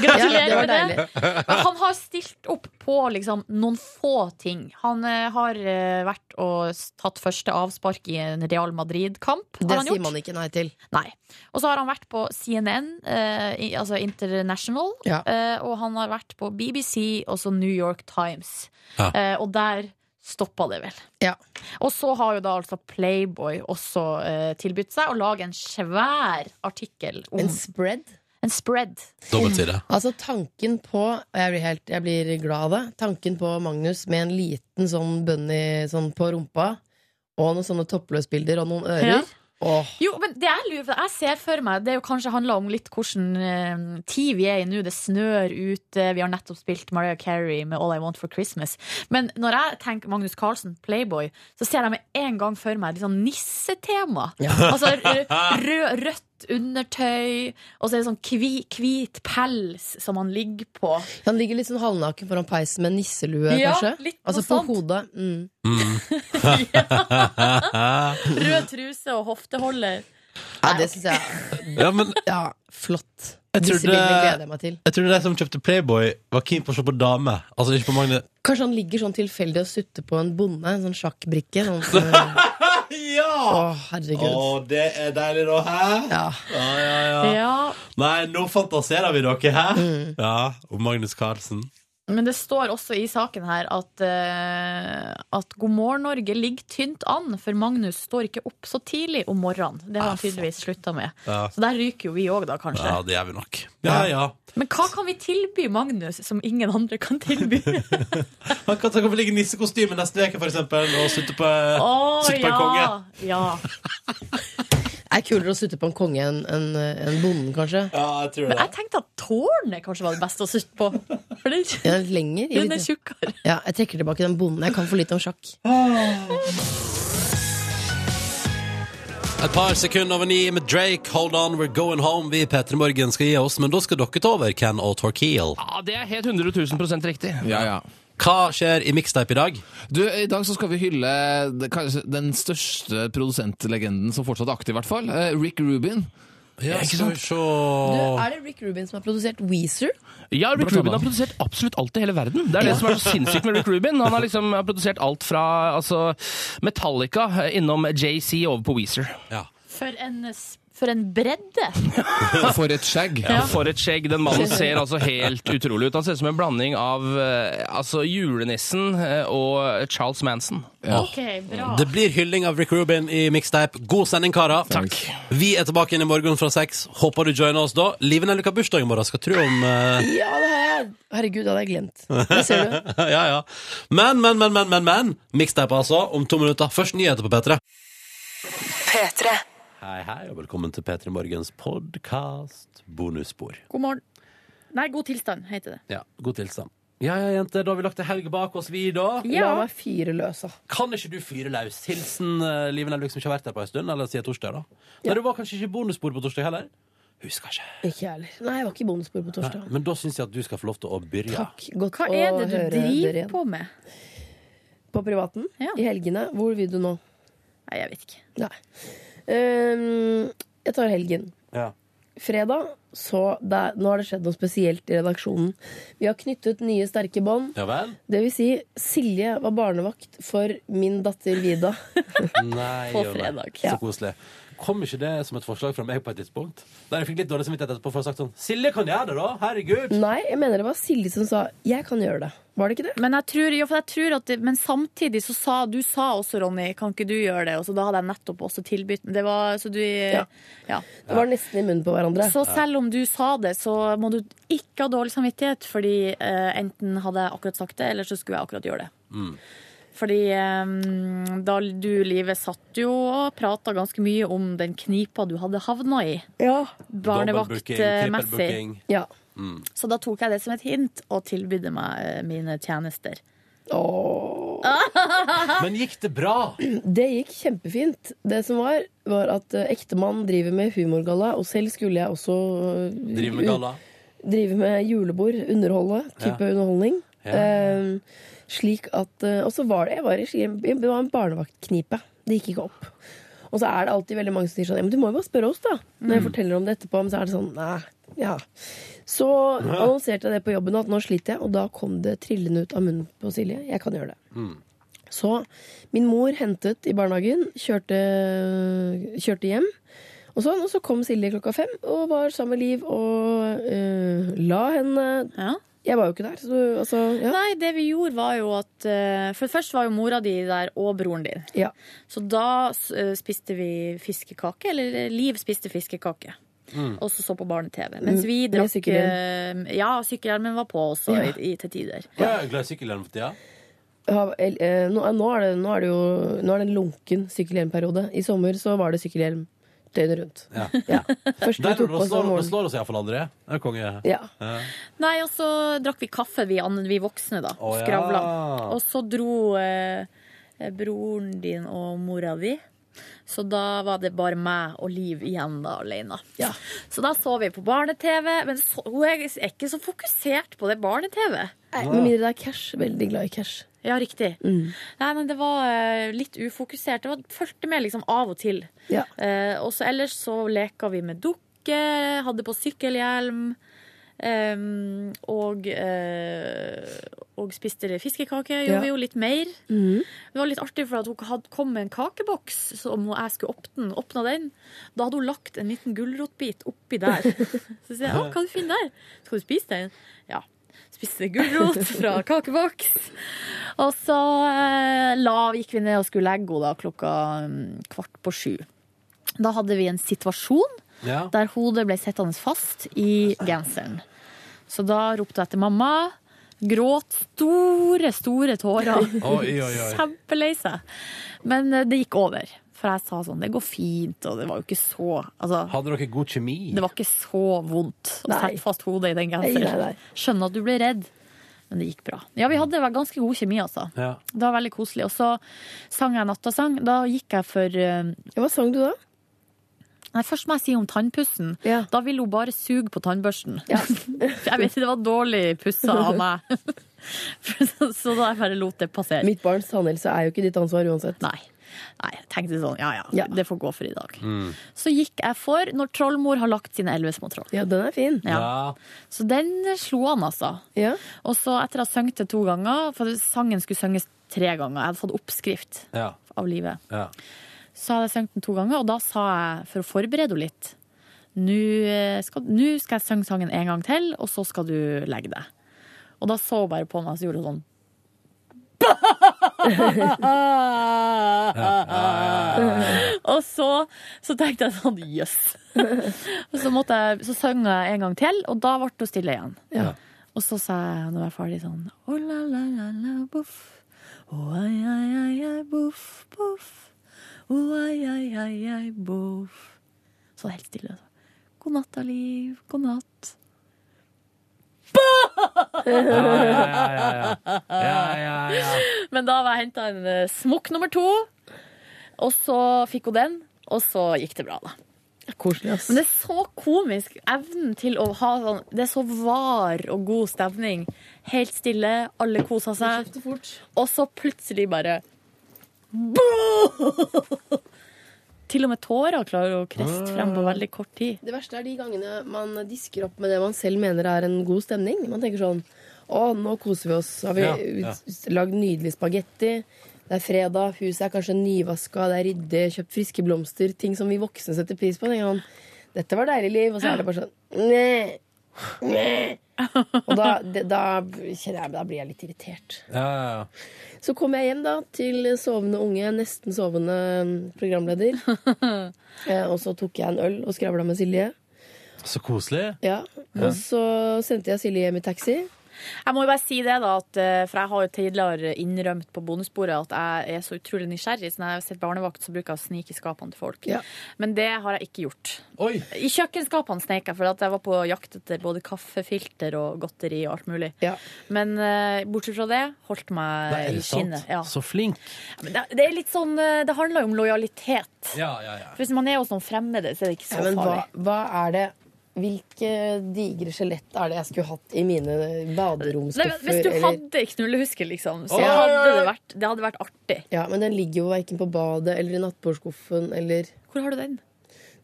Speaker 3: Ja,
Speaker 4: Gratulerer
Speaker 3: det var
Speaker 4: med det. Men han har stilt opp på liksom, noen få ting. Han eh, har eh, vært og s- tatt første avspark i en Real Madrid-kamp.
Speaker 3: Det
Speaker 4: har han
Speaker 3: sier
Speaker 4: gjort.
Speaker 3: man ikke nei til.
Speaker 4: Nei. Og så har han vært på CNN, eh, i- altså International,
Speaker 3: Ja.
Speaker 4: eh, og han har vært på BBC og så New York Times.
Speaker 2: Ja.
Speaker 4: Eh, og der stoppa det vel.
Speaker 3: Ja.
Speaker 4: Og så har jo da altså Playboy også eh, tilbudt seg å lage en svær artikkel om
Speaker 3: En
Speaker 4: en,
Speaker 3: spread.
Speaker 4: spread.
Speaker 2: Dobbeltside.
Speaker 3: Altså tanken på og Jeg blir helt, jeg blir glad av det. Tanken på Magnus med en liten sånn bunny sånn på rumpa, og noen sånne toppløsbilder og noen ører.
Speaker 4: Ja.
Speaker 3: Åh,
Speaker 4: Jo, men det jeg lurer på, jeg ser for meg Det er jo kanskje handler om litt hvordan eh, tid vi er i nå. Det snør ute. Vi har nettopp spilt Mariah Carey med All I Want for Christmas. Men når jeg tenker Magnus Carlsen, Playboy, så ser jeg med en gang for meg litt sånn nissetema. Altså r- rød, rødt undertøy, og så er det sånn kvi, hvit pels som han ligger på.
Speaker 3: Han ligger litt sånn halvnaken foran peisen med nisselue,
Speaker 4: Ja,
Speaker 3: kanskje?
Speaker 4: litt noe
Speaker 3: Altså på
Speaker 4: sånt.
Speaker 3: hodet. Mm.
Speaker 4: Rød truse og hofteholder.
Speaker 3: Ja, det syns jeg
Speaker 2: Ja, men
Speaker 3: Ja, flott.
Speaker 2: Jeg
Speaker 3: Disse
Speaker 2: trodde-
Speaker 3: bildene gleder jeg meg til.
Speaker 2: jeg trodde de som kjøpte Playboy, var keen på å se på dame. Altså ikke på Magne.
Speaker 3: Kanskje han ligger sånn tilfeldig og sutter på en bonde, en sånn sjakkbrikke. Sånn, som-
Speaker 2: Ja!
Speaker 3: å, herregud. ass.
Speaker 2: det er deilig, da. Hæ?
Speaker 3: Ja.
Speaker 2: Ja, ja, ja.
Speaker 4: Ja,
Speaker 2: Nei, nå fantaserer vi dere, hæ? Ja, om Magnus Carlsen.
Speaker 4: Men det står også i saken her at, eh, at God morgen Norge ligger tynt an, for Magnus står ikke opp så tidlig om morgenen. Det har han tydeligvis slutta med.
Speaker 2: Ah, Ja.
Speaker 4: Så der ryker jo vi òg, da, kanskje.
Speaker 2: Ja, det gjør vi nok. Ja, ja.
Speaker 4: Men hva kan vi tilby Magnus som ingen andre kan tilby?
Speaker 2: Han kan ta på ligge i nissekostyme neste uke, for eksempel, og slutte på,
Speaker 4: Å
Speaker 2: slutte på en konge.
Speaker 4: ja! ja.
Speaker 3: Er kulere å sutte på en konge enn en, eh, en bonden, kanskje?
Speaker 2: Ja, jeg tror
Speaker 4: Men jeg tenkte at tårnet kanskje var det beste å sitte på. For den,
Speaker 3: Den er lenger. i
Speaker 4: den er
Speaker 3: litt-
Speaker 4: tjukkere.
Speaker 3: Ja, jeg trekker tilbake den bonden. Jeg kan for lite om sjakk.
Speaker 2: Et par sekunder over ni med Drake, Hold On, We're Going Home. Vi i P3 Morgen skal gi oss, men da skal dere ta over, Ken og Torkil.
Speaker 11: Ja, det er helt 100 000 riktig.
Speaker 12: Ja, ja.
Speaker 2: Hva skjer i mixtape i dag?
Speaker 12: Du, I dag så skal vi hylle det- kanskje den største produsentlegenden som fortsatt er aktiv, i hvert fall. eh, Rick Rubin.
Speaker 2: Ja, skal vi se
Speaker 3: Du, er det Rick Rubin som har produsert Weezer?
Speaker 11: Ja, Rick
Speaker 12: Blant
Speaker 11: Rubin
Speaker 12: annet.
Speaker 11: har produsert absolutt alt i hele verden. Det er det som er så sinnssykt med Rick Rubin. Han har liksom har produsert alt fra altså, Metallica eh, innom JC over på Weezer.
Speaker 2: Ja.
Speaker 4: For en, s- for en bredde!
Speaker 12: For et skjegg!
Speaker 11: Ja. For et skjegg. Den mannen ser altså helt utrolig ut. Han ser ut som en blanding av eh, altså, julenissen eh, og Charles Manson.
Speaker 4: OK, bra.
Speaker 2: Det blir hylling av Rick Rubin i mixtape. God sending, karer.
Speaker 11: Takk.
Speaker 2: Vi er tilbake igjen i morgen fra seks. Håper du joiner oss da. Liven Elvik har bursdag i morgen, skal tro om eh,
Speaker 3: Ja, det har jeg. Herregud, det hadde jeg glemt. Det ser du.
Speaker 2: Ja, ja. Men, men, men, men, men, men. Mixtape, altså. Om to minutter. Først nyheter på P3. Hei, hei, og velkommen til P3 Morgens podkast bonusspor.
Speaker 4: God morgen. Nei, god tilstand, heter det.
Speaker 2: Ja, god tilstand. Ja, ja, jenter, da har vi lagt en helg bak oss, vi, da.
Speaker 3: La meg fyre løs, da.
Speaker 2: Kan ikke du fyre løs? Hilsen uh, Live Nelvik, som ikke har vært her på en stund, eller siden torsdag, da. Nei, det var kanskje ikke bonusspor på torsdag heller? Husker ikke.
Speaker 3: Ikke jeg heller. Nei, jeg var ikke i bonusbord på torsdag.
Speaker 2: Nei, men da syns jeg at du skal få lov til å begynne. Takk.
Speaker 3: Godt
Speaker 4: Hva
Speaker 3: å
Speaker 4: er det du
Speaker 3: høre
Speaker 4: driver
Speaker 3: dere igjen.
Speaker 4: på med?
Speaker 3: På privaten? I helgene? Hvor vil du nå?
Speaker 4: Nei, jeg vet ikke.
Speaker 3: Nei. Ehm, jeg tar helgen.
Speaker 2: Ja.
Speaker 3: Fredag, så der, Nå har det skjedd noe spesielt i redaksjonen. Vi har knyttet nye, sterke bånd.
Speaker 2: Ja vel?
Speaker 3: Det vil si, Silje var barnevakt for min datter Vida.
Speaker 2: Nei,
Speaker 3: På
Speaker 2: gjør meg.
Speaker 3: fredag.
Speaker 2: Så
Speaker 3: Ja.
Speaker 2: koselig. Kom ikke det som et forslag fra meg på et tidspunkt? Der jeg fikk litt dårlig samvittighet etterpå for å ha sagt sånn Silje kan gjøre det, da! Herregud!
Speaker 3: Nei, jeg mener det var Silje som sa 'jeg kan gjøre det'. Var det ikke det?
Speaker 4: Men, jeg tror, ja, for jeg tror at det, men samtidig så sa du sa også, Ronny, kan ikke du gjøre det? Og så da hadde jeg nettopp også tilbudt det. Var, så du, ja.
Speaker 3: Det var nesten i munnen på hverandre.
Speaker 4: Så selv om du sa det, så må du ikke ha dårlig samvittighet, fordi eh, enten hadde jeg akkurat sagt det, eller så skulle jeg akkurat gjøre det.
Speaker 13: Mm.
Speaker 4: Fordi eh, da du, Live, satt jo og prata ganske mye om den knipa du hadde havna i.
Speaker 3: Ja.
Speaker 2: Dobbeltbooking,
Speaker 4: eh,
Speaker 2: trippelbooking.
Speaker 4: Barnevaktmessig. Ja.
Speaker 2: Mm.
Speaker 4: Så da tok jeg det som et hint og tilbydde meg eh, mine tjenester.
Speaker 2: Men gikk det bra?
Speaker 3: Det gikk kjempefint. Det som var, var at eh, ektemann driver med humorgalla, og selv skulle jeg også eh,
Speaker 2: Driver med
Speaker 3: u-
Speaker 2: galla.
Speaker 3: Drive med julebord, underholde, type
Speaker 2: Ja.
Speaker 3: underholdning.
Speaker 2: Ja.
Speaker 3: Eh, slik at eh, Og så var det jeg var i, i- det var en barnevaktknipe. Det gikk ikke opp. Og så er det alltid veldig mange som sier sånn Ja, men du må jo bare spørre oss, da. Når
Speaker 2: Mm.
Speaker 3: jeg forteller om det etterpå. Men så er det sånn Nei. Ja. Så annonserte jeg det på jobben, at nå sliter jeg. Og da kom det trillende ut av munnen på Silje. Jeg kan gjøre det.
Speaker 2: Mm.
Speaker 3: Så min mor hentet i barnehagen, kjørte, kjørte hjem. Og, sånn, og så kom Silje klokka fem og var sammen med Liv og eh, la henne Jeg var jo ikke der, så du altså, ja.
Speaker 4: Nei, det vi gjorde var jo at eh, For først var jo mora di der og broren din.
Speaker 3: Ja.
Speaker 4: Så da eh, spiste vi fiskekake, eller eh, Liv spiste fiskekake. Og så så på barne-TV. Mens vi
Speaker 3: Mm, med
Speaker 4: drakk
Speaker 3: sykkelhjelm.
Speaker 4: eh, Ja, sykkelhjelmen var på også
Speaker 3: Ja.
Speaker 4: i, i, til tider.
Speaker 2: Ja, jeg er glad i sykkelhjelm for tida.
Speaker 3: Ja, el- eh, nå, nå, er det, nå er det jo Nå er det en lunken sykkelhjelmperiode. I sommer så var det sykkelhjelm døgnet rundt.
Speaker 2: Ja.
Speaker 3: Først
Speaker 2: Der
Speaker 3: vi tok
Speaker 2: slår,
Speaker 3: på oss om
Speaker 2: slår,
Speaker 3: morgenen.
Speaker 2: slår oss iallfall aldri. Det er konge.
Speaker 3: Ja.
Speaker 4: Nei, og så drakk vi kaffe, vi, an- vi voksne, da.
Speaker 2: Å, ja.
Speaker 4: Skravla. Og så dro eh, broren din og mora di. Så da var det bare meg og Liv igjen da, alene. Så da så vi på barne-TV. Men så, hun er er ikke så fokusert på det barne-TV.
Speaker 3: Nei,
Speaker 2: Ah.
Speaker 3: Med mindre det er cash. Veldig glad i cash.
Speaker 4: Ja, riktig.
Speaker 3: Mm.
Speaker 4: Nei, men det var eh, litt ufokusert. Det var, fulgte med liksom av og til.
Speaker 3: Ja.
Speaker 4: Eh, og så ellers så leka vi med dukker, hadde på sykkelhjelm. em, og, eh, og spiste fiskekake. Gjorde
Speaker 13: Ja.
Speaker 4: vi jo litt mer.
Speaker 3: Mm.
Speaker 4: Det var litt artig, for at hun hadde kom med en kakeboks som hun- jeg skulle åpne. åpna den. Da hadde hun lagt en liten gulrotbit oppi der. Så sier jeg 'Å, hva du finner der?' 'Skal du spise den?' Ja. Spiste gulrot fra kakeboks. Og så eh, la, gikk vi ned og skulle legge henne da klokka mm, kvart på sju. Da hadde vi en situasjon
Speaker 13: Ja.
Speaker 4: der hodet ble sittende fast i genseren. Så da ropte jeg etter mamma. Gråt store, store tårer.
Speaker 13: Oi, oi, oi.
Speaker 4: Kjempelei seg. Men eh, det gikk over. For jeg sa sånn, det går fint, og det var jo ikke så altså,
Speaker 2: Hadde dere god kjemi?
Speaker 4: det var ikke så vondt å
Speaker 2: Nei.
Speaker 4: sette fast hodet i den
Speaker 2: Nei, nei, nei.
Speaker 4: genseren. Skjønner at du ble redd, men det gikk bra. Ja, vi hadde vel ganske god kjemi, altså.
Speaker 2: Ja.
Speaker 4: Det var veldig koselig. Og så sang jeg nattasang. Da gikk jeg for
Speaker 3: Hva sang du da?
Speaker 4: Nei, Først må jeg si om tannpussen. Da ville hun bare suge på tannbørsten. jeg vet ikke, det var dårlig pussa av meg. så, så da jeg bare lot det passere.
Speaker 3: Mitt barns tannhelse er jo ikke ditt ansvar uansett.
Speaker 4: Nei. Nei, jeg tenkte sånn, ja, ja det får gå for i dag.
Speaker 13: Mm.
Speaker 4: Så gikk jeg for Når trollmor har lagt sine elleve små troll.
Speaker 3: Ja, den er fin.
Speaker 13: Ja.
Speaker 4: Så den slo han, altså. Og så etter å ha sunget det to ganger, for sangen skulle synges tre ganger, jeg hadde fått oppskrift
Speaker 2: Ja.
Speaker 4: av livet,
Speaker 2: Ja.
Speaker 4: så hadde jeg sunget den to ganger, og da sa jeg, for å forberede henne litt, nå eh, skal, nå skal jeg synge sangen en gang til, og så skal du legge deg. Og da så hun bare på meg, og så gjorde hun sånn. Og så, så tenkte jeg sånn, jøss. Og så, måtte jeg- så sang jeg en gang til, og da ble hun stille igjen. Og så sa jeg når jeg var ferdig sånn «Å, la, la, la, la, boff. Å, ai, ai, ai, ai, boff, boff. Å, ai, ai, ai, ai, boff. Så det er helt stille. Så. God natt, da, Liv. God natt. Men da var jeg henta en eh, smokk nummer to, og så fikk hun den, og så gikk det bra, da.
Speaker 3: Koselig, ass.
Speaker 4: Men det er så komisk. Evnen til å ha sånn Det er så var og god stemning. Helt stille, alle koser seg. Og så plutselig bare Boom! Ah. Til og med tårer klarer å kreste frem på veldig kort tid.
Speaker 3: Det verste er de gangene man disker opp med det man selv mener er en god stemning. Man tenker sånn Å, nå koser vi oss. Har vi
Speaker 4: Ja, ja.
Speaker 3: ut- s- lagd nydelig spagetti? Det er fredag, huset er kanskje nyvaska, det er ryddig, kjøpt friske blomster. Ting som vi voksne setter pris på. Tenker man, Dette var deilig liv. Og så er det bare sånn Nei. Nei. Og da, det, da, kjenner jeg, da blir jeg litt irritert.
Speaker 2: Ja, ja, ja.
Speaker 3: Så kom jeg hjem da til sovende unge, nesten sovende mm, programleder. Eh, og så tok jeg en øl og skravla med Silje.
Speaker 2: Så koselig.
Speaker 3: Ja.
Speaker 2: Ja.
Speaker 3: Og så sendte jeg Silje hjem i taxi.
Speaker 4: Jeg må jo bare si det, da, at, eh, for jeg har jo tidligere innrømt på bonussporet at jeg er så utrolig nysgjerrig. Så når jeg har sett barnevakt, så bruker jeg å snike i skapene til folk. Men det har jeg ikke gjort. I kjøkkenskapene snek jeg, for at jeg var på jakt etter både kaffefilter og godteri og alt mulig. Men eh, bortsett fra det, holdt meg
Speaker 2: Nei, er
Speaker 4: Eh, i
Speaker 2: det sant?
Speaker 4: skinnet. Ja.
Speaker 2: Så flink.
Speaker 4: Men det, det er litt sånn eh, Det handler jo om lojalitet.
Speaker 2: Ja, ja, ja.
Speaker 4: For hvis man er hos noen fremmede, så er det ikke så
Speaker 3: Ja, men hva,
Speaker 4: farlig.
Speaker 3: hva er det Hvilke digre skjelett er det jeg skulle hatt i mine
Speaker 4: Nei, men
Speaker 3: baderomsskuffer?
Speaker 4: hvis du
Speaker 3: eller-
Speaker 4: hadde ei knullehuske, liksom, så
Speaker 3: Oi, oi,
Speaker 4: hadde
Speaker 3: oi.
Speaker 4: det vært, det hadde vært artig.
Speaker 3: Ja, men den ligger jo verken på badet eller i nattbordskuffen eller
Speaker 4: Hvor har du den?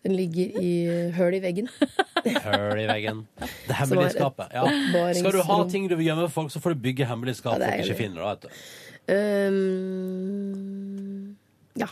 Speaker 3: Den ligger i høl i veggen.
Speaker 2: Høl i veggen. Det
Speaker 3: Så var det
Speaker 2: hemmelige skapet. Ja.
Speaker 3: oppbaringsrom.
Speaker 2: Skal du ha ting du vil gjemme for folk, så får du bygge hemmelig skap
Speaker 3: Ja, det er
Speaker 2: folk ikke
Speaker 3: enig.
Speaker 2: finner. Da, vet du.
Speaker 3: Ehm, ja.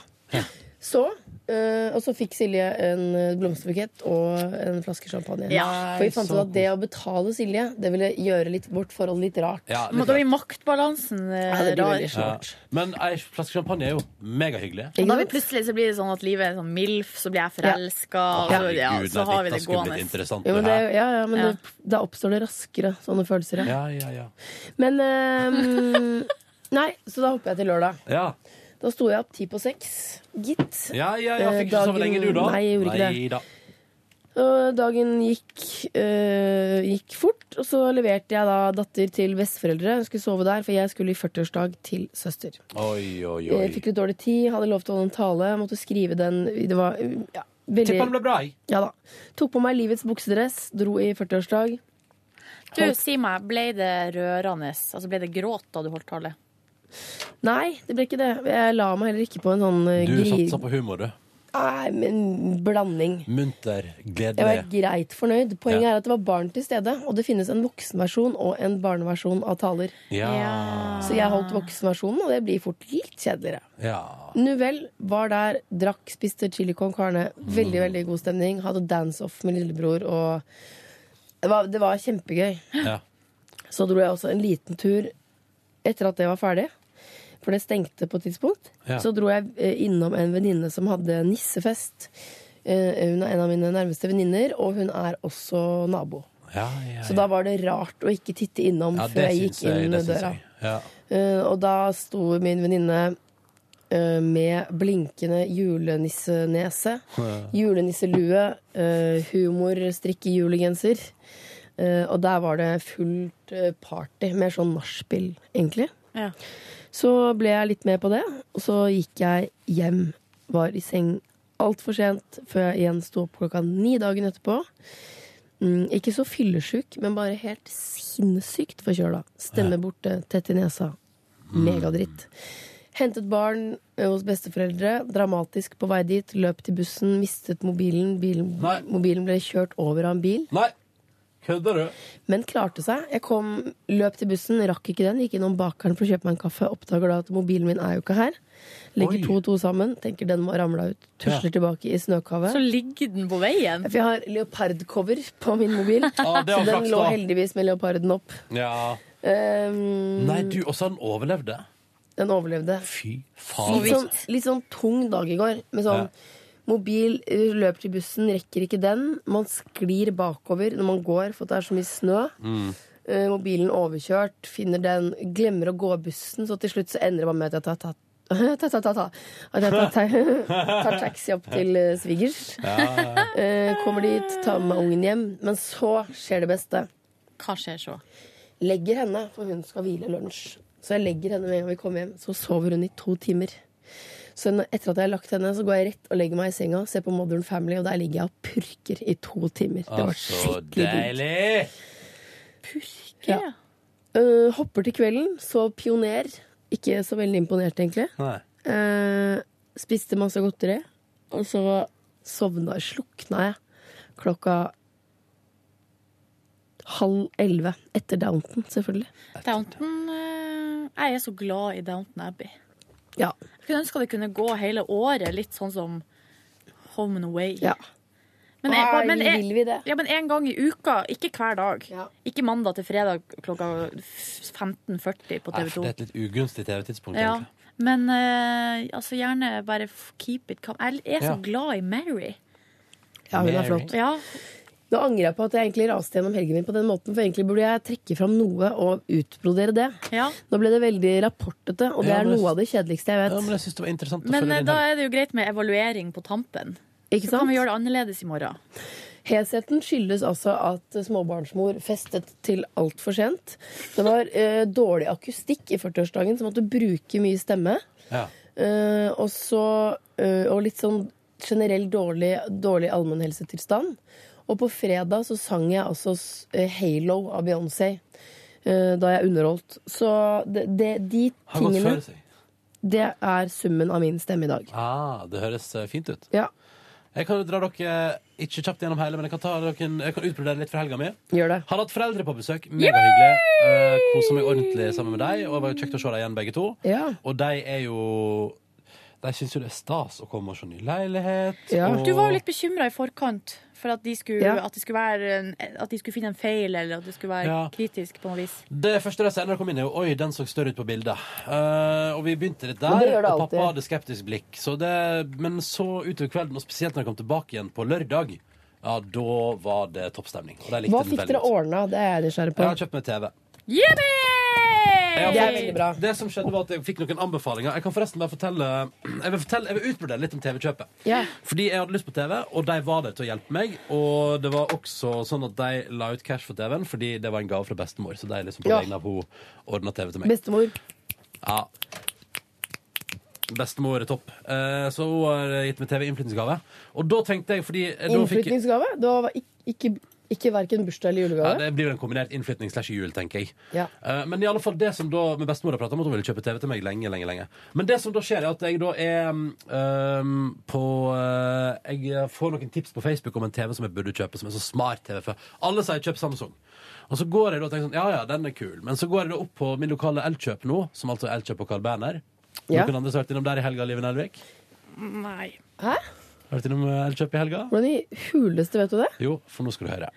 Speaker 3: Så eh, Og så fikk Silje en eh, blomsterbukett og en flaske champagne.
Speaker 4: Ja,
Speaker 3: For vi fant
Speaker 4: så
Speaker 3: ut at det å betale Silje, det ville gjøre litt, vårt forhold litt rart.
Speaker 2: Ja, litt
Speaker 4: Men Da blir maktbalansen eh,
Speaker 3: Ja, det blir
Speaker 4: rar.
Speaker 3: veldig
Speaker 2: Ja. Men ei flaske champagne er jo megahyggelig.
Speaker 4: Og da blir plutselig så blir det sånn at livet er sånn MILF, så blir jeg forelska, og så, ja,
Speaker 2: Herregud,
Speaker 4: så
Speaker 2: nei,
Speaker 4: har vi
Speaker 2: dette
Speaker 4: det
Speaker 2: skulle blitt
Speaker 4: gående.
Speaker 2: interessant,
Speaker 3: Jo, men det,
Speaker 2: her.
Speaker 3: ja, ja, men
Speaker 4: Ja.
Speaker 3: Det, da oppstår det raskere sånne følelser.
Speaker 2: Ja, ja, ja.
Speaker 3: Men ehm, Nei, så da hopper jeg til lørdag.
Speaker 2: Ja,
Speaker 3: Da sto jeg opp ti på seks, gitt.
Speaker 2: ja, ja, ja.
Speaker 3: Eh,
Speaker 2: Fikk ikke sove
Speaker 3: dagen-
Speaker 2: lenge, du, da?
Speaker 3: Nei, jeg gjorde ikke det.
Speaker 2: Nei, da.
Speaker 3: Og dagen gikk, eh, gikk fort, og så leverte jeg da datter til besteforeldre. Hun skulle sove der, for jeg skulle i 40-årsdag til søster.
Speaker 2: Oi, oi, oi.
Speaker 3: Jeg fikk litt dårlig tid, hadde lov til å holde en tale, måtte skrive den. Det var mm, ja, veldig
Speaker 2: Tipper den ble bra, jeg.
Speaker 3: Ja da. Tok på meg livets buksedress, dro i 40-årsdag.
Speaker 4: Du, si meg, ble det rørende? Altså, ble det gråt da du holdt tale?
Speaker 3: Nei, det ble ikke det. Jeg la meg heller ikke på en sånn eh,
Speaker 2: Du
Speaker 3: gri...
Speaker 2: satsa på humor, du.
Speaker 3: Nei, men blanding.
Speaker 2: Munter,
Speaker 3: Jeg var
Speaker 2: gledelig.
Speaker 3: greit fornøyd. Poenget
Speaker 2: Ja.
Speaker 3: er at det var barn til stede, og det finnes en voksenversjon og en barneversjon av taler.
Speaker 4: Ah.
Speaker 2: Ja.
Speaker 3: Så jeg holdt voksenversjonen, og det blir fort litt kjedeligere.
Speaker 2: Ja.
Speaker 3: Nuvel var der, drakk, spiste chili con carne. Veldig veldig god stemning. Hadde dance-off med lillebror. Og det var, det var kjempegøy.
Speaker 2: ja.
Speaker 3: Så dro jeg også en liten tur etter at det var ferdig. For det stengte på et tidspunkt.
Speaker 13: Ja.
Speaker 3: Så dro jeg eh, innom en venninne som hadde nissefest. Eh, Hun er en av mine nærmeste venninner, og hun er også nabo.
Speaker 2: Ja, ja,
Speaker 3: Så da var det rart å ikke titte innom
Speaker 2: ja,
Speaker 3: før
Speaker 2: det
Speaker 3: jeg
Speaker 2: syns
Speaker 3: gikk inn
Speaker 2: jeg. Det syns
Speaker 3: døra.
Speaker 2: jeg. Ja.
Speaker 3: Eh, og da sto min venninne eh, med blinkende julenissenese,
Speaker 2: Ja.
Speaker 3: julenisselue, eh, humor, strikke julegenser. Eh, og der var det fullt eh, party, mer sånn nachspiel, egentlig.
Speaker 4: Ja.
Speaker 3: Så ble jeg litt med på det, og så gikk jeg hjem. Var i seng altfor sent før jeg igjen sto opp klokka ni dagen etterpå. Mm, ikke så fyllesjuk, men bare helt sinnssykt forkjøla. Stemme borte, tett i nesa. Megadritt. Hentet barn eh, hos besteforeldre. Dramatisk på vei dit. Løp til bussen, mistet mobilen. Bilen, mobilen ble kjørt over av en bil.
Speaker 2: Nei, kødder du?
Speaker 3: Men klarte seg. Jeg kom, løp til bussen, rakk ikke den. Gikk innom bakeren for å kjøpe meg en kaffe. Oppdager da at mobilen min er jo ikke her. Legger
Speaker 4: Oi.
Speaker 3: to og to sammen. Tenker den må ha ramla ut. Tusler tilbake i snøkavet.
Speaker 4: Så ligger den på veien.
Speaker 3: For jeg har leopardcover på min mobil.
Speaker 2: Ah, det var
Speaker 3: så den
Speaker 2: flaks,
Speaker 3: lå
Speaker 2: da.
Speaker 3: heldigvis med leoparden opp.
Speaker 2: Ja.
Speaker 3: Ehm,
Speaker 2: Nei, du, også han overlevde.
Speaker 3: Den overlevde.
Speaker 2: Fy faen.
Speaker 3: Litt sånn, litt sånn tung dag i går. Med sånn
Speaker 2: Ja.
Speaker 3: mobil, eh, løper til bussen, rekker ikke den. Man sklir bakover når man går, for det er så mye snø.
Speaker 13: Mm.
Speaker 3: Eh, mobilen overkjørt, finner den, glemmer å gå av bussen, så til slutt så ender det bare med at jeg tar, tar, ta, ta, ta, ta. At jeg tar, ta- tar taxi opp til eh, svigers.
Speaker 13: Ja, ja, ja.
Speaker 3: Eh, Kommer dit, tar med meg ungen hjem. Men så skjer det beste.
Speaker 4: Hva skjer så?
Speaker 3: Legger henne, for hun skal hvile lunsj. Så jeg legger henne med en gang vi kommer hjem. Så sover hun i to timer. Så når- etter at jeg har lagt henne, så går jeg rett og legger meg i senga, ser på Modern Family, og der ligger jeg og purker i to timer. Det var
Speaker 2: Så
Speaker 3: skikkelig digg.
Speaker 2: Altså, deilig!
Speaker 3: Ja. Eh, hopper til kvelden, så pioner. Ikke så veldig imponert, egentlig.
Speaker 2: Nei.
Speaker 3: Eh, spiste masse godteri, og så sovna Slukna jeg klokka halv elleve. Etter Downton, selvfølgelig.
Speaker 4: Downton eh, Jeg er så glad i Downton Abbey.
Speaker 3: Ja.
Speaker 4: Jeg kunne ønske det kunne gå hele året, litt sånn som Home and Away.
Speaker 3: Ja.
Speaker 4: Men,
Speaker 3: Nei,
Speaker 4: jeg, men, jeg,
Speaker 3: vil vi det?
Speaker 4: Ja, men en gang i uka, ikke hver dag. Ikke mandag til fredag klokka f- 15.40 på
Speaker 2: Nei,
Speaker 4: TV
Speaker 2: for
Speaker 4: 2.
Speaker 2: det er et litt ugunstig TV-tidspunkt,
Speaker 4: Ja.
Speaker 2: egentlig.
Speaker 4: Men eh, altså, gjerne bare f- keep it calm. Jeg er så
Speaker 2: Ja.
Speaker 4: glad i Mary.
Speaker 3: Ja, hun er flott. Nå angrer jeg på at jeg egentlig raste gjennom helgen min på den måten, for egentlig burde jeg trekke fram noe og utbrodere det. Nå ble det veldig rapportete, og det
Speaker 2: Ja,
Speaker 3: er
Speaker 2: men jeg-
Speaker 3: noe av det kjedeligste jeg vet.
Speaker 2: Ja, men jeg syns det var interessant å
Speaker 4: Men
Speaker 2: følge
Speaker 4: eh,
Speaker 2: din
Speaker 4: da
Speaker 2: helg.
Speaker 4: er det jo greit med evaluering på tampen.
Speaker 3: Ikke
Speaker 4: Så
Speaker 3: sant?
Speaker 4: kan vi gjøre det annerledes i morgen.
Speaker 3: Hesheten skyldes altså at småbarnsmor festet til altfor sent. Det var eh, dårlig akustikk i 40-årsdagen, så måtte bruke mye stemme.
Speaker 2: Ja.
Speaker 3: Eh, og så eh, Og litt sånn generell dårlig, dårlig allmennhelsetilstand. Og på fredag så sang jeg altså s- eh, Halo av Beyoncé eh, da jeg underholdt. Så det, det, de
Speaker 2: Har gått
Speaker 3: tingene
Speaker 2: før seg.
Speaker 3: Det er summen av min stemme i dag.
Speaker 2: Ah, det høres eh, fint ut.
Speaker 3: Ja.
Speaker 2: Jeg kan jo dra dere eh, ikke kjapt gjennom hele, men jeg kan, ta dere, en- jeg kan utbrodere litt fra helga mi.
Speaker 3: Gjør det.
Speaker 2: Har hatt foreldre på besøk. Megahyggelig. Uh, Kosa meg ordentlig sammen med dem. Og det var kjekt å se dem igjen, begge to.
Speaker 3: Ja.
Speaker 2: Og de er jo De syns jo det er stas å komme og se ny leilighet. Og...
Speaker 4: Du var jo litt bekymra i forkant for at de, skulle,
Speaker 2: Ja.
Speaker 4: at, det skulle være en, at de skulle finne en feil, eller at det skulle være
Speaker 2: Ja.
Speaker 4: kritisk på noe vis.
Speaker 2: Det første de sier når de kom inn, er jo 'oi, den så større ut på bildet'. Eh, og vi begynte litt der,
Speaker 3: Men det gjør det
Speaker 2: og pappa
Speaker 3: alltid.
Speaker 2: hadde skeptisk blikk. Så det, men så utover kvelden, og spesielt når jeg kom tilbake igjen på lørdag, ja, da var det toppstemning. Og de likte
Speaker 3: Hva
Speaker 2: den
Speaker 3: fikk
Speaker 2: veldig
Speaker 3: dere ordna? Det er jeg nysgjerrig
Speaker 2: godt. Jeg
Speaker 3: på.
Speaker 2: har kjøpt meg TV.
Speaker 4: Yippee!
Speaker 2: Jeg har fått- Det som skjedde var at jeg fikk noen anbefalinger. Jeg kan forresten bare fortelle Jeg vil, fortelle, jeg vil utbrodere litt om TV-kjøpet. Fordi jeg hadde lyst på TV, og de var der til å hjelpe meg. Og det var også sånn at de la ut cash for TV-en, fordi det var en gave fra bestemor. Så de liksom på
Speaker 3: Ja.
Speaker 2: vegne av henne ordna TV til meg.
Speaker 3: Bestemor.
Speaker 2: Ja. Bestemor er topp. Eh, så hun har gitt meg TV innflytningsgave. Og da tenkte jeg, fordi eh, da fikk jeg-
Speaker 3: Innflytningsgave? Det var ikke, ikke, ikke verken bursdag eller
Speaker 2: ja,
Speaker 3: julegave?
Speaker 2: Det blir jo en kombinert innflytning slash jul, tenker jeg.
Speaker 3: Ja.
Speaker 2: Eh, men i alle fall det som da med bestemor har pratet om at hun ville kjøpe TV til meg lenge, lenge, lenge. Men det som da skjer, er at jeg da er ehm, på eh, Jeg får noen tips på Facebook om en TV som jeg burde kjøpe, som er så smart TV for. Alle sier kjøp Samsung. Og så går jeg da og tenker sånn, ja ja, den er kul. Men så går jeg da opp på min lokale Elkjøp nå, som altså er Elkjøp og Carl Berner.
Speaker 3: Ja.
Speaker 2: Noen andre som har vært innom der i helga, Liven Elvik?
Speaker 4: Nei.
Speaker 3: Hæ?
Speaker 2: Har du vært innom eh, Elkjøp i helga?
Speaker 3: Hvordan i huleste vet du det?
Speaker 2: Jo, for nå skal du høre.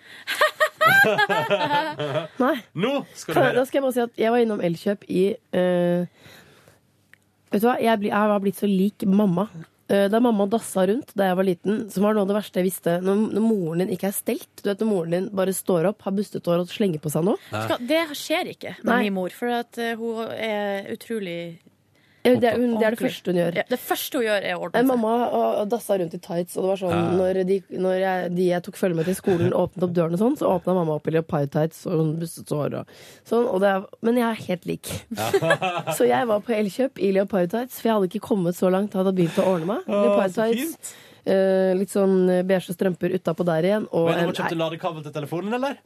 Speaker 3: Nei.
Speaker 2: Nå skal du
Speaker 3: Kan jeg- Da
Speaker 2: høre.
Speaker 3: skal jeg bare si at jeg var innom Elkjøp i eh, Vet du hva, jeg, blir- jeg har blitt så lik mamma. Eh, Da mamma dassa rundt da jeg var liten, som var noe av det verste jeg visste Når, når moren din ikke er stelt, du vet når moren din bare står opp, har bustet hår og slenger på seg noe
Speaker 4: Skal, det skjer ikke med
Speaker 3: Nei.
Speaker 4: min mor, for at eh, hun er utrolig
Speaker 3: Eh, Det, er- hun, det er det
Speaker 4: Ordentlig.
Speaker 3: første hun gjør.
Speaker 4: Ja, Det første hun gjør, er å ordne
Speaker 3: Nei,
Speaker 4: seg.
Speaker 3: Eh, mamma og- og dassa rundt i tights, og det var sånn
Speaker 4: Ja.
Speaker 3: når, de, når jeg, de jeg tok følge med til skolen, åpnet opp døren og sånn, så åpna mamma opp i leopardtights og hun bustet så hår og sånn. Og det, er- men jeg er helt lik. så jeg var på Elkjøp i leopardtights, for jeg hadde ikke kommet så langt. Jeg hadde begynt å ordne meg.
Speaker 2: Å, så
Speaker 3: Leopardtights, eh, litt sånn eh, beige strømper utapå der igjen, og
Speaker 2: Men
Speaker 3: en,
Speaker 2: har du kjøpt ladekabel til telefonen, eller?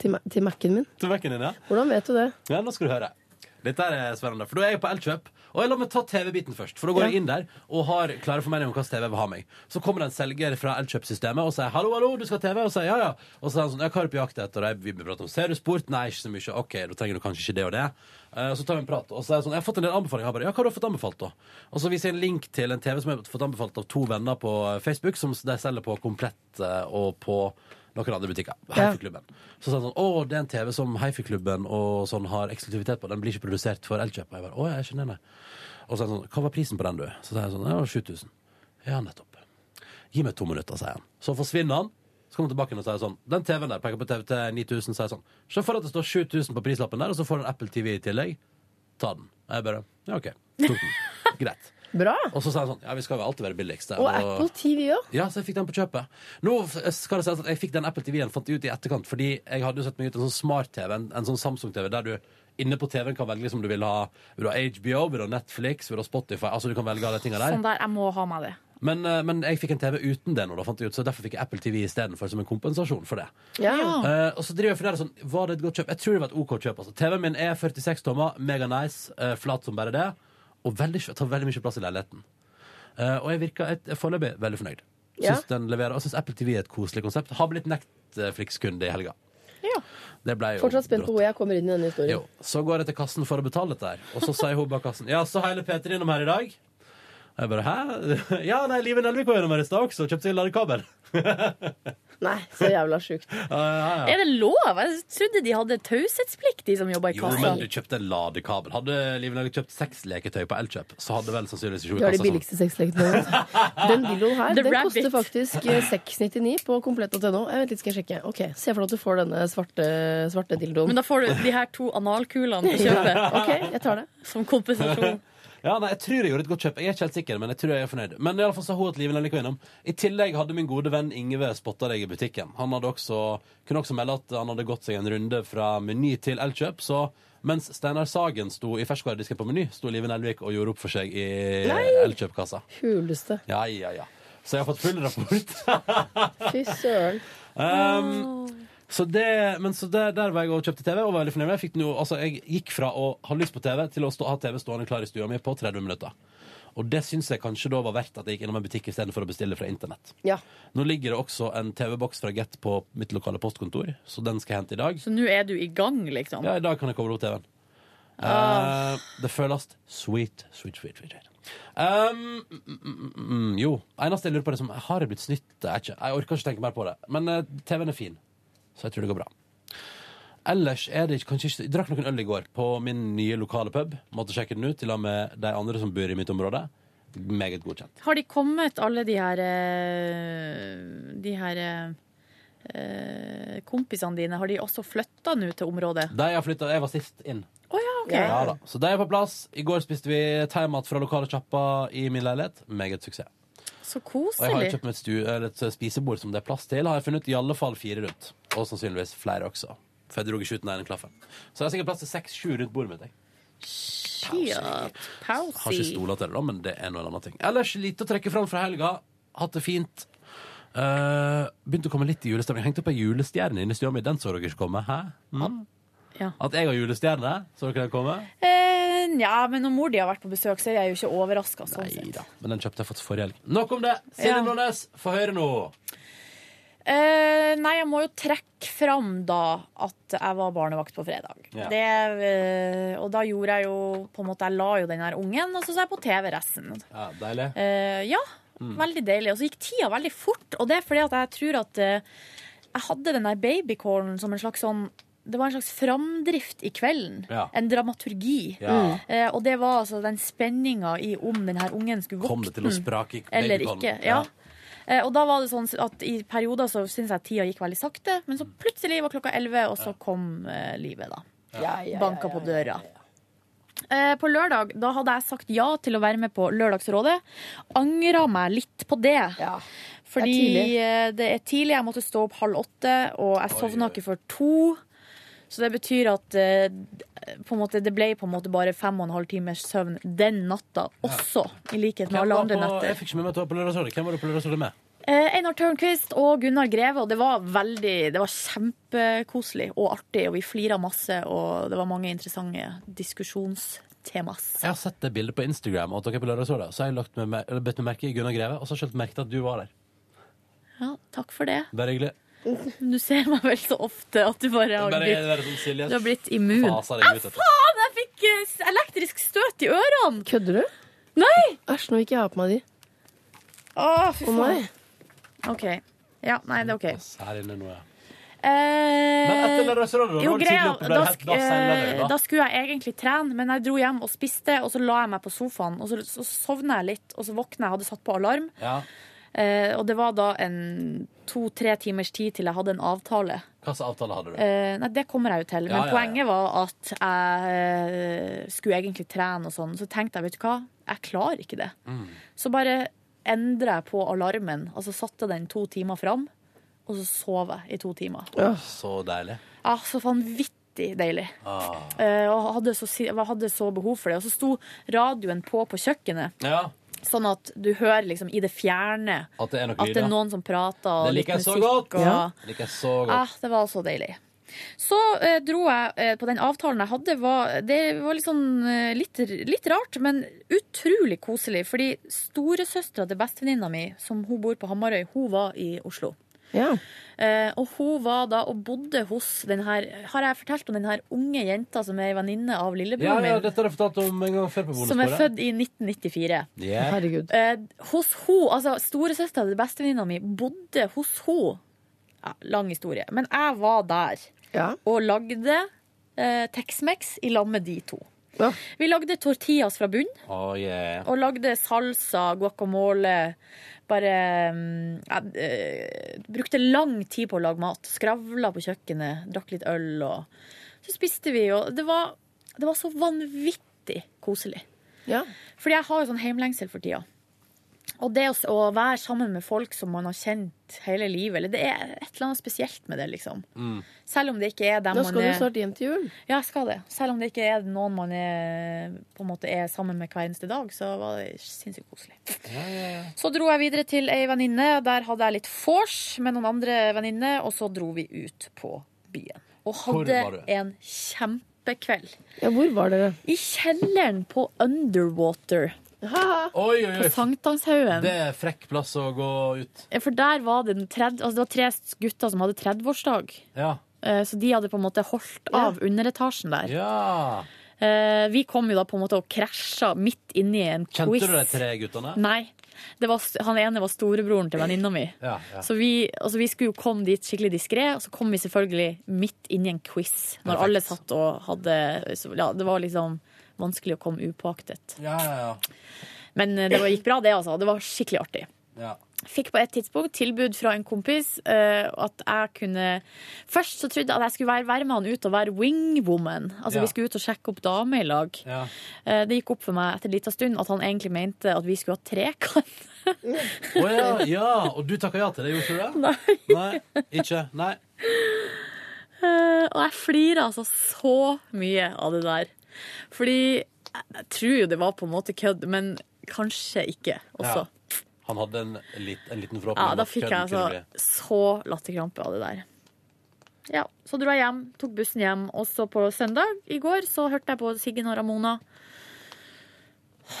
Speaker 3: til, Ma- til Mac-en min.
Speaker 2: Til Mac-en din, ja?
Speaker 3: Hvordan vet du det?
Speaker 2: Ja, nå skal du høre. Dette er spennende, for da er jeg på Elkjøp. Og jeg la meg ta TV-biten først, for da går
Speaker 3: Ja.
Speaker 2: jeg inn der og har klare formeninger om hvilken TV jeg vil ha meg. Så kommer det en selger fra Elkjøp-systemet og sier 'hallo, hallo, du skal ha TV?' Og sier ja, ja. Og så er han sånn 'ja, hva er du på jakt etter?' Og jeg vil prate om 'ser du sport?' Nei, ikke så mye. Ok, da trenger du kanskje ikke det og det. Eh, Så tar vi en prat, og så er det sånn 'jeg har fått en del anbefalinger'. Jeg bare 'ja, hva har du fått anbefalt', da? Og så viser jeg en link til en TV som jeg har fått anbefalt av to venner på eh, Facebook, som de selger på Komplett eh, og på noen andre butikker. Heiferklubben. Så sa han sånn Å, det er en TV som Heiferklubben og sånn har eksklusivitet på. Den blir ikke produsert for Elkjøp. Og jeg bare Å, jeg skjønner det. Og så er han sånn Hva var prisen på den, du? Så sier jeg sånn Ja, 7000. Ja, nettopp. Gi meg to minutter, sier han. Så forsvinner han. Så kommer han tilbake igjen og sier sånn Den TV-en der peker på TV til 9000, sier sånn Se for deg at det står 7000 på prislappen der, og så får du en Apple TV i tillegg. ta den. Og jeg bare Ja, OK. Tok den. Greit.
Speaker 3: Bra.
Speaker 2: Og så sa han sånn Ja, vi skal vel alltid være billigst.
Speaker 3: Og Apple TV òg.
Speaker 2: Ja, så jeg fikk den på kjøpet. Nå skal det sies at jeg fikk den Apple TV-en fant jeg ut i etterkant, fordi jeg hadde jo sett meg ut en sånn smart-TV, en, en sånn Samsung-TV, der du inne på TV-en kan velge liksom du vil ha Vil du ha HBO, vil du ha Netflix, vil du ha Spotify, altså du kan velge alle de tinga
Speaker 4: Sånn
Speaker 2: der.
Speaker 4: der, jeg må ha meg det.
Speaker 2: Men, eh, men jeg fikk en TV uten det nå, da, fant jeg ut, så derfor fikk jeg Apple TV istedenfor, som en kompensasjon for det. Eh, og så driver jeg og funderer sånn, Var det et godt kjøp? Jeg tror det var et OK kjøp. Altså. TV-en min er 46 tommer, mega nice, eh, flat som bare det. Og veldig, tar veldig mye plass i leiligheten. Eh, og jeg virker et- foreløpig veldig fornøyd.
Speaker 13: Ja.
Speaker 2: Syns den leverer, og syns Apple TV er et koselig konsept. Har blitt Netflix-kunde i helga. Det ble jo
Speaker 3: Fortsatt spent på hvor jeg kommer inn i denne historien.
Speaker 2: Jo. Så går jeg til kassen for å betale dette her, og så sier hun bak kassen Ja, så hele Peter innom her i dag. Og jeg bare hæ? Ja, nei, Live Nelvik var innom her i stad også og kjøpte ladekabel.
Speaker 3: Nei, så jævla sjukt.
Speaker 2: Ja, ja, ja.
Speaker 4: Er det lov? Jeg trodde de hadde taushetsplikt, de som jobber i
Speaker 2: Jo,
Speaker 4: kassa.
Speaker 2: men du kjøpte en ladekabel. Hadde Liv Nelvik kjøpt seks leketøy på Elkjøp, så hadde vel sannsynligvis ikke sånn.
Speaker 3: Du har de billigste sexleketøyene. Den dildoen her,
Speaker 4: sånn. The
Speaker 3: den
Speaker 4: rabbit.
Speaker 3: koster faktisk eh, 6,99 på komplett.no. Eh, Vent litt, skal jeg sjekke. Ok, Se for deg at du får denne svarte, svarte dildoen.
Speaker 4: Men da får du de her to analkulene på kjøpet.
Speaker 3: Ok, jeg tar det.
Speaker 4: Som kompensasjon.
Speaker 2: Ja, nei, Jeg tror jeg gjorde et godt kjøp. Jeg er ikke helt sikker, men jeg tror jeg er fornøyd. Men i alle fall så har hun at Liv Nelvik var innom. I tillegg hadde min gode venn Ingve spotta deg i butikken. Han hadde også, kunne også melde at han hadde gått seg en runde fra Meny til Elkjøp, så mens Steinar Sagen sto i ferskvaredisken på Meny, sto Liv Nelvik og gjorde opp for seg i Elkjøp-kassa.
Speaker 3: Kuleste.
Speaker 2: Ja, ja, ja. Så jeg har fått full rapport.
Speaker 3: Fy søren.
Speaker 2: Um, så det, men så der, der var jeg og kjøpte TV og var veldig fornøyd. med. Jeg, fikk den jo, altså, jeg gikk fra å ha lyst på TV til å stå, ha TV stående klar i stua mi på 30 minutter. Og det syns jeg kanskje da var verdt at jeg gikk innom en butikk istedenfor å bestille fra internett.
Speaker 3: Ja.
Speaker 2: Nå ligger det også en TV-boks fra Get på mitt lokale postkontor, så den skal jeg hente i dag.
Speaker 4: Så nå er du i gang, liksom.
Speaker 2: Ja, i dag kan jeg koble opp TV-en.
Speaker 4: Ah.
Speaker 2: Eh, det føles sweet, sweet, sweet. sweet, sweet. Um, mm, mm, mm, mm, jo. Eneste jeg lurer på, er som, har jeg blitt snytt? Det er ikke. Jeg orker ikke tenke mer på det. Men eh, TV-en er fin, så jeg tror det går bra. Ellers er det ikke- kanskje ikke Jeg drakk noen øl i går på min nye lokale pub. Måtte sjekke den ut i lag med de andre som bor i mitt område. Meget godkjent.
Speaker 4: Har de kommet, alle de her eh, De her eh, kompisene dine, har de også flytta nå til området?
Speaker 2: De har flyttet, Jeg var sist inn.
Speaker 4: ok.
Speaker 2: ja, da. Så de er på plass. I går spiste vi thaimat fra lokale sjappa i min leilighet. Meget suksess.
Speaker 4: Så
Speaker 2: Og jeg har jo
Speaker 4: koselig.
Speaker 2: kjøpt meg et, stu, eller et eh, spisebord som det er plass til. Har jeg funnet i alle fall fire rundt. Og sannsynligvis flere også. For jeg dro ikke ut den ene klaffen. Så det er sikkert plass til seks-sju rundt bordet mitt. Jeg.
Speaker 4: Shit.
Speaker 2: Har ikke
Speaker 4: Pausy.
Speaker 2: stola til det, da, men det er noe annet ting. Ellers lite å trekke fram fra helga. Hatt det fint. Eh, begynte å komme litt i julestemning. Hengte opp ei julestjerne inne i stua mi. Den så dere ikke komme. Hæ? Mm?
Speaker 4: Ja.
Speaker 2: At jeg har julestjerne? Så dere den komme?
Speaker 4: Eh, ja, men når mor di har vært på besøk, så er jeg jo ikke overraska. Sånn sett.
Speaker 2: Men den kjøpte jeg faktisk forrige helg. Nok om det! Silje
Speaker 4: Ja.
Speaker 2: Nordnes, få høre nå.
Speaker 4: Eh, nei, jeg må jo trekke fram da at jeg var barnevakt på fredag.
Speaker 2: Ja.
Speaker 4: Det, eh, og da gjorde jeg jo på en måte Jeg la jo den her ungen, og så så jeg på TV resten.
Speaker 2: Ja, deilig.
Speaker 4: Eh, ja,
Speaker 2: Mm.
Speaker 4: veldig deilig. Og så gikk tida veldig fort, og det er fordi at jeg tror at eh, jeg hadde den der babycallen som en slags sånn det var en slags framdrift i kvelden.
Speaker 2: Ja.
Speaker 4: En dramaturgi.
Speaker 2: Ja.
Speaker 4: Eh, og det var altså den spenninga i om den her ungen skulle
Speaker 2: Kom det til å
Speaker 4: våkne
Speaker 2: sprake i
Speaker 4: eller
Speaker 2: babycallen?
Speaker 4: ikke. Ja. Eh, Og da var det sånn at I perioder så syns jeg tida gikk veldig sakte, men så plutselig var klokka elleve, og så kom eh, livet, da.
Speaker 3: Ja, ja,
Speaker 4: Banka på døra. Eh, På lørdag da hadde jeg sagt ja til å være med på Lørdagsrådet. Angra meg litt på det. Fordi
Speaker 3: Det er tidlig.
Speaker 4: eh, det er tidlig. Jeg måtte stå opp halv åtte, og jeg sovna ikke før to. Så det betyr at eh, på en måte, det ble på en måte bare fem og en halv times søvn den natta også. I likhet med
Speaker 2: Hvem
Speaker 4: alle
Speaker 2: var
Speaker 4: andre
Speaker 2: på,
Speaker 4: netter.
Speaker 2: jeg fikk ikke med meg at du var på lørdagsrådet. Hvem var du på lørdagsrådet med?
Speaker 4: Eh, Einar Tørnquist og Gunnar Greve, og det var veldig Det var kjempekoselig og artig, og vi flira masse, og det var mange interessante diskusjonstemas.
Speaker 2: Jeg har sett det bildet på Instagram, og at dere er på lørdagsrådet. Så har jeg lagt meg, mer- eller bedt meg merke i Gunnar Greve, og så har jeg ikke merket at du var der.
Speaker 4: Ja, takk for det.
Speaker 2: Bare hyggelig.
Speaker 4: Du ser meg vel så ofte at du bare har
Speaker 2: Bare,
Speaker 4: blitt,
Speaker 2: bare sånn Silje.
Speaker 4: du har blitt immun.
Speaker 2: Faser deg ut, vet du.
Speaker 4: Faen, jeg fikk eh, s- elektrisk støt i ørene!
Speaker 3: Kødder du?
Speaker 4: Nei!
Speaker 3: Æsj, nå gikk jeg av på meg de.
Speaker 4: Å, fy
Speaker 3: Å,
Speaker 4: faen.
Speaker 3: nei.
Speaker 4: OK. Ja, nei, det er OK.
Speaker 2: Her inne nå, ja.
Speaker 4: Men
Speaker 2: etter lørdagsrådet, da?
Speaker 4: Eh, jo,
Speaker 2: Når du
Speaker 4: greia,
Speaker 2: tidlig oppe ble
Speaker 4: da,
Speaker 2: det helt-
Speaker 4: sk
Speaker 2: da seiler
Speaker 4: eh,
Speaker 2: det, da.
Speaker 4: da skulle jeg egentlig trene, men jeg dro hjem og spiste, og så la jeg meg på sofaen. Og så, så sovna jeg litt, og så våkna jeg, hadde satt på alarm.
Speaker 2: ja.
Speaker 4: Eh, og det var da en to-tre timers tid til jeg hadde en avtale.
Speaker 2: Hva slags avtale hadde du?
Speaker 4: Eh, nei, det kommer jeg jo til. Men
Speaker 2: Ja, ja, ja.
Speaker 4: poenget var at jeg eh, skulle egentlig trene og sånn. Så tenkte jeg, vet du hva, jeg klarer ikke det.
Speaker 2: Mm.
Speaker 4: Så bare endret jeg på alarmen, altså satte den to timer fram, og så sov jeg i to timer.
Speaker 2: Så deilig.
Speaker 4: Ja, så vanvittig deilig.
Speaker 2: Ah.
Speaker 4: Eh, og hadde så, si- jeg hadde så behov for det. Og så sto radioen på på kjøkkenet,
Speaker 2: Ja,
Speaker 4: sånn at du hører liksom i det fjerne
Speaker 2: at det er noe
Speaker 4: at det er
Speaker 2: lyder.
Speaker 4: noen som prater. og
Speaker 2: Det liker jeg
Speaker 4: litt
Speaker 2: så
Speaker 4: musikk,
Speaker 2: godt!
Speaker 4: og-
Speaker 2: Det liker jeg så
Speaker 4: Ah,
Speaker 2: godt.
Speaker 4: det var så deilig. Så eh, dro jeg eh, på den avtalen jeg hadde. Var, det var litt, sånn, eh, litt, litt rart, men utrolig koselig. Fordi storesøstera til bestevenninna mi, som hun bor på Hamarøy, hun var i Oslo. Eh, og hun var da og bodde hos den her Har jeg fortalt om den her unge jenta som er ei venninne av
Speaker 2: Ja,
Speaker 4: lillebroren
Speaker 2: ja,
Speaker 4: min?
Speaker 2: dette har jeg fortalt om en gang før på
Speaker 4: Som er
Speaker 2: bonusbordet.
Speaker 4: født i 1994.
Speaker 2: Yeah.
Speaker 3: Herregud.
Speaker 4: Eh, hos ho, altså Storesøstera til bestevenninna mi bodde hos ho. Ja, lang historie. Men jeg var der og lagde eh, Tex-Mex i lag med de to. Vi lagde tortillas fra bunn,
Speaker 2: Oh, yeah.
Speaker 4: og lagde salsa, guacamole Bare mm, jeg, eh, Brukte lang tid på å lage mat. Skravla på kjøkkenet, drakk litt øl, og så spiste vi, og det var, det var så vanvittig koselig. Fordi jeg har jo sånn heimlengsel for tida. Og det å, s- å være sammen med folk som man har kjent hele livet, eller det er et eller annet spesielt med det, liksom. Selv om det ikke er dem
Speaker 3: Mm. Da skal
Speaker 4: man
Speaker 3: du
Speaker 4: er
Speaker 3: snart hjem til jul.
Speaker 4: Ja, jeg skal det. Selv om det ikke er noen man er, på en måte er sammen med hver eneste dag, så var det sinnssykt koselig. Så dro jeg videre til ei venninne. Der hadde jeg litt vors med noen andre venninner, og så dro vi ut på byen. Og
Speaker 3: Hvor
Speaker 4: hadde
Speaker 3: var du?
Speaker 4: en kjempekveld.
Speaker 3: Ja, hvor var dere?
Speaker 4: I kjelleren på Underwater.
Speaker 2: Oi, oi, oi.
Speaker 4: På Sankthanshaugen.
Speaker 2: Det er frekk plass å gå ut.
Speaker 4: Ja, For der var det, den tredje, altså det var tre gutter som hadde 30-årsdag.
Speaker 2: Ja.
Speaker 4: Eh, Så de hadde på en måte holdt av underetasjen der.
Speaker 2: Ja.
Speaker 4: Eh, Vi kom jo da på en måte og krasja midt inni en
Speaker 2: Kjente
Speaker 4: quiz.
Speaker 2: du de tre guttene?
Speaker 4: Nei. Det var, han ene var storebroren til venninna mi.
Speaker 2: Ja, ja.
Speaker 4: Så vi, altså vi skulle jo komme dit skikkelig diskré, og så kom vi selvfølgelig midt inni en quiz. Når
Speaker 2: Perfekt.
Speaker 4: alle satt og hadde så, ja, Det var liksom vanskelig å komme upåaktet.
Speaker 2: Ja, ja,
Speaker 4: Men eh, det var, gikk bra, det, altså. Det var skikkelig artig.
Speaker 2: ja.
Speaker 4: Fikk på et tidspunkt tilbud fra en kompis eh, at jeg kunne Først så trodde jeg at jeg skulle være, være med han ut og være wingwoman. Altså
Speaker 13: Ja.
Speaker 4: vi skulle ut og sjekke opp damer i lag.
Speaker 2: Ja.
Speaker 4: Eh, det gikk opp for meg etter en liten stund at han egentlig mente at vi skulle ha trekant.
Speaker 2: Å ja, ja. Og du takka ja til det, gjorde du det? Nei. Nei. Ikke? Nei.
Speaker 4: Eh, og jeg flirer altså så mye av det der. Fordi jeg jeg tror jo det var på en måte kødd, men kanskje ikke også.
Speaker 2: Ja. Han hadde en, lit, en liten forhåpning.
Speaker 4: Ja,
Speaker 2: om
Speaker 4: da
Speaker 2: at
Speaker 4: fikk jeg
Speaker 2: kødden kunne
Speaker 4: altså så latterkrampe av det der. Ja, så dro jeg hjem, tok bussen hjem, og så på søndag i går så hørte jeg på Siggen og Ramona.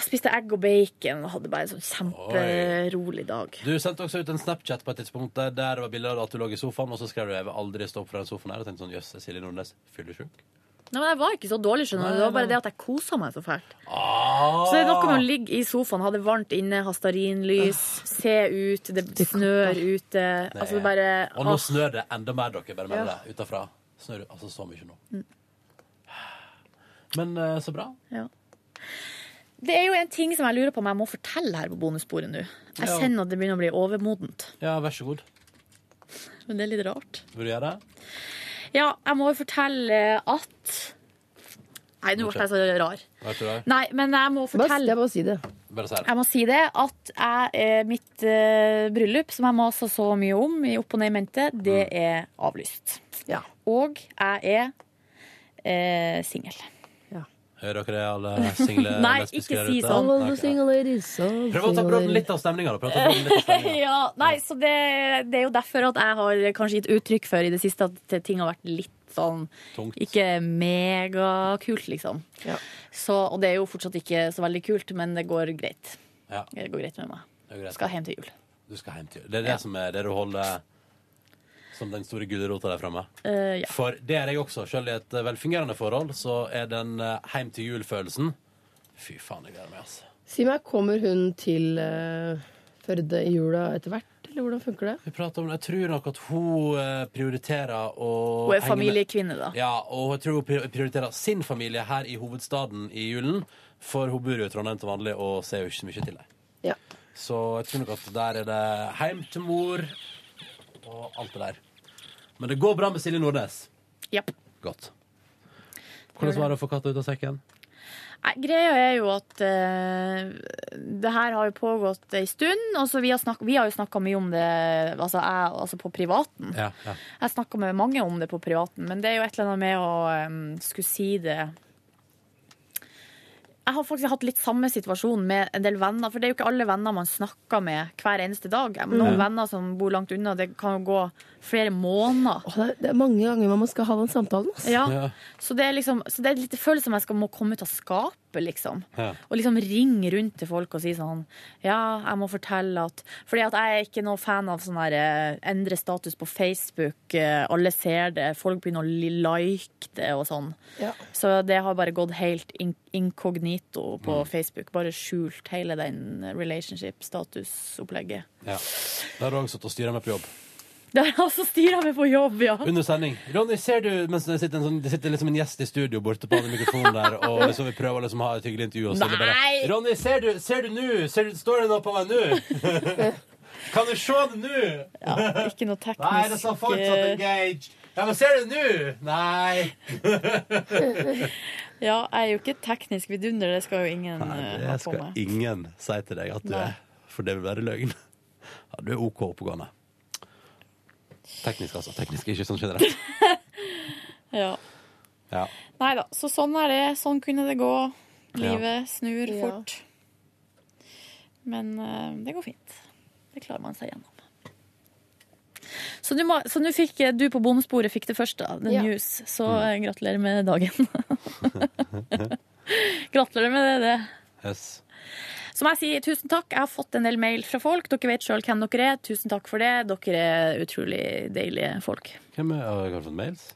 Speaker 4: Spiste egg og bacon og hadde bare en sånn kjemperolig dag.
Speaker 2: bli. Du sendte også ut en Snapchat på et tidspunkt der, der det var bilder av at du lå i sofaen, og så skrev du 'Jeg vil aldri stå opp fra den sofaen her', og tenkte sånn 'Jøss, er Silje Nordnes fyllesyk'?
Speaker 4: Nei, men Jeg var ikke så dårlig, skjønner
Speaker 2: Nei,
Speaker 4: du. Det var
Speaker 2: nei,
Speaker 4: bare det at jeg kosa meg så fælt.
Speaker 2: Ah.
Speaker 4: Så det er noe med å ligge i sofaen, ha det varmt inne, ha stearinlys, se ut, det snør ute. Altså det bare
Speaker 2: Og nå
Speaker 4: åh.
Speaker 2: snør det enda mer, dere. Bare med
Speaker 4: Ja.
Speaker 2: det utafra. Snør det altså så mye nå.
Speaker 4: Mm.
Speaker 2: Men eh, så bra.
Speaker 4: Ja. Det er jo en ting som jeg lurer på om jeg må fortelle her på bonussporet nå. Jeg
Speaker 2: Ja.
Speaker 4: kjenner at det begynner å bli overmodent,
Speaker 2: Ja, vær så god.
Speaker 4: men det er litt rart.
Speaker 2: Vil du gjøre det?
Speaker 4: Ja, jeg må jo fortelle at Nei, nå ble jeg så rar.
Speaker 2: Vær så god.
Speaker 4: Nei, men jeg må
Speaker 3: Bare-
Speaker 4: fortelle
Speaker 3: Jeg må si det.
Speaker 2: Bare si det.
Speaker 4: Jeg må si det at jeg, eh, mitt eh, bryllup, som jeg maser så mye om i Opp og ned i mente, det er avlyst. Og jeg er eh, singel.
Speaker 2: Hører dere det, alle single
Speaker 4: Nei,
Speaker 2: lesbiske
Speaker 4: ikke
Speaker 2: der
Speaker 4: si
Speaker 2: ute?
Speaker 4: sånn.
Speaker 2: Nei, ok. Prøv å ta prøv litt av stemninga, da. Prøv å ta prøv litt av stemninga.
Speaker 4: ja, nei, så det, det er jo derfor at jeg har kanskje gitt uttrykk for i det siste at ting har vært litt sånn
Speaker 2: Tungt.
Speaker 4: ikke megakult, liksom. Så, og det er jo fortsatt ikke så veldig kult, men det går greit.
Speaker 2: Ja.
Speaker 4: Det går greit med meg.
Speaker 2: Det er greit.
Speaker 4: Skal hjem til jul.
Speaker 2: Du skal hjem til jul. Det er det som er det du holder som den store gulrota der framme.
Speaker 4: Eh, ja.
Speaker 2: For det er jeg også. Selv i et eh, velfungerende forhold så er den eh, heim til jul-følelsen Fy faen, jeg gleder meg, altså.
Speaker 3: Si meg, kommer hun til eh, Førde i jula etter hvert, eller hvordan funker det?
Speaker 2: Vi prater om det. Jeg tror nok at hun eh, prioriterer å
Speaker 4: Hun er
Speaker 2: henge med-
Speaker 4: familiekvinne, da.
Speaker 2: Ja, og jeg tror hun pri- prioriterer sin familie her i hovedstaden i julen. For hun bor jo i Trondheim til vanlig og ser jo ikke så mye til deg.
Speaker 3: Ja.
Speaker 2: Så jeg tror nok at der er det heim til mor og alt det der. Men det går bra med Silje Nordnes.
Speaker 4: Japp.
Speaker 2: Godt. Hvordan var det å få katta ut av sekken?
Speaker 4: Nei, greia er jo at eh, det her har jo pågått ei stund. Og så vi, har snakk- vi har jo snakka mye om det altså, jeg, altså på privaten.
Speaker 2: Ja, ja.
Speaker 4: Jeg snakka med mange om det på privaten, men det er jo et eller annet med å em, skulle si det Jeg har faktisk hatt litt samme situasjon med en del venner, for det er jo ikke alle venner man snakker med hver eneste dag. Noen
Speaker 3: Mm.
Speaker 4: venner som bor langt unna, det kan jo gå flere måneder.
Speaker 3: Det, det er mange ganger man skal ha den samtalen. ass.
Speaker 4: Ja. Så det er liksom Så det er litt, det føles som jeg skal må komme ut av skapet, liksom.
Speaker 3: Ja.
Speaker 4: Og liksom ringe rundt til folk og si sånn Ja, jeg må fortelle at Fordi at jeg er ikke noe fan av sånn her eh, Endre status på Facebook, eh, alle ser det, folk begynner å li- like det og sånn. Så det har bare gått helt in inkognito på
Speaker 2: Mm.
Speaker 4: Facebook. Bare skjult hele den relationship-statusopplegget.
Speaker 2: Ja. Da har du også sittet og styra meg på jobb.
Speaker 4: Det har jeg altså styra med på jobb, ja.
Speaker 2: Under sending. Ronny, ser du mens det sitter en, sånn, det sitter liksom en gjest i studio borte på den mikrofonen der, og liksom vi prøver liksom å ha et hyggelig intervju, og så er det bare
Speaker 4: Nei!
Speaker 2: Ronny, ser du, ser du nå? Ser du, står det noe på meg nå? kan du se det nå?
Speaker 4: Ja, ikke noe teknisk
Speaker 2: Nei, det sa fortsatt
Speaker 4: eh,
Speaker 2: engaged. Ja, men ser du det nå? Nei.
Speaker 4: Ja, jeg er jo ikke et teknisk vidunder, det skal jo ingen eh, ha
Speaker 2: det
Speaker 4: på
Speaker 2: skal
Speaker 4: meg.
Speaker 2: ingen si til deg at du
Speaker 4: Nei.
Speaker 2: er, for det vil være løgn. Ja, du er OK oppegående. Teknisk, altså. Teknisk, ikke sånn generelt.
Speaker 4: Ja.
Speaker 2: Ja.
Speaker 4: Nei da, så sånn er det. Sånn kunne det gå. Livet snur
Speaker 3: Ja.
Speaker 4: fort. Men eh, det går fint. Det klarer man seg gjennom. Så du må- så nå fikk eh, du på bondesporet fikk det først, da. The
Speaker 3: Ja.
Speaker 4: news. Så eh,
Speaker 2: Mm.
Speaker 4: gratulerer med dagen. gratulerer med det. det.
Speaker 2: Yes.
Speaker 4: Som jeg sier, tusen takk. Jeg har fått en del mail fra folk. Dere vet sjøl hvem dere er. Tusen takk for det. Dere er utrolig deilige folk.
Speaker 2: Hvem er, har jeg fått mails?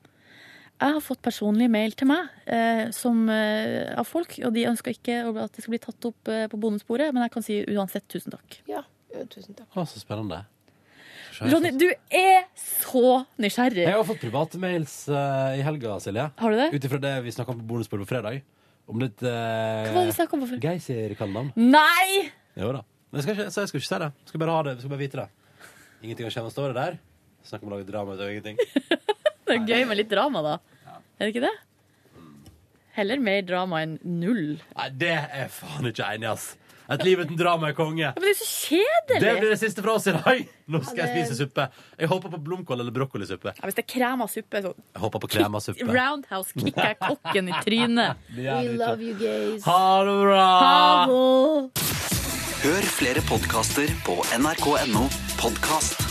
Speaker 4: Jeg har fått personlig mail til meg eh, som, eh, av folk, og de ønsker ikke at det skal bli tatt opp eh, på bondesporet, men jeg kan si uansett tusen takk.
Speaker 3: Tusen takk.
Speaker 2: Å, så spennende. Skal vi se.
Speaker 4: Ronny, du er så nysgjerrig!
Speaker 2: Jeg har fått private mails eh, i helga, Silje.
Speaker 4: Har du det?
Speaker 2: Ut ifra det vi snakka om på bonusbordet på fredag. Om litt uh,
Speaker 4: Hva var det vi snakket om på før?
Speaker 2: Geysir kallenavn.
Speaker 4: Nei!
Speaker 2: Jo da. Men jeg skal ikke, så jeg skal ikke si det. Jeg skal bare ha det, jeg skal bare vite det. Ingenting har skjedd med det der. Snakk om å lage drama ut av ingenting.
Speaker 4: Det er gøy med litt drama, da. Er det ikke det? Heller mer drama enn null.
Speaker 2: Nei, det er faen ikke enig, ass. Et liv uten drama er konge.
Speaker 4: Ja, men det er jo så kjedelig!
Speaker 2: Det blir det siste fra oss i dag. Nå skal
Speaker 4: Ja,
Speaker 2: jeg
Speaker 4: det-
Speaker 2: spise suppe. Jeg håper på blomkål eller brokkolisuppe.
Speaker 4: ja, hvis det er krem av suppe, så
Speaker 2: Jeg håper på krem av suppe.
Speaker 4: roundhouse kicker jeg kokken i trynet.
Speaker 2: Det er litt
Speaker 4: love you guys.
Speaker 2: Ha det bra! Ah.
Speaker 4: Ha det!
Speaker 13: Hør flere podkaster på nrk.no podkast.